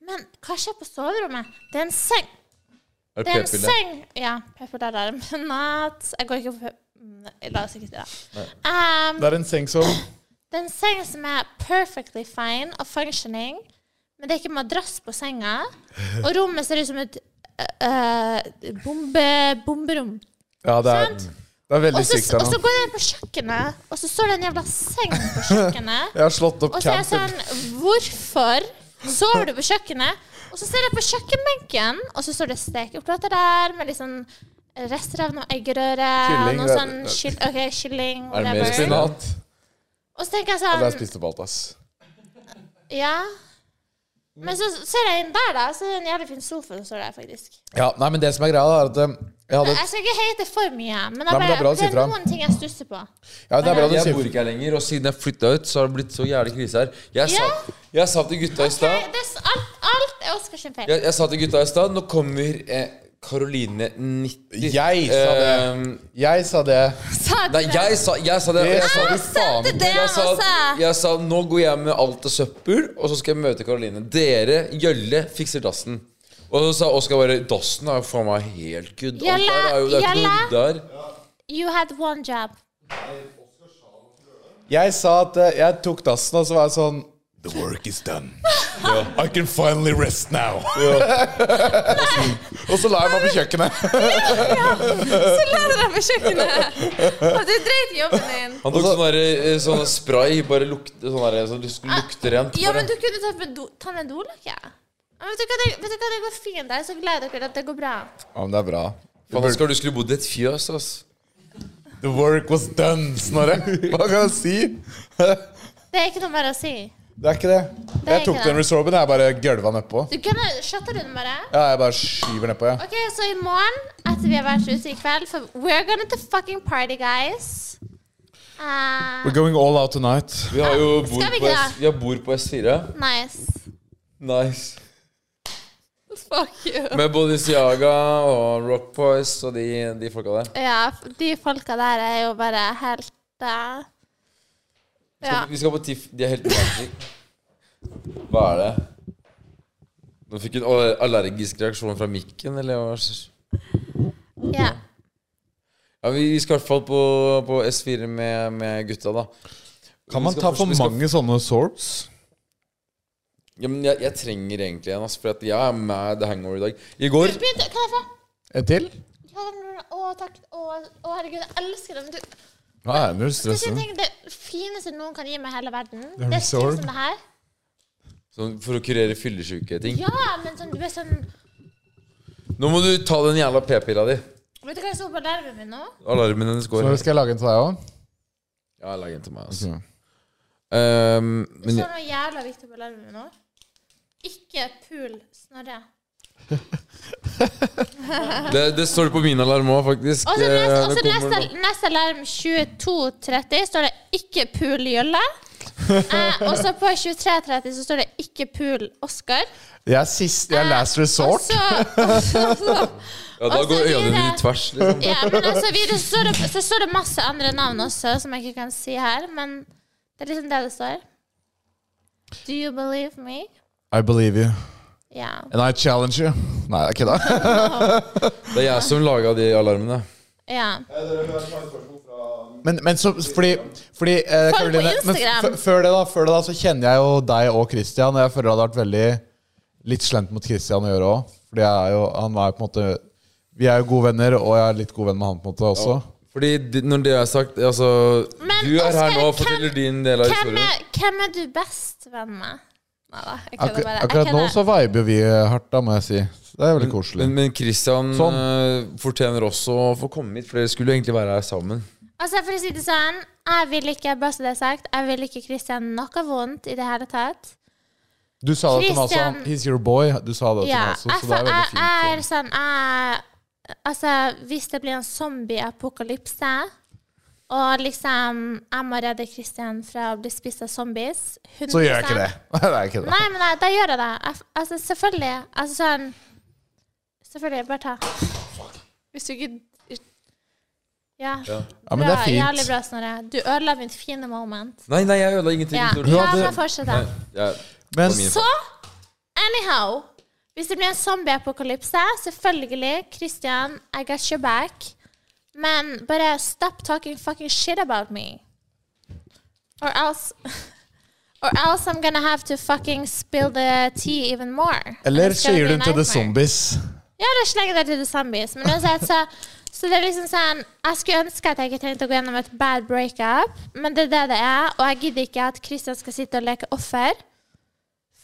Speaker 5: Men hva skjer på soverommet? Det er en seng.
Speaker 6: Er
Speaker 5: Det
Speaker 6: det
Speaker 5: er en
Speaker 6: p-pille?
Speaker 5: seng Ja, <laughs> p-pillealarm. Natt Jeg går ikke på p- Nei, La oss ikke si det. Um,
Speaker 7: Det er en seng som
Speaker 5: det er en seng som er perfectly fine og functioning, men det er ikke madrass på senga. Og rommet ser ut som et øh, øh, bombe, bomberom.
Speaker 7: Ja, det er,
Speaker 5: Sant?
Speaker 7: det er
Speaker 5: Og
Speaker 7: veldig
Speaker 5: så
Speaker 7: sykt her
Speaker 5: og så
Speaker 7: nå.
Speaker 5: går jeg inn på kjøkkenet, og så står det en jævla seng på kjøkkenet.
Speaker 7: Jeg har slått opp
Speaker 5: Og så er jeg
Speaker 7: campen.
Speaker 5: sånn Hvorfor sover du på kjøkkenet? Og så ser jeg på kjøkkenbenken, og så står det stekeplater der med litt sånn rester av noe eggerøre. og
Speaker 7: Kylling,
Speaker 5: noe
Speaker 7: det-
Speaker 5: sånn kyll, OK, kylling.
Speaker 6: Er det mer
Speaker 5: Whatever.
Speaker 6: spinat?
Speaker 5: Og så tenker jeg
Speaker 7: Ja, det er
Speaker 5: sånn
Speaker 7: spist opp alt, ass.
Speaker 5: Ja. Men så ser jeg inn der, da, så er det en jævlig fin sofa som står der, faktisk.
Speaker 7: Ja, nei, men det som er greia, da, er at eh, jeg hadde
Speaker 5: Jeg skal ikke hate for mye, men, jeg
Speaker 7: Nei, men det
Speaker 5: bare,
Speaker 7: er bra du
Speaker 5: det,
Speaker 7: sier
Speaker 5: er
Speaker 7: fra.
Speaker 5: noen ting jeg stusser på.
Speaker 7: Ja, det er bra du
Speaker 6: Jeg
Speaker 7: sier
Speaker 6: bor ikke her lenger, og siden jeg flytta ut, så har det blitt så jævlig krise her. Jeg sa, jeg sa til gutta i
Speaker 5: Det,
Speaker 6: stad
Speaker 5: det, er s- alt, alt er Oskars sin feil.
Speaker 6: jeg, jeg sa til gutta i stad Nå kommer eh, Karoline 90
Speaker 7: Jeg sa det.
Speaker 6: Ehm,
Speaker 7: Jeg sa det.
Speaker 5: Sa du
Speaker 6: Nei,
Speaker 5: det?
Speaker 6: jeg sa, jeg sa det. og Jeg sa det faen
Speaker 5: sendte
Speaker 6: ikke.
Speaker 5: det
Speaker 6: Jeg sa,
Speaker 5: også.
Speaker 6: jeg sa nå går jeg med alt av søppel, og så skal jeg møte Karoline. Dere, Gjølle, fikser dassen. Og så sa Oskar bare Dassen er jo faen meg helt good. Alt
Speaker 5: Gjølle,
Speaker 6: der er jo, det er ikke noe
Speaker 5: Gjølle.
Speaker 6: rydde her.
Speaker 5: You had one job.
Speaker 7: Jeg sa at eh, jeg tok dassen, og så var jeg sånn The work is done. I can finally rest now. <laughs> og så la jeg meg på kjøkkenet.
Speaker 10: Så la du deg på kjøkkenet!
Speaker 6: <laughs>
Speaker 10: Og du dreit i jobben din.
Speaker 6: Han tok sånn der, eh, sånn spray, bare lukte sånn der, så det skulle lukte rent.
Speaker 5: Ja, men
Speaker 6: bare.
Speaker 5: du kunne tatt med do, ta med dolakk. Vet du hva, det, vet du hva, det går fint. Jeg er så glad i dere at det går bra.
Speaker 7: Ja, men det er bra.
Speaker 6: Faen, Oskar, du skulle bodd i et fjøs, ass.
Speaker 7: The work was done, Snorre. Hva kan jeg si?
Speaker 5: Det er ikke noe mer å si.
Speaker 7: Det er ikke det.
Speaker 5: er
Speaker 7: Jeg tok
Speaker 5: ikke det.
Speaker 7: den resorben, jeg bare gølva nedpå.
Speaker 5: Du kunne shotte rundt bare.
Speaker 7: Ja, jeg bare skyver nedpå, jeg.
Speaker 5: Ok, så i morgen, etter vi har vært ute i kveld, for we're gonna to fucking party, guys. Eh,
Speaker 7: We're going all out tonight.
Speaker 6: Vi har jo bor
Speaker 5: vi
Speaker 6: på,
Speaker 5: ikke
Speaker 6: S,
Speaker 5: det?
Speaker 6: vi har bor på S4.
Speaker 5: nice.
Speaker 6: Nice.
Speaker 5: Fuck you.
Speaker 6: Med både Siaga og Rock Boys og de, de folka der.
Speaker 5: Ja, f- de folka der er jo bare helt eh, ja.
Speaker 6: Vi skal på TIFF. De er helt magic. Hva er det? Nå fikk hun aller- allergisk reaksjon fra mikken, eller hva? s-
Speaker 5: ja.
Speaker 6: Ja, vi vi skal i hvert fall på, på S4 med, med gutta, da.
Speaker 7: Kan
Speaker 6: Vi
Speaker 7: man
Speaker 6: skal
Speaker 7: ta
Speaker 6: først-
Speaker 7: for
Speaker 6: vi skal-
Speaker 7: mange sånne sorbs?
Speaker 6: Ja, men jeg, jeg trenger egentlig en, ass, for at jeg er mad hangover i dag. I går
Speaker 5: Begynte, kan jeg få?
Speaker 7: En til?
Speaker 5: Ja, men- Å, takk. Å, å, herregud, jeg elsker dem. Du,
Speaker 7: Nei, nå er du
Speaker 5: Skal jeg
Speaker 7: stressa.
Speaker 6: sånn.
Speaker 5: tenke det fineste noen kan gi meg i hele verden?
Speaker 7: er
Speaker 5: Det er ting
Speaker 7: resort.
Speaker 5: som det her.
Speaker 6: sånn, For å kurere fyllesyke ting.
Speaker 5: Ja, men sånn, du er sånn
Speaker 6: Nå må du ta den jævla p-pilla di.
Speaker 5: Vet du hva jeg så på alarmen min nå?
Speaker 6: Alarmen hennes går.
Speaker 7: Så skal jeg lage en til deg òg?
Speaker 6: Ja, lag en til meg, altså. Ehm,
Speaker 5: Så
Speaker 6: men
Speaker 5: er det noe jævla viktig på alarmen min nå. Ikke pul Snorre.
Speaker 6: det, det står det på min alarm òg, faktisk.
Speaker 5: Og så
Speaker 6: Eh,
Speaker 5: neste, og
Speaker 6: det
Speaker 5: så
Speaker 6: kommer
Speaker 5: neste,
Speaker 6: nå.
Speaker 5: neste alarm 22.30 står det 'ikke pul
Speaker 6: <laughs>
Speaker 5: Jølle'. Eh, og så på 23.30 så står det 'ikke pul Oskar'.
Speaker 7: Jeg er sist. Jeg er last
Speaker 5: Og
Speaker 7: resort.
Speaker 5: så, og så
Speaker 6: Ja, da
Speaker 5: og så
Speaker 6: går øynene
Speaker 5: videre.
Speaker 6: mine i tvers. Liksom.
Speaker 5: Ja, men altså, videre så står, det, så står det masse andre navn også, som jeg ikke kan si her, men det er liksom det det står. Do you believe me? Altså-
Speaker 7: I believe you.
Speaker 5: Ja.
Speaker 7: And I challenge you. Nei, jeg kødda.
Speaker 6: Det er jeg som laga de alarmene.
Speaker 5: ja.
Speaker 7: Men, men så, fordi, fordi eh,
Speaker 5: på
Speaker 7: Karoline, men
Speaker 5: Instagram.
Speaker 7: f- før, det da, før det da, så kjenner jeg jo deg og Christian. Og jeg føler det hadde vært veldig litt slemt mot Christian å gjøre òg. Fordi jeg er jo, han er jo på en måte Vi er jo gode venner, og jeg er litt god venn med han på en måte også.
Speaker 6: Fordi de, når det er sagt, altså
Speaker 5: Men
Speaker 6: Du er her
Speaker 5: Oskar,
Speaker 6: nå og
Speaker 5: hvem-
Speaker 6: forteller din del av
Speaker 5: Hvem
Speaker 6: historien.
Speaker 5: er, hvem er du best venn med? Nei da, jeg
Speaker 7: Akkur
Speaker 5: kødder bare. Jeg
Speaker 7: akkurat nå
Speaker 5: kødder.
Speaker 7: så viber vi hardt, da, må jeg si. Det er veldig koselig.
Speaker 6: Men, men Christian
Speaker 7: Sånn.
Speaker 6: eh, fortjener også å få komme hit, for dere skulle jo egentlig være her sammen.
Speaker 5: Altså, for å si det sånn, jeg vil ikke, bare så det er sagt, jeg vil ikke Kristian noe vondt i det hele tatt.
Speaker 7: Du sa det til meg også.
Speaker 5: Christian-
Speaker 7: He's your boy. Du sa det til
Speaker 5: Ja,
Speaker 7: meg også,
Speaker 5: jeg,
Speaker 7: så det er veldig
Speaker 5: jeg, jeg er
Speaker 7: fint.
Speaker 5: sånn, jeg Altså, hvis det blir en zombie-apokalypse, Og liksom, jeg må redde Christian fra å bli spist av zombies.
Speaker 7: Så gjør jeg ikke
Speaker 5: 100%.
Speaker 7: det. <laughs> det er ikke det.
Speaker 5: Nei, men nei, da gjør jeg det. Jeg, f- altså, selvfølgelig. Altså sånn Selvfølgelig. Bare ta.
Speaker 9: Hvis du ikke
Speaker 5: Ja.
Speaker 3: Ja, men det er
Speaker 5: Bra, Jævlig
Speaker 3: fint.
Speaker 5: bra, Snorre. Du ødela mitt fine moment.
Speaker 6: Nei, nei, jeg ødela ingenting.
Speaker 5: Ja,
Speaker 6: Du-
Speaker 5: ja
Speaker 3: hadde-
Speaker 5: men fortsett, da.
Speaker 6: Ja.
Speaker 3: Men
Speaker 6: Min-
Speaker 5: Så, anyhow Hvis det blir en zombieapokalypse, selvfølgelig, Christian, I got your back. Men bare stop talking fucking shit about me. Or else <laughs> Or else I'm gonna have to fucking spill the tea even more.
Speaker 7: Eller
Speaker 5: And it's gonna
Speaker 7: sier
Speaker 5: be a
Speaker 7: du til The
Speaker 5: nightmare.
Speaker 7: Zombies?
Speaker 5: Ja, da slenger jeg det til The Zombies. Men uansett, så, så det er liksom sånn Jeg skulle ønske at jeg ikke trengte å gå gjennom et bad breakup, men det er det det er. Og jeg gidder ikke at Christian skal sitte og leke offer.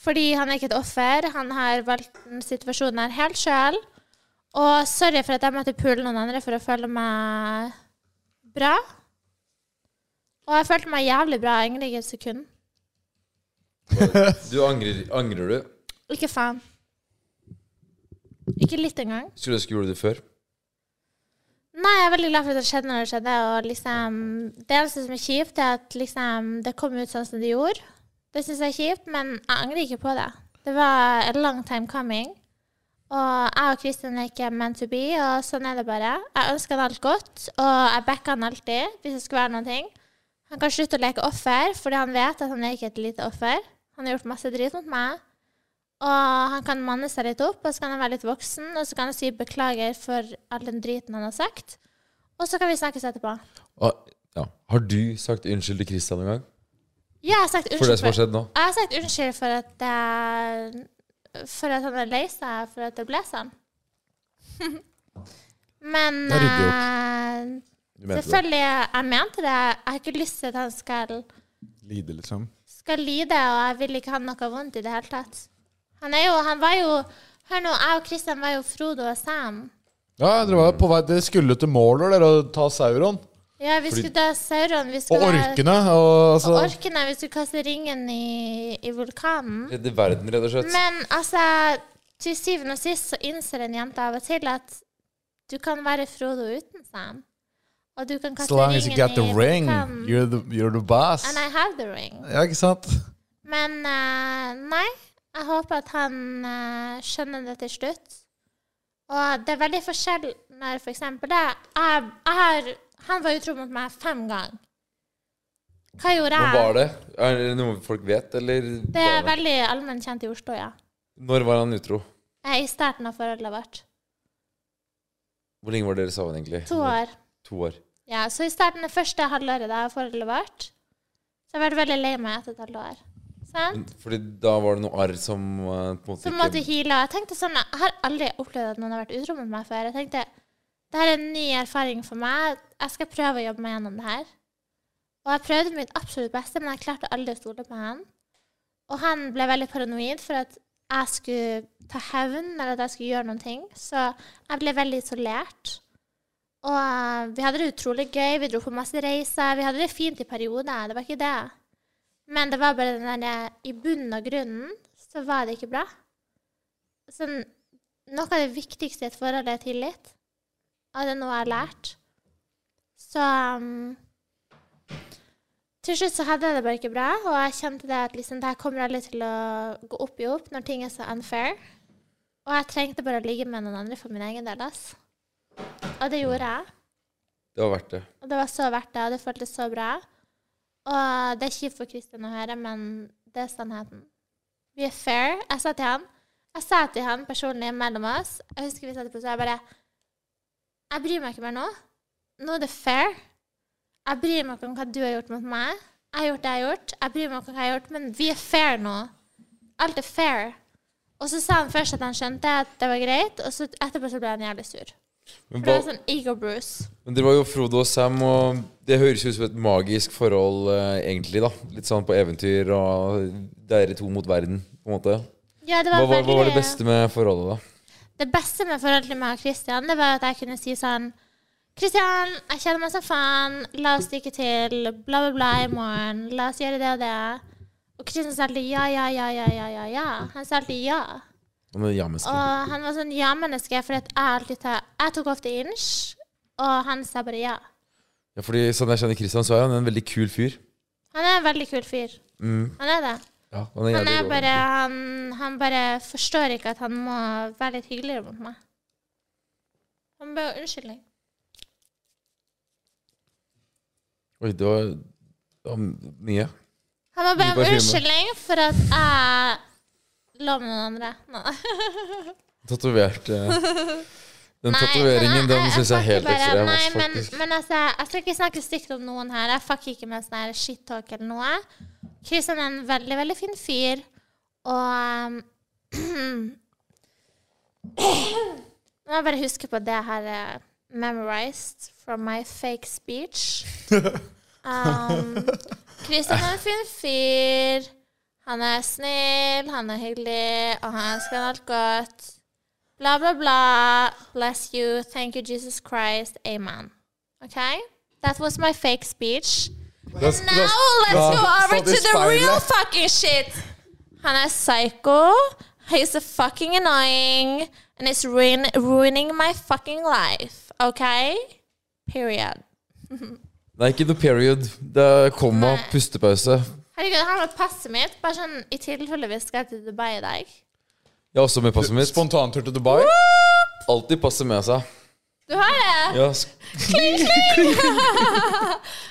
Speaker 5: Fordi han er ikke et offer. Han har valgt den situasjonen her helt sjøl. Og sorry for at jeg måtte pule noen andre for å føle meg bra. Og jeg følte meg jævlig bra egentlig i et sekund.
Speaker 6: Du angrer, angrer du?
Speaker 5: Ikke faen. Ikke litt engang.
Speaker 6: Skulle ønske du gjorde det før.
Speaker 5: Nei, jeg er veldig glad for at det skjedde når det skjedde. Og liksom, det eneste som er kjipt, er at liksom, det kom ut sånn som det gjorde. Det syns jeg er kjipt, men jeg angrer ikke på det. Det var a long time coming. Og jeg og Kristin er ikke meant to be, og sånn er det bare. Jeg ønsker han alt godt, og jeg backer han alltid hvis det skulle være noen ting. Han kan slutte å leke offer, fordi han vet at han er ikke et lite offer. Han har gjort masse drit mot meg. Og han kan manne seg litt opp, og så kan han være litt voksen, og så kan han si beklager for all den driten han har sagt. Og så kan vi snakkes etterpå.
Speaker 6: Ah, Ja. Har du sagt unnskyld til Christian en gang?
Speaker 5: Ja, jeg har sagt
Speaker 6: For det
Speaker 5: unnskyld
Speaker 6: som har
Speaker 5: for,
Speaker 6: skjedd nå?
Speaker 5: jeg har sagt unnskyld for at eh, For at han er lei seg for at det ble sånn. <laughs> Men
Speaker 6: Det er ryddig
Speaker 5: eh,
Speaker 6: Du mente det.
Speaker 5: selvfølgelig, jeg mente det. Jeg har ikke lyst til at han skal
Speaker 3: Lide, liksom.
Speaker 5: skal lide, og jeg vil ikke ha noe vondt i det hele tatt. Han er jo Han var jo Hør nå, jeg og Christian var jo Frodo og Sam.
Speaker 3: Ja, dere var jo på vei Dere skulle til Mauler, dere, og ta Sauron.
Speaker 5: Ja, vi skulle dø sauron. Vi
Speaker 3: Og
Speaker 5: skulle
Speaker 3: orkene. Og
Speaker 5: Og
Speaker 3: altså
Speaker 5: orkene. Vi skulle kaste ringen i, i vulkanen.
Speaker 6: Redde verden, rett og slett.
Speaker 5: Men altså, til syvende og sist så innser en jente av og til at du kan være Frodo uten Sam. Og du kan
Speaker 7: As
Speaker 5: kaste
Speaker 7: long as
Speaker 5: ringen
Speaker 7: you got the
Speaker 5: i
Speaker 7: ring,
Speaker 5: vulkanen.
Speaker 7: you're the, you're the boss.
Speaker 5: And I have the ring.
Speaker 7: Ja, ikke sant?
Speaker 5: Men eh, nei, jeg håper at han eh, skjønner det til slutt. Og det er veldig forskjell når for eksempel det jeg, jeg har, Han var utro mot meg fem ganger. Hva gjorde
Speaker 6: Når
Speaker 5: jeg?
Speaker 6: var det? Er det noe folk vet, eller?
Speaker 5: Det er
Speaker 6: var det?
Speaker 5: veldig allment kjent i Oslo, ja.
Speaker 6: Når var han utro?
Speaker 5: Eh, I starten av forholdet vårt.
Speaker 6: Hvor lenge var dere sammen, egentlig?
Speaker 5: To år.
Speaker 6: To år.
Speaker 5: Ja, så i starten av første halvåret da forholdet vårt, så har jeg vært veldig lei meg etter et halvt år. Sant?
Speaker 6: Fordi da var det noe arr som eh, på
Speaker 5: Så
Speaker 6: en måte
Speaker 5: måtte
Speaker 6: ikke
Speaker 5: heale. Og jeg tenkte sånn, jeg har aldri opplevd at noen har vært utro mot meg før. Jeg tenkte, det her er en ny erfaring for meg. Jeg skal prøve å jobbe meg gjennom det her. Og jeg prøvde mitt absolutt beste, men jeg klarte aldri å stole på han. Og han ble veldig paranoid for at jeg skulle ta hevn, eller at jeg skulle gjøre noen ting. Så jeg ble veldig isolert. Og eh, vi hadde det utrolig gøy, vi dro på masse reiser, vi hadde det fint i perioder, det var ikke det. Men det var bare den der, i bunnen av grunnen, så var det ikke bra sånn, Noe av det viktigste i et forhold er tillit. Og det er noe jeg har lært. Så um, Til slutt så hadde jeg det bare ikke bra, og jeg kjente det at liksom, det her kommer aldri til å gå opp i opp når ting er så unfair. Og jeg trengte bare å ligge med noen andre for min egen del. ass. Og det gjorde jeg.
Speaker 6: Det var verdt det.
Speaker 5: Og det var så verdt det, og det føltes så bra. Og det er kjipt for Kristin å høre, men det er sannheten. Vi er fair. Jeg sa til han Jeg sa til han personlig mellom oss Jeg husker vi satt på, så jeg bare Jeg bryr meg ikke mer nå. Nå er det fair. Jeg bryr meg ikke om hva du har gjort mot meg. Jeg har gjort det jeg har gjort. Jeg bryr meg ikke om hva jeg har gjort, men vi er fair nå. Alt er fair. Og så sa han først at han skjønte at det var greit, og så etterpå så ble han jævlig sur.
Speaker 6: Men,
Speaker 5: For det var
Speaker 6: hva-
Speaker 5: sånn ego-bruce.
Speaker 6: men dere var jo Frodo og Sam, og det høres jo ut som et magisk forhold, eh, egentlig, da. Litt sånn på eventyr og dere to mot verden, på en måte.
Speaker 5: Ja, det
Speaker 6: Hva
Speaker 5: var
Speaker 6: var, hva var det
Speaker 5: veldig-
Speaker 6: beste med forholdet, da?
Speaker 5: Det beste med forholdet til meg og Christian, det var at jeg kunne si sånn Christian, jeg kjenner meg som faen. La oss stikke til. Bla, bla, bla i morgen. La oss gjøre det og det. Og Christian sa alltid ja, ja, ja, ja, ja, ja. ja. Han sa alltid ja.
Speaker 6: Om det jamiske?
Speaker 5: Og han var sånn ja-menneske, fordi at jeg alltid tar Jeg tok ofte inch, og han sa bare ja.
Speaker 6: Ja, fordi Sånn jeg kjenner Christian, så er han en veldig kul fyr.
Speaker 5: Han er en veldig kul fyr. Han er det.
Speaker 6: Ja, han er
Speaker 5: Han,
Speaker 6: jævlig
Speaker 5: er
Speaker 6: rå.
Speaker 5: bare, han, han bare forstår ikke at han må være litt hyggeligere mot meg. Han ber om unnskyldning.
Speaker 6: Oi, det var, det var mye.
Speaker 5: Han må be
Speaker 6: Ny
Speaker 5: om
Speaker 6: parfyme.
Speaker 5: unnskyldning for at jeg lå med noen andre. Nei,
Speaker 6: Tatovert
Speaker 5: <laughs>
Speaker 6: eh, Den
Speaker 5: Nei,
Speaker 6: tatoveringen,
Speaker 5: men
Speaker 6: den syns jeg er
Speaker 5: fucker
Speaker 6: helt
Speaker 5: bare-
Speaker 6: ekstrem.
Speaker 5: Nei,
Speaker 6: ass,
Speaker 5: men,
Speaker 6: faktisk.
Speaker 5: men altså, jeg skal ikke snakke stygt om noen her. Jeg fucker ikke med sånn her shit-talk eller noe. Kristian er en veldig, veldig fin fyr, og um, <clears throat> Nå må jeg bare huske på det her eh, memorized from my fake
Speaker 6: <laughs>
Speaker 5: speech. Um, Kristian er en fin fyr. Han er snill, han er hyggelig, og han ønsker han alt godt. Bla, bla, bla. Bless you. Thank you, Jesus Christ. Amen. Okay? That was my fake speech.
Speaker 3: That's-
Speaker 5: Now
Speaker 3: that's-
Speaker 5: let's go
Speaker 3: Ja,
Speaker 5: over to the
Speaker 3: satisfying.
Speaker 5: real fucking shit. Han er psycho. He's a fucking annoying. And it's ruin ruining my fucking life. Okay? Period.
Speaker 6: Nei, ikke the period. Det er komma,
Speaker 5: Nei.
Speaker 6: pustepause.
Speaker 5: Herregud, her var passet mitt. Bare sånn i tilfelle vi skal til Dubai i dag.
Speaker 6: Jeg har også med passet mitt.
Speaker 3: Spontantur til Dubai.
Speaker 6: Alltid passet med seg.
Speaker 5: Du har det?
Speaker 6: Ja, sk-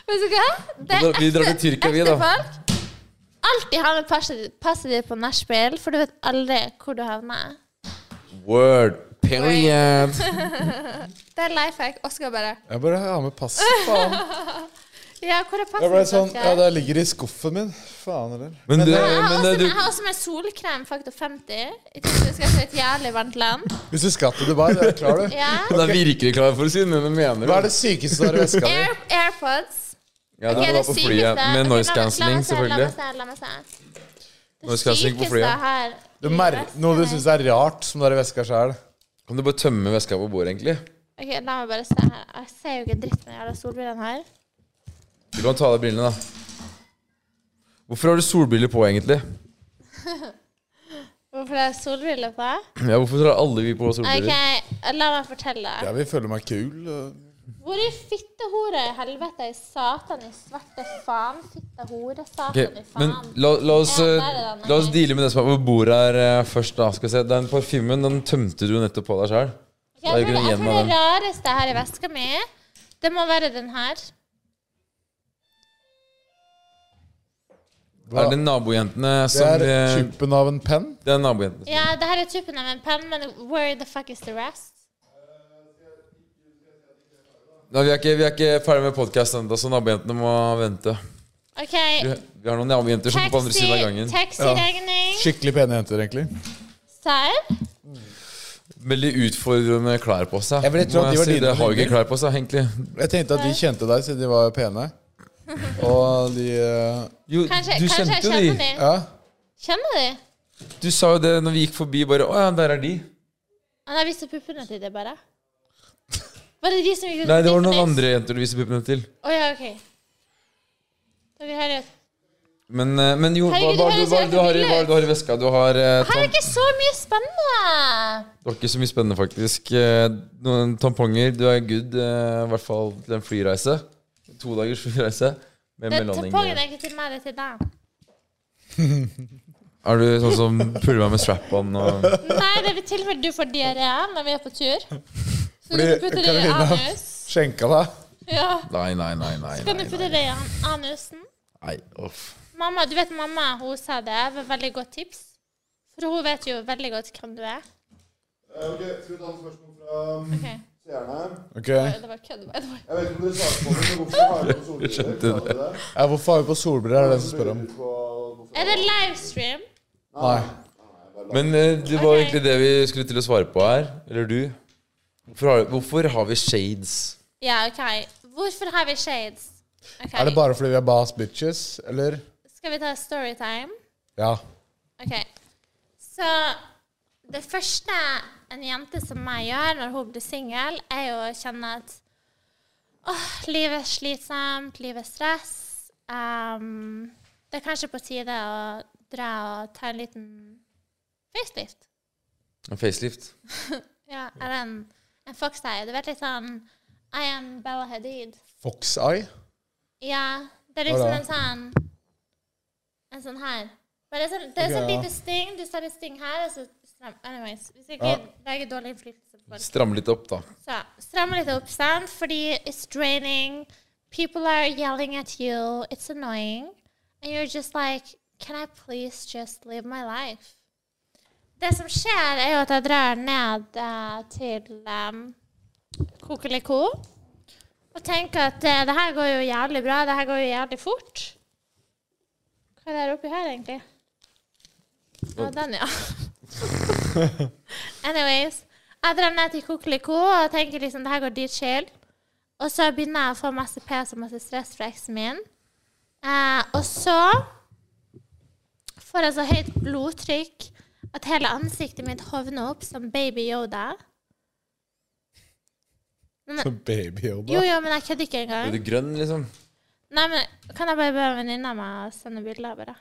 Speaker 5: Vet du hva? Det er
Speaker 6: Vi drar til
Speaker 5: ekte-
Speaker 6: Tyrkia, vi,
Speaker 5: ekte
Speaker 6: da.
Speaker 5: folk. Alltid ha med passet- passet ditt på nachspiel, for du vet aldri hvor du havner.
Speaker 6: Word. Period.
Speaker 5: <laughs> Det er life hack. Oskar bare
Speaker 3: Jeg bare har med
Speaker 5: <laughs>
Speaker 3: passet, faen.
Speaker 5: Ja, hvor er passet
Speaker 3: Jeg ble
Speaker 5: ditt,
Speaker 3: sånn,
Speaker 5: Oskar?
Speaker 3: ja, Det ligger i skuffen min. Faen heller.
Speaker 6: Men, du,
Speaker 5: Jeg har
Speaker 6: men
Speaker 5: også
Speaker 6: eh,
Speaker 5: med,
Speaker 6: du
Speaker 5: jeg har også med solkrem faktor 50. Jeg tror vi skal til et jævlig varmt land.
Speaker 3: Hvis du skal til Dubai, er du klar, du.
Speaker 6: <laughs>
Speaker 5: Ja.
Speaker 6: Hun er virkelig klar for å si noe hun mener.
Speaker 3: Hva er det sykeste du har i veska di?
Speaker 5: Air, AirPods.
Speaker 6: Ja,
Speaker 5: Ok,
Speaker 6: det var
Speaker 5: det
Speaker 6: på
Speaker 5: sykeste-
Speaker 6: flyet
Speaker 5: Ok, la
Speaker 6: med
Speaker 5: meg- la
Speaker 6: noise
Speaker 5: meg
Speaker 6: cancelling,
Speaker 5: se,
Speaker 6: selvfølgelig.
Speaker 5: La meg se, la meg se. Det
Speaker 6: Noise cancelling på
Speaker 5: sykeste
Speaker 6: flyet.
Speaker 5: jeg har
Speaker 3: Du
Speaker 5: i
Speaker 3: mer-
Speaker 5: vesken
Speaker 3: Noe du
Speaker 5: min.
Speaker 3: syns er rart, som du har i veska sjæl.
Speaker 6: Kan du bare tømme veska på bordet, egentlig?
Speaker 5: Ok, La meg bare se her. Jeg ser jo ikke dritt med de jævla solbrillene her.
Speaker 6: Du kan ta av deg brillene, da. Hvorfor har du solbriller på, egentlig?
Speaker 5: Hvorfor det er solbriller på?
Speaker 6: Ja, hvorfor har alle vi på
Speaker 5: Ok,
Speaker 6: solbriller?
Speaker 5: La meg fortelle.
Speaker 3: Jeg vil føle meg kul.
Speaker 5: Hvor i fittehore i helvete i satan i svarte faen? Fittehore, satan
Speaker 6: Ok,
Speaker 5: i
Speaker 6: men
Speaker 5: faen.
Speaker 6: la, la, oss,
Speaker 5: Ja,
Speaker 6: eh,
Speaker 5: der er den,
Speaker 6: la oss
Speaker 5: ok.
Speaker 6: deale med det som er på bordet her eh, først. da Skal vi se, Den parfymen den tømte du nettopp på deg sjøl.
Speaker 5: Jeg
Speaker 6: Da er
Speaker 5: tror, det,
Speaker 6: grunnen
Speaker 5: jeg
Speaker 6: igjen
Speaker 5: tror
Speaker 6: av
Speaker 5: det rareste her i veska mi, det må være den her.
Speaker 6: Er det nabojentene
Speaker 3: Det
Speaker 6: som
Speaker 3: er
Speaker 6: eh,
Speaker 3: tuppen av en penn.
Speaker 6: Det er nabojentene.
Speaker 5: Ja, det her er tuppen av en penn, men where the fuck is the rest?
Speaker 6: Nei, vi, er ikke, vi er ikke ferdig med podkasten ennå, så nabojentene må vente.
Speaker 5: OK.
Speaker 6: Vi, vi har noen nabojenter som er sånn på andre
Speaker 5: Taxi,
Speaker 6: siden av gangen.
Speaker 5: taxiregning.
Speaker 3: Skikkelig pene jenter, egentlig.
Speaker 5: Serr?
Speaker 6: Veldig utfordrende klær på seg.
Speaker 3: Jeg ville trodd
Speaker 6: Må
Speaker 3: de var
Speaker 6: si.
Speaker 3: dine
Speaker 6: Det har jo ikke
Speaker 3: venninner.
Speaker 6: klær på seg, egentlig.
Speaker 3: Jeg tenkte at de kjente deg siden de var pene. Og de eh,
Speaker 6: Jo,
Speaker 5: Kanskje,
Speaker 6: du
Speaker 5: kanskje jeg
Speaker 6: kjente jo
Speaker 5: kjenner
Speaker 6: de.
Speaker 5: dem.
Speaker 3: Ja.
Speaker 5: Kjenner de?
Speaker 6: Du sa jo det når vi gikk forbi, bare Å ja, der er de.
Speaker 5: Han har vist puppene til deg, bare. Var det de som gikk ut
Speaker 6: Nei, det var
Speaker 5: med
Speaker 6: noen
Speaker 5: Tiffany's?
Speaker 6: andre jenter du viste puppene til.
Speaker 5: Å ja, OK. Dere hører
Speaker 6: Men, eh, men jo, hva, hva,
Speaker 5: Herregud, det
Speaker 6: hva,
Speaker 5: høres
Speaker 6: hva,
Speaker 5: helt
Speaker 6: du har i-
Speaker 5: vilt
Speaker 6: hva
Speaker 5: ut.
Speaker 6: du har i veska? Du har eh,
Speaker 5: Her er
Speaker 6: tam
Speaker 5: ikke så mye spennende.
Speaker 6: Det var ikke så mye spennende, faktisk. Eh, Noen tamponger. Du er good, eh, i hvert fall til en flyreise. To dagers <laughs> flyreise. Med
Speaker 5: Det Tampongen
Speaker 6: mellomlenger.
Speaker 5: er ikke til meg, det er til deg.
Speaker 6: Er du sånn som puller meg med strap-on og
Speaker 5: Nei, det er til og med du får diaré når vi er på tur. Så du
Speaker 3: Fordi
Speaker 5: kan putte det i
Speaker 3: Karolina-
Speaker 5: anus.
Speaker 3: skjenka deg.
Speaker 5: Ja,
Speaker 6: Nei, nei, nei. nei,
Speaker 5: så kan du
Speaker 6: nei,
Speaker 5: putte
Speaker 6: nei.
Speaker 5: det i an- anusen.
Speaker 6: nei. Uff.
Speaker 5: Mamma, du vet mamma, hun sa det var et veldig godt tips. For hun vet jo veldig godt hvem du er.
Speaker 11: Eh, Ok, skal vi ta noen spørsmål fra um,
Speaker 5: Ok,
Speaker 11: seerne?
Speaker 3: Ok.
Speaker 5: det var kødd, by the way.
Speaker 11: Jeg vet ikke om dere svarte på det, men hvorfor har dere på solbriller?
Speaker 6: skjønte
Speaker 11: Klarte dere det?
Speaker 3: Ja, hvorfor har vi på solbriller, er det den som spør om.
Speaker 11: På-
Speaker 5: Er det livestream?
Speaker 3: Nei.
Speaker 6: Men eh, det var
Speaker 5: Ok.
Speaker 6: egentlig det vi skulle til å svare på her. Eller du. Hvorfor har, hvorfor har vi shades?
Speaker 5: Ja, OK. Hvorfor har vi shades? Ok,
Speaker 3: Er det bare fordi vi er bass bitches, eller?
Speaker 5: Skal vi ta storytime?
Speaker 3: Ja.
Speaker 5: OK. Så det første en jente som meg gjør når hun blir singel, er jo å kjenne at åh, livet er slitsomt, livet er stress. Ehm, det er kanskje på tide å dra og ta en liten facelift.
Speaker 6: En facelift?
Speaker 5: Ja, eller en, en foxeye. Du vet litt sånn I am Bella Hadid.
Speaker 3: Fox Eye?
Speaker 5: Ja, det er
Speaker 3: Hva
Speaker 5: liksom
Speaker 3: da?
Speaker 5: en sånn En sånn her. Men det er sånn, det er
Speaker 3: Ok,
Speaker 5: sånn
Speaker 3: ja.
Speaker 5: lite sting. Du ser et sting her, og så stram, Anyways. Hvis ikke
Speaker 3: Ja.
Speaker 5: lager dårlig innflytelse på folk.
Speaker 6: Stramme litt opp, da.
Speaker 5: Så stram litt opp, sant? Fordi it's draining. People are yelling at you. It's annoying. And you're just like Can I please just live my life? Det som skjer, er jo at jeg drar ned eh, til um, Kokeliko og tenker at eh, det her går jo jævlig bra. Det her går jo jævlig fort. Hva er det her oppi her, egentlig? Ja, den, ja. <laughs> Anyways. Jeg drar ned til Kokeliko og tenker liksom det her går dritchill. Og så begynner jeg å få masse pes og masse stress fra eksen min. Eh, og så får jeg så høyt blodtrykk at hele ansiktet mitt hovner opp som baby Yoda.
Speaker 3: Som baby Yoda?
Speaker 5: Jo, jo, men jeg kødder ikke engang.
Speaker 6: Blir du grønn, liksom?
Speaker 5: Nei, men Kan jeg bare be venninna mi å sende bilder? bare?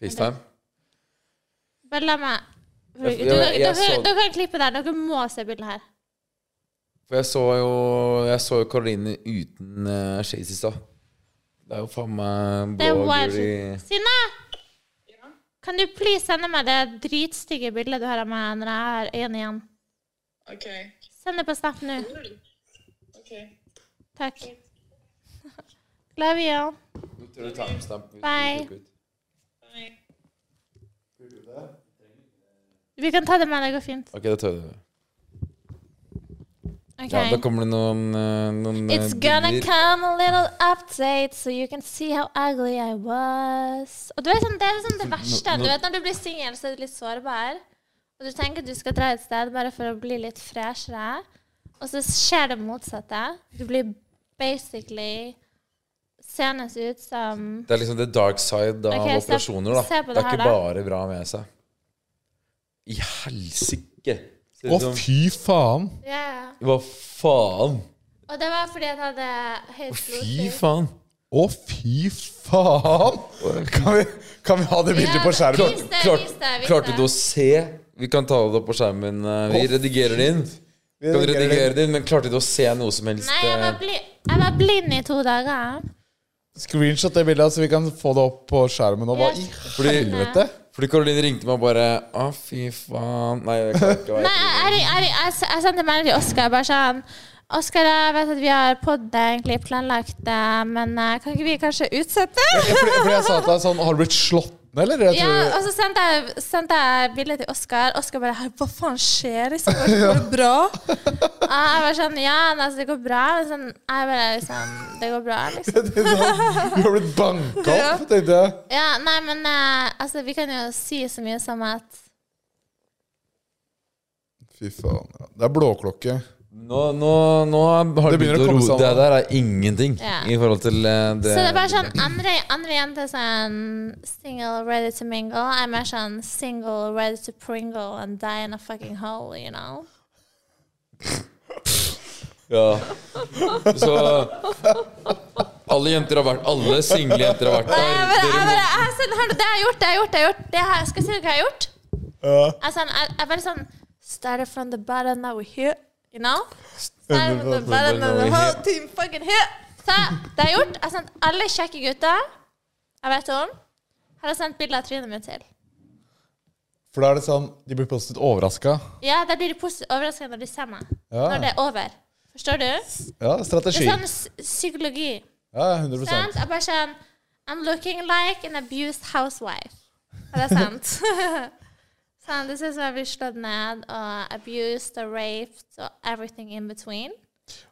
Speaker 6: FaceTime?
Speaker 5: Bare la meg du,
Speaker 6: Jeg- jeg-
Speaker 5: dere- dere,
Speaker 6: jeg så-
Speaker 5: dere kan klippe der. Dere må se bildet her.
Speaker 6: For jeg så jo Jeg så jo Karoline uten uh, shades i stad. Det er jo faen meg
Speaker 5: Det er sånn-
Speaker 6: blå og
Speaker 5: wild.
Speaker 6: gul i
Speaker 5: Synne! Kan du please sende meg det dritstygge bildet du har av meg når jeg har øynene igjen?
Speaker 12: OK.
Speaker 5: Send det på Snap nå.
Speaker 12: ok.
Speaker 5: Takk. Love you.
Speaker 6: Nå tør du ta en stamp hvis du
Speaker 5: Bye.
Speaker 6: tok ut.
Speaker 12: Nei.
Speaker 5: Vi kan ta det med. Det går fint.
Speaker 6: Ok, da tør du det.
Speaker 5: Ok.
Speaker 6: Ja, da kommer det noen, eh, noen eh,
Speaker 5: It's gonna
Speaker 6: bilder.
Speaker 5: come a little update, so you can see how ugly I was. Og du vet sånn, Det er liksom det verste. Du vet Når du blir singel, så er du litt sårbar. Og du tenker at du skal dra et sted bare for å bli litt freshere. Og så skjer det motsatte. Du blir basically senest ut som
Speaker 6: Det er liksom the dark side av
Speaker 5: Ok, se-
Speaker 6: operasjoner, da.
Speaker 5: se på det
Speaker 6: det, er
Speaker 5: her, da.
Speaker 6: ikke bare bra med seg. I helsike! Ser
Speaker 3: Å,
Speaker 6: ut som-
Speaker 3: fy faen!
Speaker 5: Ja, ja.
Speaker 6: Hva faen?
Speaker 5: Og det var fordi jeg hadde høyt
Speaker 6: Fy
Speaker 5: blodtrykk.
Speaker 6: faen!
Speaker 3: Å, fy faen! Kan vi, kan vi ha det bildet på skjermen?
Speaker 5: Vis det,
Speaker 6: Klart-
Speaker 5: vis det, vis
Speaker 6: klarte
Speaker 5: det.
Speaker 6: du å se? Vi kan ta det opp på skjermen. eh, Vi
Speaker 3: Å,
Speaker 6: redigerer det inn.
Speaker 3: Vi
Speaker 6: Kan
Speaker 3: redigerer det
Speaker 6: redigere det inn, men klarte du å se noe som helst?
Speaker 5: Nei, jeg var,
Speaker 6: eh,
Speaker 5: bli, jeg var blind i to dager.
Speaker 3: Screenshot det bildet, så vi kan få det opp på skjermen. Og hva i
Speaker 6: Fordi,
Speaker 3: helvete?
Speaker 6: fordi Caroline ringte meg og bare Å, fy faen. Nei, jeg klarer ikke
Speaker 5: Nei,
Speaker 6: å være
Speaker 5: jeg, jeg, jeg, jeg, jeg sendte melding til Oskar bare sånn Oskar, jeg vet at vi har poddet egentlig planlagt det, men eh, kan ikke vi kanskje utsette?
Speaker 3: Fordi, fordi jeg sa til deg sånn Har du blitt slått ned, eller? Jeg
Speaker 5: <laughs> Ja,
Speaker 3: tror,
Speaker 5: og så sendte jeg, sendte jeg bilde til Oskar. Oskar bare «Hei, Hva faen skjer? Liksom, går det går det bra? Og jeg var sånn Ja, nei, altså, det går bra. Men sånn, jeg bare liksom Det går bra, liksom.
Speaker 3: Du har blitt banka opp, tenkte jeg.
Speaker 5: Ja, nei, men eh, altså, vi kan jo si så mye som at
Speaker 3: Fy faen. ja. Det er blåklokke.
Speaker 6: Nå, nå, nå har det
Speaker 3: Det begynner
Speaker 6: begynt å
Speaker 3: å komme
Speaker 6: roe Det
Speaker 3: sammen.
Speaker 6: der er ingenting
Speaker 5: Ja.
Speaker 6: i forhold til eh, det.
Speaker 5: Så det er bare sånn andre, andre jenter sånn single, ready to mingle. Jeg er mer sånn single, ready to pringle and die in a fucking hole, you know?
Speaker 6: Ja. Så alle jenter har vært Alle single jenter har vært
Speaker 5: Jeg bare,
Speaker 6: der.
Speaker 5: jeg
Speaker 6: Dere
Speaker 5: bare, jeg, sånn, har du- det har jeg gjort, det har jeg gjort, det har jeg gjort. Det har, skal jeg si dere hva jeg har gjort? Jeg, er sånn, jeg, jeg bare sånn Started from the bottom, now we're here, you know? Started from the bottom, now we're whole team fucking here. Så det har jeg gjort. Jeg har sendt alle kjekke gutter jeg vet om, har jeg sendt bilde av trynet mitt til.
Speaker 3: For da er det sånn De blir positivt overraska.
Speaker 5: Ja, da blir de positivt overrasket når de ser meg.
Speaker 3: Ja.
Speaker 5: Når det er over. Forstår du?
Speaker 3: ja,
Speaker 5: Det
Speaker 3: strategi.
Speaker 5: er sånn s- psykologi.
Speaker 3: Ja, 100
Speaker 5: Sant? Jeg bare sånn I'm looking like an abused housewife. Er det sant? <laughs> sånn, det ser ut som jeg blir slått ned og abused og raped og everything in between.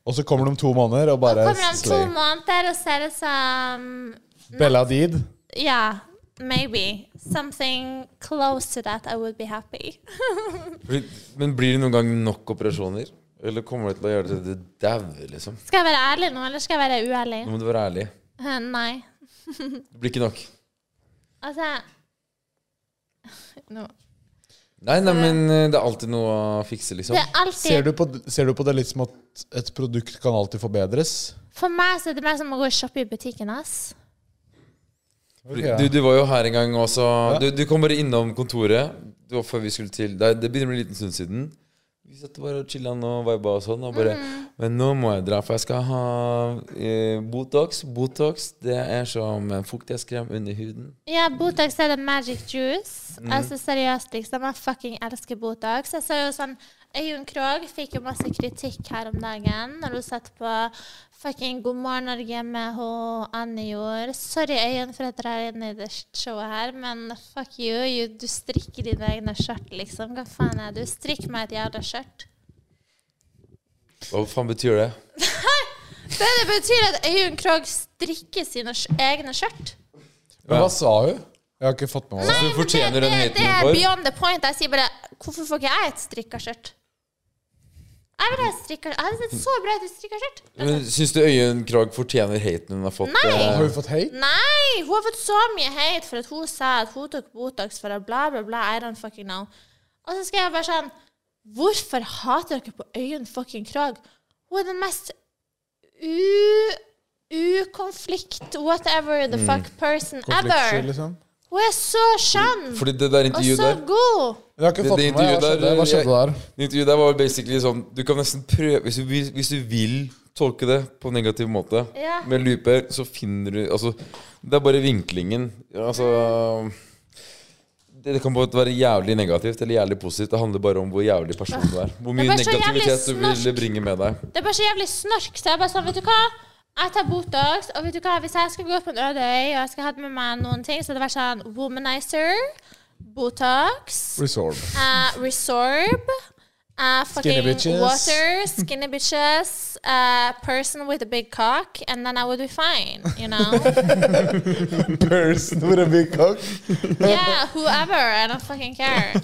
Speaker 3: Og så kommer de om to måneder og bare
Speaker 5: Kommer om to
Speaker 3: slay.
Speaker 5: måneder og ser det som
Speaker 3: Bella Deed.
Speaker 5: Ja, maybe. Something close to that I would be happy. <laughs>
Speaker 6: blir- Men blir det noen gang nok operasjoner? Eller kommer det til å gjøre det til du dauer, liksom?
Speaker 5: Skal jeg være ærlig nå, eller skal jeg være uærlig?
Speaker 6: Nå må du være ærlig.
Speaker 5: Eh, Nei.
Speaker 6: Det blir ikke nok.
Speaker 5: Altså Nå.
Speaker 6: Nei, nei, men eh, det er alltid noe å fikse, liksom.
Speaker 5: Det er alltid
Speaker 3: Ser du, på, ser du på det litt som at et produkt kan alltid forbedres?
Speaker 5: For meg så er det mer som å gå og shoppe i butikken, ass.
Speaker 6: Du, du var jo her en gang også. Du, du kom bare innom kontoret. Det var før vi skulle til Det, det begynner å bli en liten stund siden. Vi satt bare og chilla og viba og sånn. Og bare
Speaker 5: Mm.
Speaker 6: Men nå må jeg dra, for jeg skal ha eh, Botox. Botox det er som en fuktighetskrem under huden.
Speaker 5: Ja, Botox er det magic juice.
Speaker 3: Mm.
Speaker 6: Mhm.
Speaker 5: Altså seriøst, liksom. Jeg fucking elsker Botox. Jeg ser jo sånn Øyunn Krogh fikk jo masse kritikk her om dagen når hun satt på fucking God morgen Norge med hun Anne gjorde. Sorry, Øyunn, for at dere er inne i det showet her, men fuck you. you du strikker dine egne skjørt, liksom. Hva faen er du? Strikk meg et jævla skjørt.
Speaker 6: Hva faen betyr det?
Speaker 5: Det det betyr at Øyunn Krogh strikker sine sk- egne skjørt.
Speaker 3: Men hva sa hun? Jeg har ikke fått med meg det.
Speaker 6: Så Altså, du fortjener den
Speaker 5: Det
Speaker 6: haten
Speaker 5: er
Speaker 6: du får.
Speaker 5: beyond the point. Jeg sier bare Hvorfor får ikke jeg et strikka skjørt? Jeg vil ha et strikka Jeg hadde sett så bra ut i strikka skjørt.
Speaker 6: Men Syns du Øyunn Krogh fortjener haten hun har fått?
Speaker 5: Nei.
Speaker 6: eh,
Speaker 3: Har hun fått hate?
Speaker 5: Nei! Hun har fått så mye hate for at hun sa at hun tok Botox for å bla, bla, bla. I don't fucking know. Og så skal jeg bare sånn Hvorfor hater dere på Øyunn fucking Krogh? Hun er den mest u... Ukonflikt, whatever
Speaker 6: Mm.
Speaker 5: the fuck person
Speaker 3: Konfliktsky,
Speaker 5: ever.
Speaker 3: liksom?
Speaker 5: Hun er så skjønn!
Speaker 6: Fordi det
Speaker 3: Mm.
Speaker 6: der
Speaker 5: Og
Speaker 6: intervjuet
Speaker 5: så
Speaker 6: der
Speaker 5: god!
Speaker 3: Jeg har ikke
Speaker 6: Det-
Speaker 3: fått med meg
Speaker 6: det
Speaker 3: hva
Speaker 6: intervjuet
Speaker 3: skjedde,
Speaker 6: der, eh,
Speaker 3: hva skjedde der.
Speaker 6: Det intervjuet der var basically sånn Du kan nesten prøve Hvis du vil, hvis du vil tolke det på en negativ måte
Speaker 5: Ja.
Speaker 6: med looper, så finner du Altså, det er bare vinklingen. Ja, Altså det, det kan både være jævlig negativt eller jævlig positivt. Det handler bare om hvor jævlig person du er. Hvor mye
Speaker 5: bare så jævlig
Speaker 6: negativitet du vil
Speaker 5: snorsk.
Speaker 6: bringe med deg.
Speaker 5: Det er bare så jævlig snork. Så jeg bare sånn, vet du hva? Jeg tar Botox, og vet du hva? hvis jeg skulle gått på en øde øy og jeg skulle hatt med meg noen ting, så hadde det vært sånn Womanizer,
Speaker 3: <laughs>
Speaker 5: Botox,
Speaker 3: Resorb.
Speaker 5: eh, Resorb,
Speaker 3: Skinny
Speaker 5: eh, fucking
Speaker 3: bitches.
Speaker 5: water, skinny bitches, eh, person with a big cock, and then I would be fine, you know?
Speaker 3: <laughs> Person with a big cock.
Speaker 5: yeah, whoever, I don't fucking care.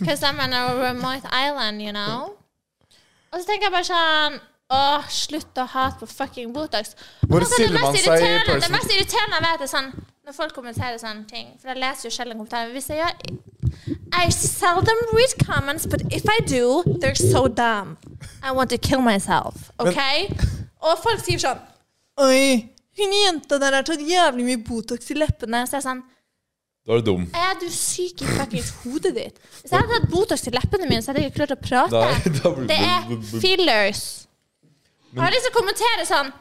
Speaker 5: Because I'm on a remote island, you know? Og så tenker jeg bare sånn Åh, slutt å hate på fucking Botox.
Speaker 3: Hvor
Speaker 5: Og så
Speaker 3: stiller
Speaker 5: det mest
Speaker 3: man seg i
Speaker 5: irriterende- Det
Speaker 3: person?
Speaker 5: mest irriterende jeg vet, er sånn når folk kommenterer sånne ting. For jeg leser jo sjelden kommentarer. Hvis jeg gjør I seldom read comments, but if I do, they're so dumb. I want to kill myself. OK? Og folk sier sånn Oi, hun jenta der har tatt jævlig mye Botox i leppene. Så jeg er sånn
Speaker 6: Da er du dum.
Speaker 5: er du syk i fuckings hodet ditt? Hvis jeg hadde hatt Botox i leppene mine, så hadde jeg ikke klart å prate.
Speaker 6: Da, da blir
Speaker 5: Det er
Speaker 6: <laughs> du
Speaker 5: fillers. Jeg har lyst til å kommentere sånn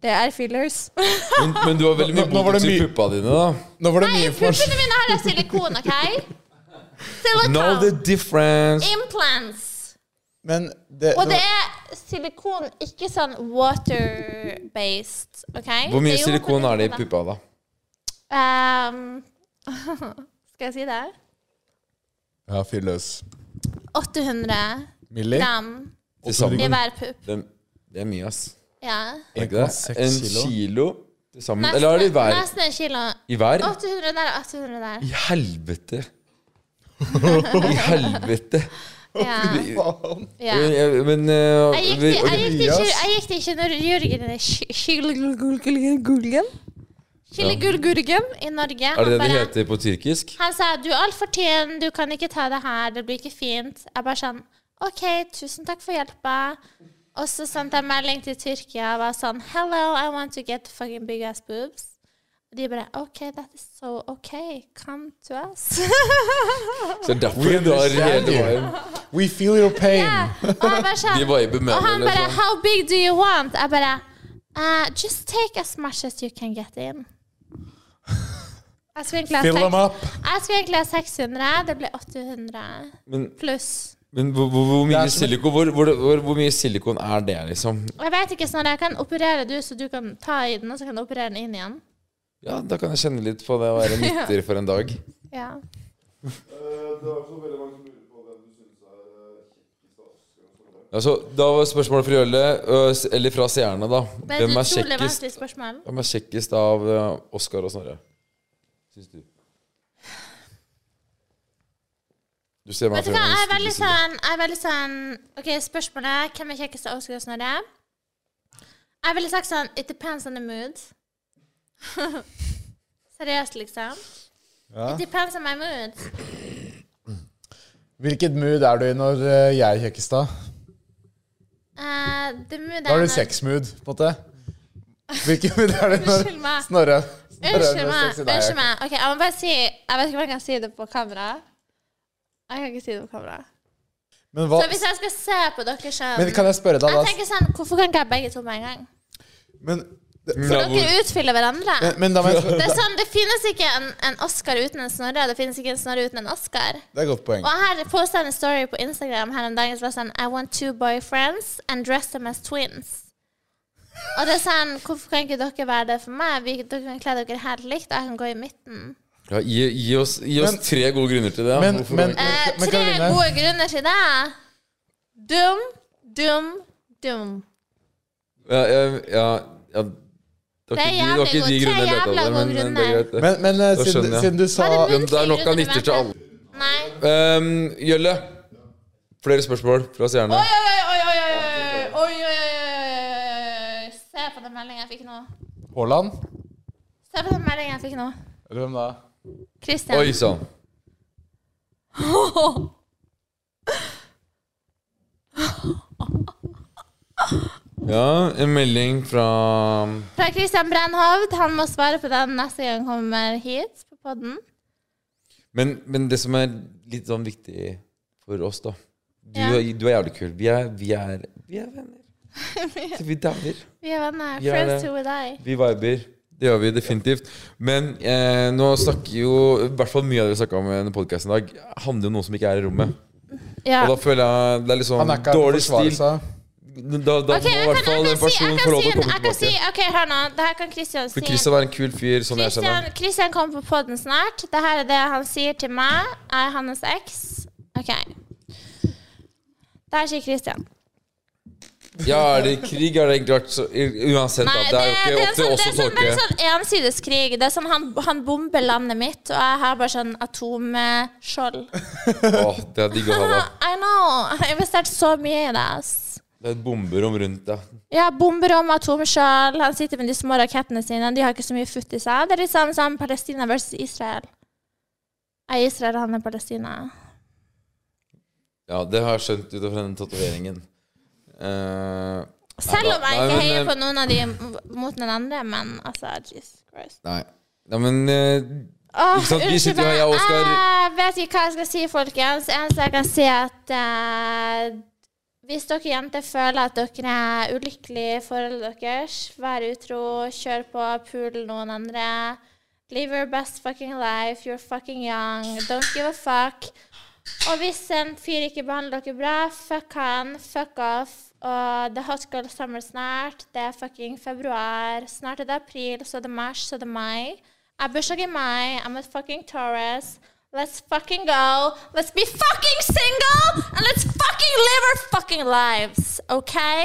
Speaker 5: Det er fillers.
Speaker 6: men, men du har veldig mye
Speaker 3: Nå- nå var
Speaker 6: botox
Speaker 3: det
Speaker 6: i
Speaker 3: mye-
Speaker 6: puppa dine, da.
Speaker 3: Nå var det
Speaker 5: Nei,
Speaker 3: mye
Speaker 5: i
Speaker 3: informasjon.
Speaker 5: puppene mine har jeg silikon, OK?
Speaker 6: Know the
Speaker 5: Silikon.
Speaker 6: difference.
Speaker 5: Implants.
Speaker 3: Men det,
Speaker 5: Og det er silikon, ikke sånn water-based, OK?
Speaker 6: Hvor mye silikon er det i puppa, da?
Speaker 5: Ehm, <laughs> skal jeg si det?
Speaker 3: Ja, fyr løs.
Speaker 5: 800
Speaker 3: Milli?
Speaker 5: gram
Speaker 6: Til sammen.
Speaker 5: i hver pupp.
Speaker 6: Det, det er mye, ass.
Speaker 5: Ja.
Speaker 6: Er det ikke det?
Speaker 3: 1,6
Speaker 6: En
Speaker 3: kilo.
Speaker 6: kilo til sammen. Eller er det i hver?
Speaker 5: Nesten en kilo.
Speaker 6: I hver?
Speaker 5: 800 der og 800 der.
Speaker 6: I
Speaker 5: <laughs>
Speaker 6: helvete! I helvete!
Speaker 5: Ja. ja.
Speaker 6: Men, jeg- men eh,
Speaker 5: Jeg gikk til-
Speaker 6: vi-
Speaker 5: jeg gikk til
Speaker 6: ok.
Speaker 5: kir- jeg gikk til kirurgen i Kylegulgulgen Kylegulgulgen i Norge.
Speaker 6: Er det det
Speaker 5: Han
Speaker 6: det
Speaker 5: bare-
Speaker 6: heter på tyrkisk?
Speaker 5: Han sa 'du er altfor tynn, du kan ikke ta det her, det blir ikke fint'. Jeg bare sånn 'OK, tusen takk for hjelpa'. Og så sendte jeg melding til Tyrkia og var sånn 'Hello, I want to get fucking big ass boobs'. Og de bare 'OK, that is so OK. Come to us'. <laughs>
Speaker 6: Så det er derfor du har hele veien.
Speaker 3: We feel your pain.
Speaker 5: Ja, og jeg bare sånn
Speaker 6: De viber med
Speaker 5: Og
Speaker 6: det,
Speaker 5: han bare
Speaker 6: liksom.
Speaker 5: 'How big do you want?' Jeg bare eh, 'Just take as much as you can get in'. Jeg skulle egentlig ha
Speaker 3: Fill them
Speaker 5: seks-
Speaker 3: up.
Speaker 5: jeg skulle egentlig ha 600. Det ble 800
Speaker 6: Men,
Speaker 5: pluss.
Speaker 6: men hvor, hvor, hvor, mye
Speaker 3: er som-
Speaker 6: silikon, hvor, hvor, hvor, hvor mye silikon er det, liksom?
Speaker 5: Og Jeg vet ikke sånn Jeg kan operere du, så du kan ta i den, og så kan du operere den inn igjen.
Speaker 6: Ja, da kan jeg kjenne litt på det å
Speaker 5: <laughs>
Speaker 6: være nytter for en dag.
Speaker 5: Ja.
Speaker 11: Eh, Det er også veldig mange som lurer på hvem du synes er eh, kjekkest av oss. Skal vi svare?
Speaker 6: Altså, da var spørsmålet fra Jølle, øh, s- eller fra seerne, da.
Speaker 5: Men
Speaker 6: Hvem er
Speaker 5: utrolig
Speaker 6: kjekkest,
Speaker 5: vanskelig spørsmål.
Speaker 6: hvem er kjekkest av øh, Oskar og Snorre? Syns du? Du ser meg
Speaker 5: Vet du hva, jeg er
Speaker 6: stygge
Speaker 5: veldig
Speaker 6: side.
Speaker 5: sånn, jeg er veldig sånn OK, spørsmålet er hvem er kjekkest av Oskar og Snorre? Jeg ville sagt sånn It depends on the mood. <laughs> Seriøst, liksom.
Speaker 3: Ja.
Speaker 5: It depends on my mood.
Speaker 3: Hvilket mood er du i når eh, jeg er kjekkest, da?
Speaker 5: Eh, the mood
Speaker 3: Da har
Speaker 5: er
Speaker 3: du sex-mood, på en måte. Hvilket mood er det når
Speaker 5: Unnskyld
Speaker 3: <laughs>
Speaker 5: meg.
Speaker 3: Snorre Snorre
Speaker 5: Unnskyld
Speaker 3: når
Speaker 5: meg.
Speaker 3: sex i deg?
Speaker 5: Unnskyld meg. OK, jeg må bare si Jeg vet ikke om jeg kan si det på kamera. Jeg kan ikke si det på kamera.
Speaker 3: Men hva
Speaker 5: Så hvis jeg skal se på dere sånn
Speaker 3: Men kan jeg spørre deg,
Speaker 5: Jeg
Speaker 3: da?
Speaker 5: tenker sånn, Hvorfor kan ikke jeg begge to på en gang?
Speaker 3: Men,
Speaker 5: For dere utfyller hverandre.
Speaker 3: men, men da må
Speaker 6: <laughs>
Speaker 3: jeg
Speaker 5: Det er
Speaker 6: Altså-
Speaker 5: sånn, det finnes ikke en, en Oscar uten en Snorre, og det finnes ikke en Snorre uten en Oscar.
Speaker 3: Det er et godt poeng.
Speaker 5: Og her posta jeg en story på Instagram her om dagen som var sånn I want two boyfriends and dress them as twins. Og det er sånn, hvorfor kan ikke dere være det for meg? Vi, dere kan kle dere helt likt, og jeg kan gå i midten.
Speaker 6: Ja, gi, gi oss, gi oss
Speaker 3: Men-
Speaker 6: tre gode grunner til det. ja.
Speaker 3: Men-
Speaker 6: Hvorfor-
Speaker 3: men-
Speaker 5: Eh,
Speaker 3: Men
Speaker 5: tre
Speaker 3: Karoline-
Speaker 5: gode grunner til det. Dum, dum, dum.
Speaker 6: ja, ja, ja, ja. Det
Speaker 5: Det er
Speaker 6: var ikke de, det var ikke
Speaker 5: jævlig
Speaker 6: de
Speaker 5: gode-
Speaker 6: grunnene
Speaker 5: tre
Speaker 6: jeg lette
Speaker 5: jævla
Speaker 6: etter,
Speaker 5: gode
Speaker 6: men, men det er greit. det.
Speaker 3: Men, men eh,
Speaker 6: Da
Speaker 3: siden,
Speaker 6: skjønner jeg.
Speaker 3: siden du sa
Speaker 5: Bare
Speaker 6: Det er nok av nytter til alle.
Speaker 5: Nei.
Speaker 6: Ehm, Jølle, flere spørsmål fra oss gjerne.
Speaker 5: Oi, oi, oi, oi, oi, oi, oi, oi, oi, oi, oi. Se på den meldingen jeg fikk nå.
Speaker 3: Haaland?
Speaker 5: Se på den meldingen jeg fikk nå.
Speaker 3: Eller hvem da?
Speaker 5: Christian.
Speaker 6: Oi sånn. sann. Ja, en melding fra
Speaker 5: Fra Christian Brennhovd. Han må svare på den neste gang han kommer hit på podden.
Speaker 6: men, men det som er litt sånn viktig for oss, da Du,
Speaker 5: Ja.
Speaker 6: er- du er jævlig kul. Vi er, vi er, vi er
Speaker 5: <laughs>
Speaker 6: venner. Så vi dauer.
Speaker 5: Vi er venner.
Speaker 6: Vi er
Speaker 5: Friends
Speaker 6: det.
Speaker 5: to with I.
Speaker 6: Vi viber. Det gjør vi definitivt. Men eh, nå snakker jo I hvert fall mye av det vi snakka om i denne podkasten i dag, handler jo om noe som ikke er i rommet.
Speaker 5: Ja.
Speaker 6: Og da føler jeg det er litt sånn
Speaker 3: Han er ikke her for å
Speaker 6: dårlig
Speaker 3: forsvare
Speaker 6: stil.
Speaker 3: seg.
Speaker 6: Da, da
Speaker 5: Ok,
Speaker 6: må i
Speaker 5: jeg kan, jeg
Speaker 6: hvert fall den
Speaker 5: kan si, jeg
Speaker 6: personen
Speaker 5: kan
Speaker 6: få lov
Speaker 5: si,
Speaker 6: til å komme
Speaker 5: jeg kan si
Speaker 6: tilbake.
Speaker 5: Ok, hør nå. Det her kan Christian si.
Speaker 6: For Christian var en kul fyr, sånn jeg kjenner
Speaker 5: Christian,
Speaker 6: ham.
Speaker 5: Christian kom på podden snart. Det her er det han sier til meg. Jeg er hans eks. OK. Det her sier Christian.
Speaker 6: Ja, er det krig, har det egentlig vært så Uansett, da. Det er jo ikke
Speaker 5: en
Speaker 6: opp til
Speaker 5: sånn- det
Speaker 6: oss å
Speaker 5: er sånn- Det er
Speaker 6: tolke.
Speaker 5: sånn ensideskrig. Det er sånn han, han bomber landet mitt, og jeg har bare sånn atomskjold. sånn-
Speaker 6: Åh, det er digg å ha, da.
Speaker 5: I know. Jeg har investert så mye i det. ass.
Speaker 6: Det er et bomberom rundt deg.
Speaker 5: Ja, bomberom, atomskjold. Han sitter med de små rakettene sine. De har ikke så mye futt i seg. Det er litt sånn som Palestina versus Israel. Jeg er Israel, han er Palestina.
Speaker 6: Ja, det har jeg skjønt ut fra den tatoveringen. Eh,
Speaker 5: Selv om jeg
Speaker 6: Nei,
Speaker 5: ikke
Speaker 6: men,
Speaker 5: heier
Speaker 6: eh,
Speaker 5: på noen av de m- mot den andre, men altså Jesus Christ.
Speaker 6: nei. Nei, men eh,
Speaker 5: Åh,
Speaker 6: Ikke sant, vi
Speaker 5: unnskyld
Speaker 6: sitter jo her, jeg og
Speaker 5: meg.
Speaker 6: Oskar.
Speaker 5: Jeg vet ikke hva jeg skal si, folkens. Eneste jeg kan si, er at eh, hvis dere jenter føler at dere er ulykkelige i forholdet deres, vær utro, kjør på, pul noen andre. Live your best fucking life. You're fucking young. Don't give a fuck. Og hvis en fyr ikke behandler dere bra, fuck han, fuck off. Og det er hot girl summer snart. Det er fucking februar. Snart er det april, så er det mars, så er det mai. Jeg har bursdag i mai. I'm a fucking Taurus. Let's fucking go. Let's be fucking single! And let's fucking live our fucking lives. Okay?